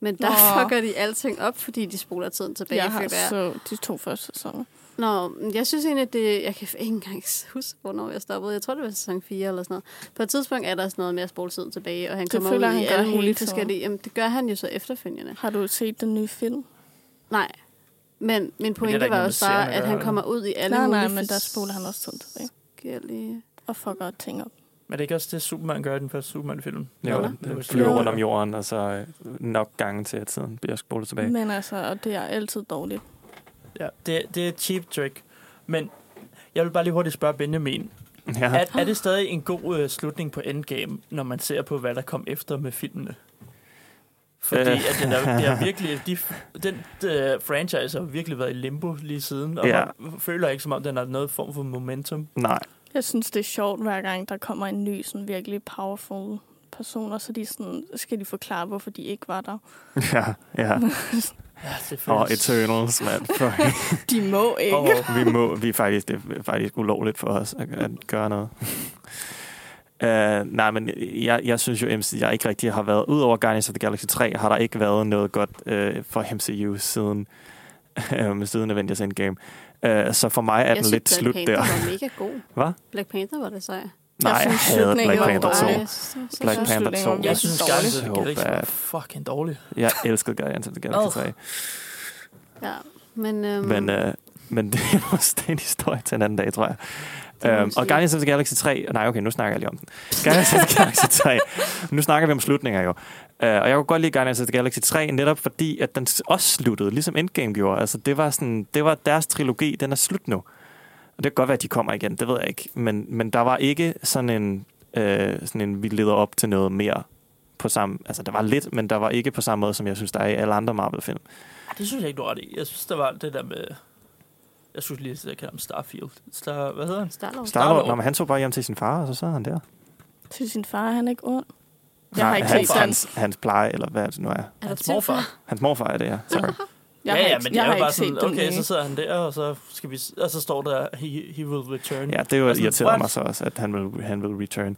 Men der Nå. fucker de alting op, fordi de spoler tiden tilbage. jeg har føler jeg. så de to første sæsoner. Nå, men jeg synes egentlig, at det... Jeg kan ikke engang huske, hvornår jeg stoppede. Jeg tror, det var sæson 4 eller sådan noget. På et tidspunkt er der sådan noget med at spole tiden tilbage, og han Det kommer føler ud jeg, i han gør alle mulige hele tiden. forskellige... Jamen, det gør han jo så efterfølgende. Har du set den nye film? Nej, men min der pointe ikke var noget også med bare, serien at at gøre, han vel? kommer ud i alle Nej, mulige nej, men der spoler han også tiden tilbage. forskellige... Og fucker ting op. Men det er ikke også det, Superman gør i den første Superman-film? Jo, Eller? den Det flyver Jo. rundt om jorden, og så øh, nok gange til, at tiden bliver spolet tilbage. Men altså, og det er altid dårligt. Ja, det, det er et cheap trick. Men jeg vil bare lige hurtigt spørge Benjamin. Ja. Er, er det stadig en god øh, slutning på Endgame, når man ser på, hvad der kom efter med filmene? Fordi Øh. at det, der, det er virkelig, de, den øh, franchise har virkelig været i limbo lige siden, og Ja. ja. man føler ikke, som om den har noget form for momentum. Nej, Jeg synes, det er sjovt, hver gang der kommer en ny, sådan virkelig powerful person, og så de sådan, skal de forklare, hvorfor de ikke var der. ja, ja. Ja, det føles... Og Eternals, mand. Fuck. De må ikke. Åh, Vi må, vi er faktisk, det er faktisk ulovligt for os at, at gøre noget. Uh, nej, men jeg, jeg synes jo, MC, jeg ikke rigtig har været... Udover Guardians of the Galaxy 3, har der ikke været noget godt uh, for MCU siden, um, siden Avengers Endgame. Uh, så for mig er den lidt Black slut Panther der. var mega god. Hvad? Black Panther var det sej. Nej, jeg synes, havde slutningen Black var Panther 2. dårlig. Black synes, Panther slutningen var 2. Jeg synes, Så Guardians of the dårlig. Galaxy var Bad. fucking dårlig. Jeg elskede Guardians of the Galaxy 3. Ja, men... Øhm, Men, øh, men det er måske en historie til en anden dag, tror jeg. må man Øhm, og sige. Guardians of the Galaxy 3... Nej, okay, nu snakker jeg lige om den. Guardians of the Galaxy 3. Nu snakker vi om slutninger jo. Øh, og jeg kunne godt lide Guardians of the Galaxy 3, netop fordi, at den s- også sluttede, ligesom Endgame gjorde. Altså, det var, sådan, det var deres trilogi, den er slut nu. Og det kan godt være, at de kommer igen, det ved jeg ikke. Men, men der var ikke sådan en, øh, sådan en, vi leder op til noget mere på samme... Altså, der var lidt, men der var ikke på samme måde, som jeg synes, der er i alle andre Marvel-film. Det synes jeg ikke, du har ret i. Jeg synes, der var det der med... Jeg synes lige, at jeg kalder ham Starfield. Star, hvad hedder han? Star-Lord. Star Lord, Star-Lord. Nå, men han tog bare hjem til sin far, og så sad han der. Til sin far, han er ikke ond. Jeg Nej, har ikke hans, set den. hans, hans pleje, eller hvad det nu er. Er der Hans tvivl for? morfar. Hans morfar er det, ja. Sorry. ja, Jeg har ja, ikke, men det jeg er har jo bare ikke set sådan, den okay, nye. så sidder han der, og så, skal vi, og så står der, he, he will return. Ja, det var Altså, irriterede what? mig så også, at han vil, han vil return.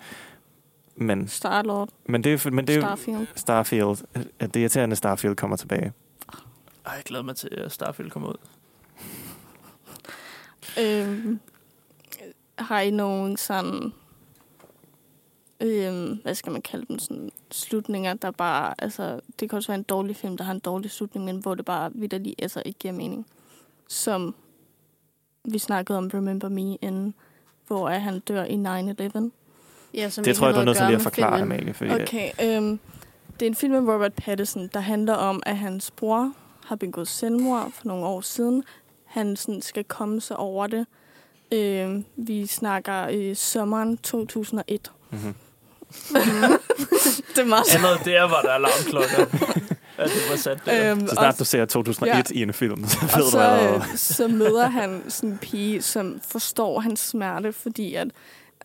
Men, Star-Lord, men det er men det er Starfield. Starfield, at det irriterende Starfield kommer tilbage. Ej, jeg glæder mig til, at Starfield kommer ud. Øhm, har I nogen sådan... Øhm, hvad skal man kalde dem? Sådan slutninger, der bare... Altså, det kan også være en dårlig film, der har en dårlig slutning, men hvor det bare vidderligt altså, ikke giver mening. Som vi snakkede om Remember Me inden, hvor er han dør i 9-11. Ja, som det ikke tror jeg, du har er noget nødt til gøre lige at med forklare, filmen. Amalie. Fordi, okay. Okay, øhm, det er en film med Robert Pattinson, der handler om, at hans bror har begået selvmord for nogle år siden. Han sådan skal komme sig over det. Øhm, vi snakker øh, sommeren 2001. Mm-hmm. Det er meget Allerede der var der alarmklokker. ja, det var sat der. øhm, Så og, snart du ser 2001 i en film, så og ved du så, allerede. øh, så møder han sådan en pige, som forstår hans smerte, fordi at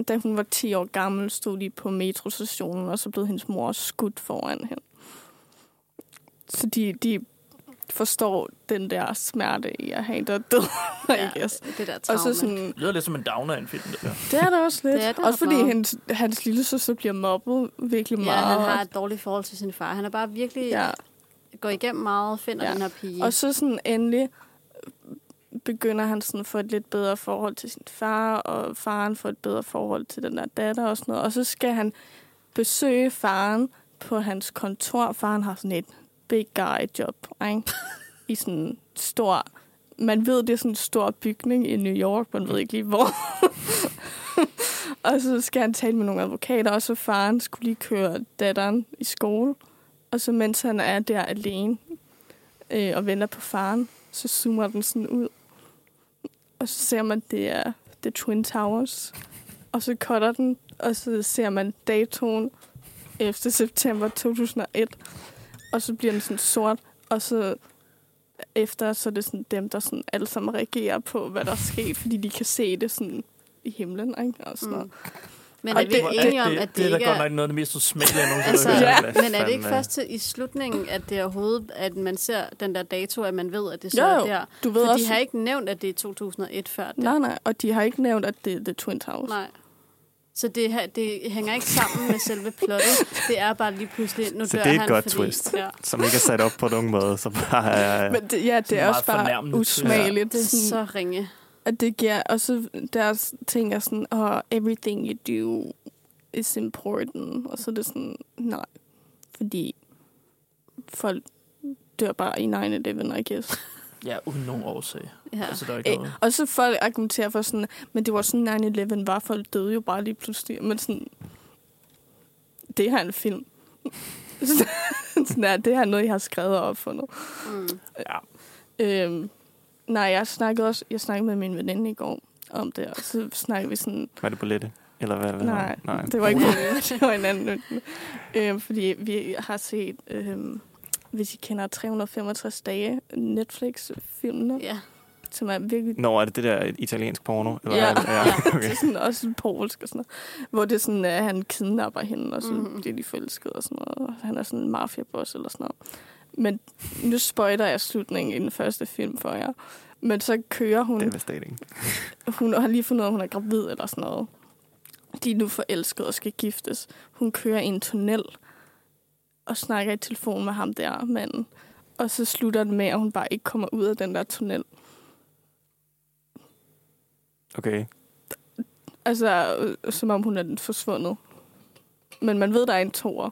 da hun var 10 år gammel, stod de på metrostationen, og så blev hendes mor skudt foran hende. Så de, de forstår den der smerte i at have en, der er død, ja. I guess. det der Og trauma. så sådan, Det lyder lidt som en downer af en film, det der. det er der også lidt. Det er det også fordi meget. hendes, hans lille søster bliver mobbet virkelig ja, han meget. har et dårligt forhold til sin far. Han er bare virkelig ja. ja. går igennem meget, finder Ja. ja. den her pige. Og så sådan endelig begynder han sådan at få et lidt bedre forhold til sin far, og faren får et bedre forhold til den der datter og sådan noget. Og så skal han besøge faren på hans kontor. Faren har sådan et big guy job, ikke? I sådan en stor... Man ved, det er sådan en stor bygning i New York, man ved ikke lige hvor. og så skal han tale med nogle advokater, og så faren skulle lige køre datteren i skole. Og så mens han er der alene, øh, og venter på faren, så zoomer den sådan ud. Og så ser man, det er The Twin Towers. Og så cutter den, og så ser man datoen 11. september 2001. Og så bliver den sådan sort, og så efter, så er det sådan dem, der sådan alle sammen reagerer på, hvad der er sket, fordi de kan se det sådan i himlen, ikke? Og sådan Mm. noget. Men Og er vi det- ikke enige om, det, at det, det, er da ikke godt er... nok noget af det mest usmagelige, jeg nogensinde Altså, har hørt. Ja. ja. Hvad Men er det ikke fanden, først til, i slutningen, at det er overhovedet, at man ser den der dato, at man ved, at det så Jo, er jo. der? Du ved For også... de har ikke nævnt, at det er 2001 før det. Nej, nej, og de har ikke nævnt, at det er The Twin Towers. Nej. Så det, her, det hænger ikke sammen med selve plottet. Det er bare lige pludselig, nu Så dør det er et han, godt fordi, twist. Ja. som ikke er sat op på nogen måde, så bare øh, er... Men det, ja, det Sådan er også meget bare fornærmende. usmageligt. Det er sådan- så ringe. at det giver, og så deres ting er sådan, oh, everything you do is important. Og så er det sådan, nej, fordi folk dør bare i 9-11, I guess. Ja, uden nogen årsag. Ja. Altså, der er ikke Æ, noget. og så folk argumenterer for sådan, men det var sådan 9-11 var, folk døde jo bare lige pludselig. Men sådan, det her er en film. sådan er, det her er noget, jeg har skrevet og opfundet. Mm. Ja. Øhm, nej, jeg snakkede også, jeg snakkede med min veninde i går om det, og så snakkede vi sådan, Var det på lette? Eller hvad? hvad Nej, nej. det var ikke mig. det var en anden. veninde. Øhm, fordi vi har set, øhm, hvis I kender 365 dage, Netflix-filmene, ja. Ja. som er virkelig... Nå, er det det der italiensk porno? Eller Ja. er det, ja Det okay. er sådan også polsk og sådan noget, hvor det er sådan, at han kidnapper hende, og så Mm-hmm. Mhm. bliver de forelskede og sådan noget. Og han er sådan en mafiaboss eller sådan noget. Men nu spoiler jeg slutningen i den første film for jer. Men så kører hun... Devastating. hun har lige fundet ud af, at hun er gravid eller sådan noget. De er nu forelskede og skal giftes. Hun kører i en tunnel og snakker i telefon med ham der, manden. Og så slutter det med, at hun bare ikke kommer ud af den der tunnel. Okay. Altså, øh, som om hun er den forsvundet. Men man ved, der er en toer.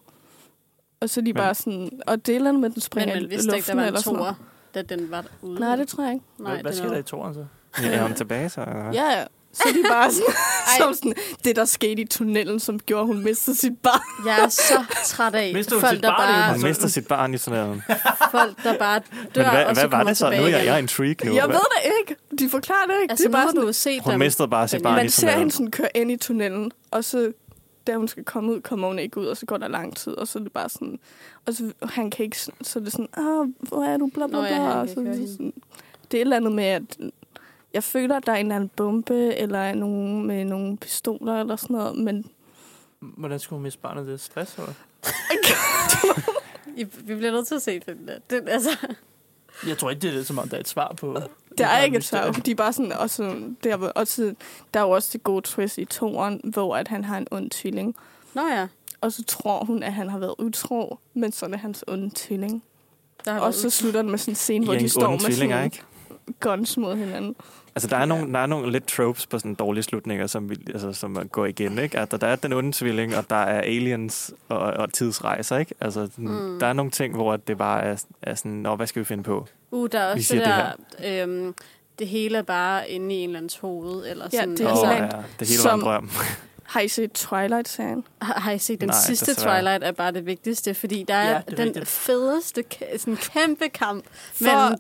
Og så er de Men- bare sådan... Og det er et eller andet med, at den Men springer man i vidste luften ikke, der var en eller sådan toer, noget. da den var ude. Nej, det tror jeg ikke. Hvad, hvad det sker var- der i toren så? Ja, er hun tilbage så? Eller? hvad? Ja, ja. Så er de bare sådan, som sådan, det, der skete i tunnelen, som gjorde, at hun mistede sit barn. Jeg er så træt af Mister hun folk, sit der barn i bare, altså, Hun mister sit barn i sådan noget. folk, der bare dør, Men hvad, og så hvad var kommer det så? Nu tilbage er jeg, igen. jeg er intrigued nu. Jeg Hvad- ved det ikke. De forklarer det ikke. Altså, det er bare nu har sådan, du jo set Hun dem. mistede bare sit Men barn i man ser sådan hende noget. sådan køre ind i tunnelen, og så da hun skal komme ud, kommer hun ikke ud, og så går der lang tid, og så er det bare sådan, og så han kan ikke, sådan- så er det sådan, ah, hvor er du, bla bla Nå ja, bla, han kan og ikke så, er høre det hende. sådan, det er et eller andet med, at jeg føler, at der er en eller anden bombe, eller nogen med nogle pistoler, eller sådan noget, men Hvordan skulle hun miste barnet? Det er stress, eller? I, vi bliver nødt til at se den der. Den, altså, Jeg tror ikke, det er det, som om der er et svar på... Der er ikke et mysterie. svar. De er bare sådan, og så, der, var- og så, der er jo også det gode twist i toren, hvor at han har en ond tvilling. nå ja, Og så tror hun, at han har været utro, men så er det hans onde tvilling. der har Og så slutter den med sådan en scene, hvor I er de en står onde med tvillinger, sådan ikke? guns mod hinanden. Altså, der er, Ja. nogle, der er nogle lidt tropes på sådan dårlige slutninger, som, vi- altså, som går igen, ikke? Altså, der er den onde tvilling, og der er aliens og, og tidsrejser, ikke? Altså, sådan, Mm. der er nogle ting, hvor det bare er, er sådan, nå, hvad skal vi finde på? Uh, der er Vi også siger det der, det, øhm, det hele er bare inde i en eller andens hoved, eller Ja, sådan. det er Åh, altså, helt- ja, det hele var en Som- drøm. Har I set Twilight-serien? har, har I set den Nej, Nej, sidste desværre. desværre. Twilight er bare det vigtigste, fordi der Ja, er, det er den rigtigt. fedeste, ka- sådan kæmpe kamp For- mellem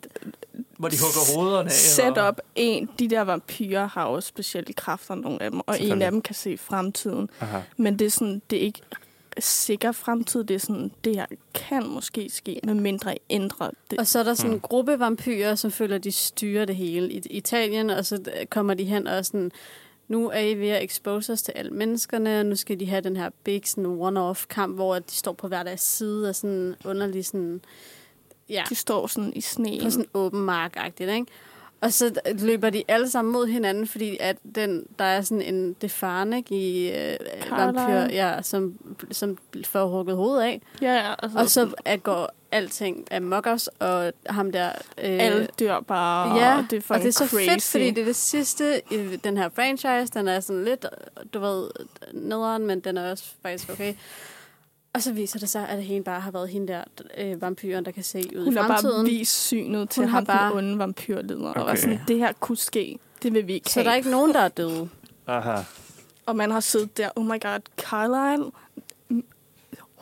Hvor de hugger hovederne af. Set op en. De der vampyrer har jo specielle kræfter, nogle af dem. Og en Selvfølgelig. af dem kan se fremtiden. Aha. Men det er, sådan, det er ikke sikker fremtid. Det er sådan, det her kan måske ske, medmindre I ændrer det. Og så er der sådan en Mm. gruppe vampyrer, som føler, at de styrer det hele i Italien, og så øh, kommer de hen og sådan nu er I ved at expose os til alle menneskerne, og nu skal de have den her big sådan one-off kamp, hvor de står på hver deres side og sådan underlig sådan... Ja, De står sådan i sneen. på sådan åben mark-agtigt, ikke? Og så løber de alle sammen mod hinanden, fordi at den, der er sådan en defaren, ikke, i øh, Caroline. vampyr, ja, som, som får hugget hovedet af. Ja, ja. Og så, Og så er, går alting amok os, og ham der... Øh, alle dør bare, ja, og det er, og det er så crazy. fedt, fordi det er det sidste i den her franchise. Den er sådan lidt, du ved, nederen, men den er også faktisk okay. Og så viser det sig, at hende bare har været hende der øh, vampyren, der kan se ud Hun i har bare fremtiden. vist synet til Hun har ham, bare... bare- den onde vampyrleder. Okay. Og var Okay. sådan, det her kunne ske. Det vil vi ikke så have. der er ikke nogen, der er døde. Aha. Og man har siddet der, oh my god, Carlisle.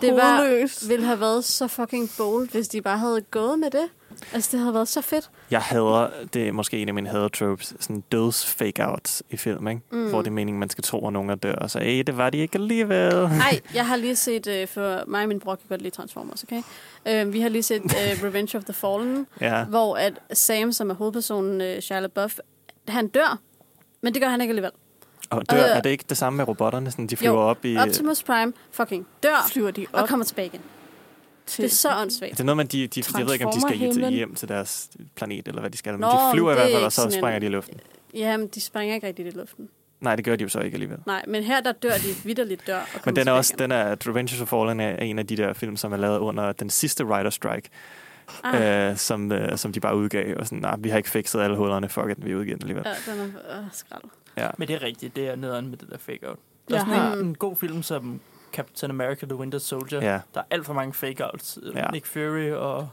Det var- hovedløs. ville have været så fucking bold, hvis de bare havde gået med det. Altså, det havde været så fedt. Jeg hader, det er måske en af mine hader-tropes, sådan døds fake-outs i film, ikke? Mm. hvor det er meningen, man skal tro, at nogen er dør, og så, hey, det var de ikke alligevel. Nej, jeg har lige set, øh, for mig og min bror kan godt lide Transformers, okay? Øh, vi har lige set øh, Revenge of the Fallen, Ja. hvor at Sam, som er hovedpersonen, øh, Shia Buff, han dør, men det gør han ikke alligevel. Og dør, Øh. er det ikke det samme med robotterne? Sådan, de flyver op i... Optimus Prime fucking dør flyver de op og kommer tilbage igen. til Det er så åndssvagt. Det er noget med, de, de, jeg ved ikke, om de skal hjem, Transformer-himlen. hjem til deres planet, eller hvad de skal. Men Nå, Nå, de flyver i men det hvert fald, er og så ikke sådan springer en- de i luften. Jamen, de springer ikke rigtigt i luften. Nej, det gør de jo så ikke alligevel. Nej, men her der dør de vidderligt dør og kommer Men den er tilbage også, igen. den er, Revenge of Fallen er en af de der film, som er lavet under den sidste writer strike, Ah, ah. øh, som, øh, som de bare udgav. Og sådan, nej, vi har ikke fikset alle hullerne, fuck it, vi udgiver den alligevel. ja, den er øh, skrald. Ja. Men det er rigtigt, det er nederen med det der fake-out. Der er Jeg sådan har- en, en god film som Captain America The Winter Soldier. ja. Der er alt for mange fake-outs. Ja. Ja. Nick Fury og...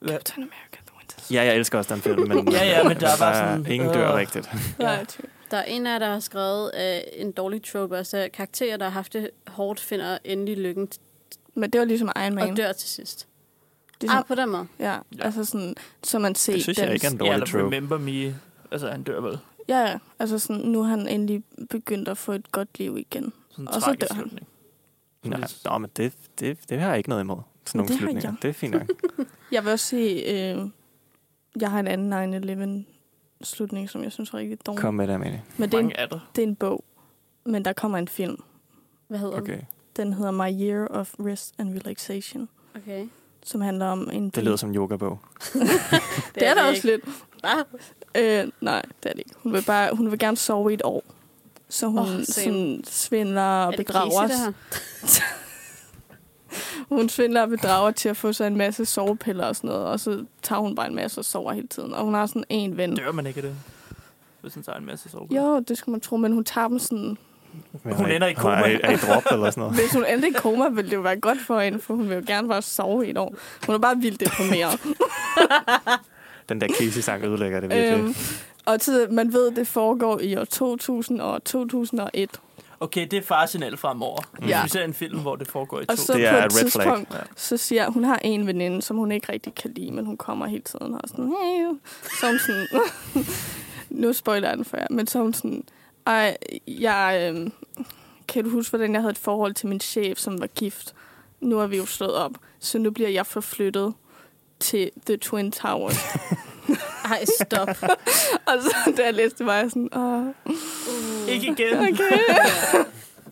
Hvad? Captain America The Winter Soldier. Ja, jeg elsker også den film, men, altså, Ja, ja, men der er bare sådan, ingen dør øh. rigtigt. Ja. Ja. Der er en af jer, der har skrevet øh, en dårlig trope, altså at karakterer, der har haft det hårdt, finder endelig lykken t- Men det var ligesom Iron Man. og dør til sidst. ligesom, Ah, på den måde. ja, Ja. altså sådan, så man ser Det synes jeg den- ikke er en Ja, dårlig eller trope. Remember Me. Altså, han dør vel. Ja, ja, altså sådan, nu er han endelig begyndt at få et godt liv igen. Sådan en Og så tragisk dør han. slutning. Nej, nå, men det, det, det har jeg ikke noget imod. Sådan Men nogle det har slutninger. jeg. Det er fint nok. Jeg vil også se, øh, jeg har en anden 9-11 slutning, som jeg synes er rigtig dårlig. Kom med det, Amalie. Men det er, en, Mange er der. det er en bog, men der kommer en film. Hvad hedder Okay. Den hedder My Year of Rest and Relaxation, den? Okay. som handler om en... Det lyder som en yogabog. det, det er der også ikke. lidt. Øh, nej, det er det ikke. Hun vil, bare, hun vil gerne sove i et år. Så hun Åh, oh, same. sådan svindler og Er det bedrager Casey, det her? Hun svindler og bedrager til at få sig en masse sovepiller og sådan noget, og så tager hun bare en masse og sover hele tiden. Og hun har sådan en ven. Dør man ikke af det? Hvis han tager en masse sove. Jo, det skulle man tro, men hun tager dem sådan... Men Hun er ender i koma. Er, er i drop eller sådan noget. Hvis hun endte i koma, ville det jo være godt for hende, for hun vil jo gerne bare sove i et år. Hun er bare vildt deprimeret. Den der Casey-sang ødelægger det virkelig. øhm, og så, man ved, det foregår i år 2000 og 2001. Okay, det er faresignal fremover. Hvis Ja. vi ser en film, hvor det foregår i Og to. så Det på er et et red flag. tidspunkt, Ja. så siger hun har en veninde, som hun ikke rigtig kan lide, men hun kommer hele tiden og er sådan, hey. så er hun sådan, nu spoiler jeg den for jer, men så er hun sådan, ej, jeg, øh, kan du huske, hvordan jeg havde et forhold til min chef, som var gift? Nu er vi jo slået op, så nu bliver jeg forflyttet til The Twin Towers. Ej, stop. og så da jeg læste, var jeg sådan, åh, Ikke igen. okay. Uh.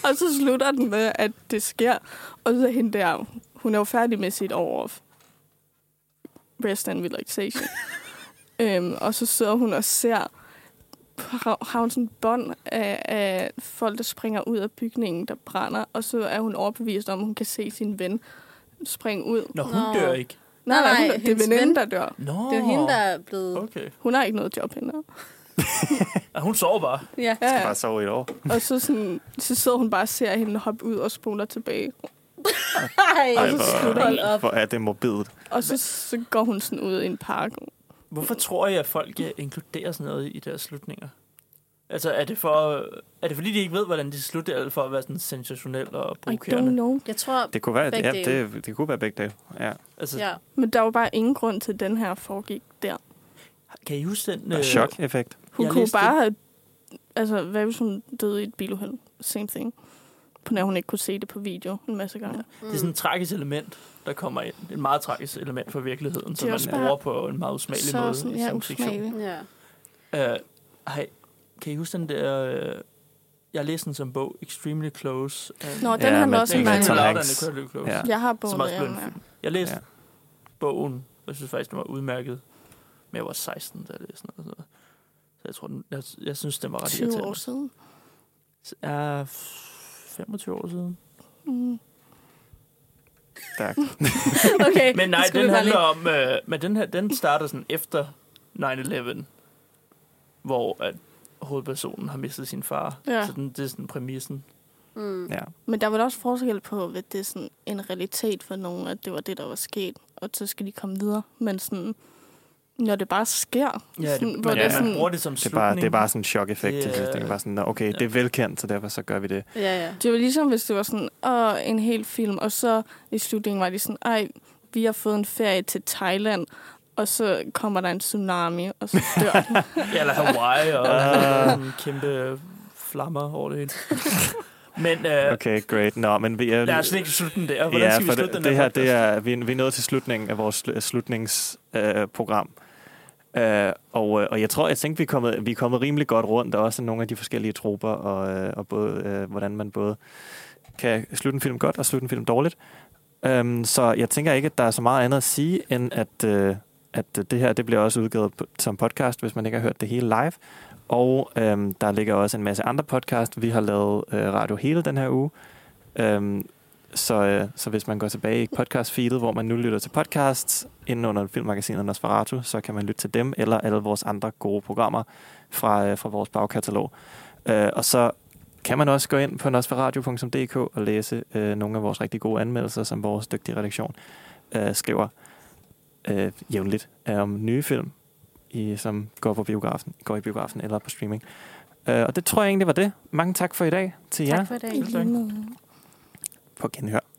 og så slutter den med, at det sker. Og så er hende der, hun er jo færdig med sit år of rest and relaxation. øhm, og så sidder hun og ser, har- har hun sådan et bånd af, af folk, der springer ud af bygningen, der brænder. Og så er hun overbevist om, at hun kan se sin ven springe ud. Nå, hun Nå. dør ikke. Nej, nej, nej, hun, det er hendes veninden, ven. der dør. Nå. Det er jo hende, der er blevet... Okay. Hun har ikke noget job hende. Ah, hun sover bare. Ja. Ja, Bare sove i et år. Og så, sådan, så sidder hun bare og ser hende hoppe ud og spoler tilbage. Ej, Ej, så hvor, slutter hold op. hvor er det morbidt. Og så, så går hun sådan ud i en park. Hvorfor tror jeg, at folk øh, inkluderer sådan noget i deres slutninger? Altså, er det, for, er det fordi, de ikke ved, hvordan de slutter, eller for at være sådan sensationel og I don't provokerende? know. Jeg tror... Det kunne være, Begge ja, det, det kunne være begge dage. Ja. Altså, ja. Ja. Men der var bare ingen grund til, at den her foregik der. kan I huske den? øh, Og Chok-effekt. Hun Jeg jeg kunne læste- bare have... Altså, hvad hvis hun døde i et biluheld? Same thing. På nær hun ikke kunne se det på video en masse gange. Det er sådan et Mm. tragisk element, der kommer ind. Et meget tragisk element fra virkeligheden, Det som er man også bruger bare på en meget usmagelig så måde. sådan, i ja, sin fiktion. usmagelig. Ja. Øh, ej, Kan I huske den der... Øh, jeg læste den som bog, Extremely Close. øh, af- Nå, den Ja, handler men også det om er mange. Tom Louder Hanks. than Incredibly Close. Ja. Jeg har Som også bogen. blev en derhjemme, ja. Jeg læste Ja. ja. bogen, og jeg synes faktisk, den var udmærket. Men jeg var 16, da jeg læste den. og sådan noget. Så jeg tror, den, jeg, jeg synes, den var ret 20 år irriterende. siden. Så er 25 år siden. Mm. Tak. Okay, Men nej, det skulle den vi bare handler om... Øh, men den her, den starter sådan efter 9-11, hvor at hovedpersonen har mistet sin far. Ja. Så den, det er sådan præmissen. lige- Mm. Ja. Men der var også forskel på, hvad det er sådan en realitet for nogen, at det var det, der var sket, og så skal de komme videre. Men sådan, når det bare sker, Ja, det, sådan, men, hvor det er ja, man sådan, bruger det som Det er bare, det er slutning. bare sådan en chok-effekt. Det Yeah. er- Det er bare sådan, "Nå, okay, det er velkendt, så derfor så gør vi det. Ja, ja. det var ligesom, hvis det var sådan, åh, en hel film, og så i slutningen var de sådan, ej, vi har fået en ferie til Thailand, og så kommer der en tsunami, og så dør den. Ja, eller Hawaii, og Ah. sådan kæmpe flammer over det hele. Men øh, okay. Okay, great. Nå, men vi er... lad os ikke slutte den der. Hvordan Ja, skal vi for slutte den det, det her, podcast? det er, vi, er- vi er nået til slutningen af vores slutningsprogram. Øh, program. øh, og, øh, og jeg tror, jeg tænkte, vi er, kommet, vi er kommet rimelig godt rundt, og også nogle af de forskellige troper, og, øh, og både, øh, hvordan man både kan slutte en film godt og slutte en film dårligt. Øhm, så jeg tænker ikke, at der er så meget andet at sige, end at, øh, at øh, det her det bliver også udgivet p- som podcast, hvis man ikke har hørt det hele live. Og øhm, der ligger også en masse andre podcast. Vi har lavet øh, radio hele den her uge. Øhm, så, øh, så hvis man går tilbage i podcast-feedet, hvor man nu lytter til podcasts, inden under filmmagasinet Nosferatu, så kan man lytte til dem eller alle vores andre gode programmer fra, øh, fra vores bagkatalog. Øh, og så kan man også gå ind på nosferatu.dk og læse øh, nogle af vores rigtig gode anmeldelser, som vores dygtige redaktion øh, skriver øh, jævnligt øh, om nye film, i, som går på biografen, går i biografen eller på streaming. Øh, og det tror jeg egentlig var det. Mange tak for i dag til jer Tak for i dag. I lige måde. på genhør.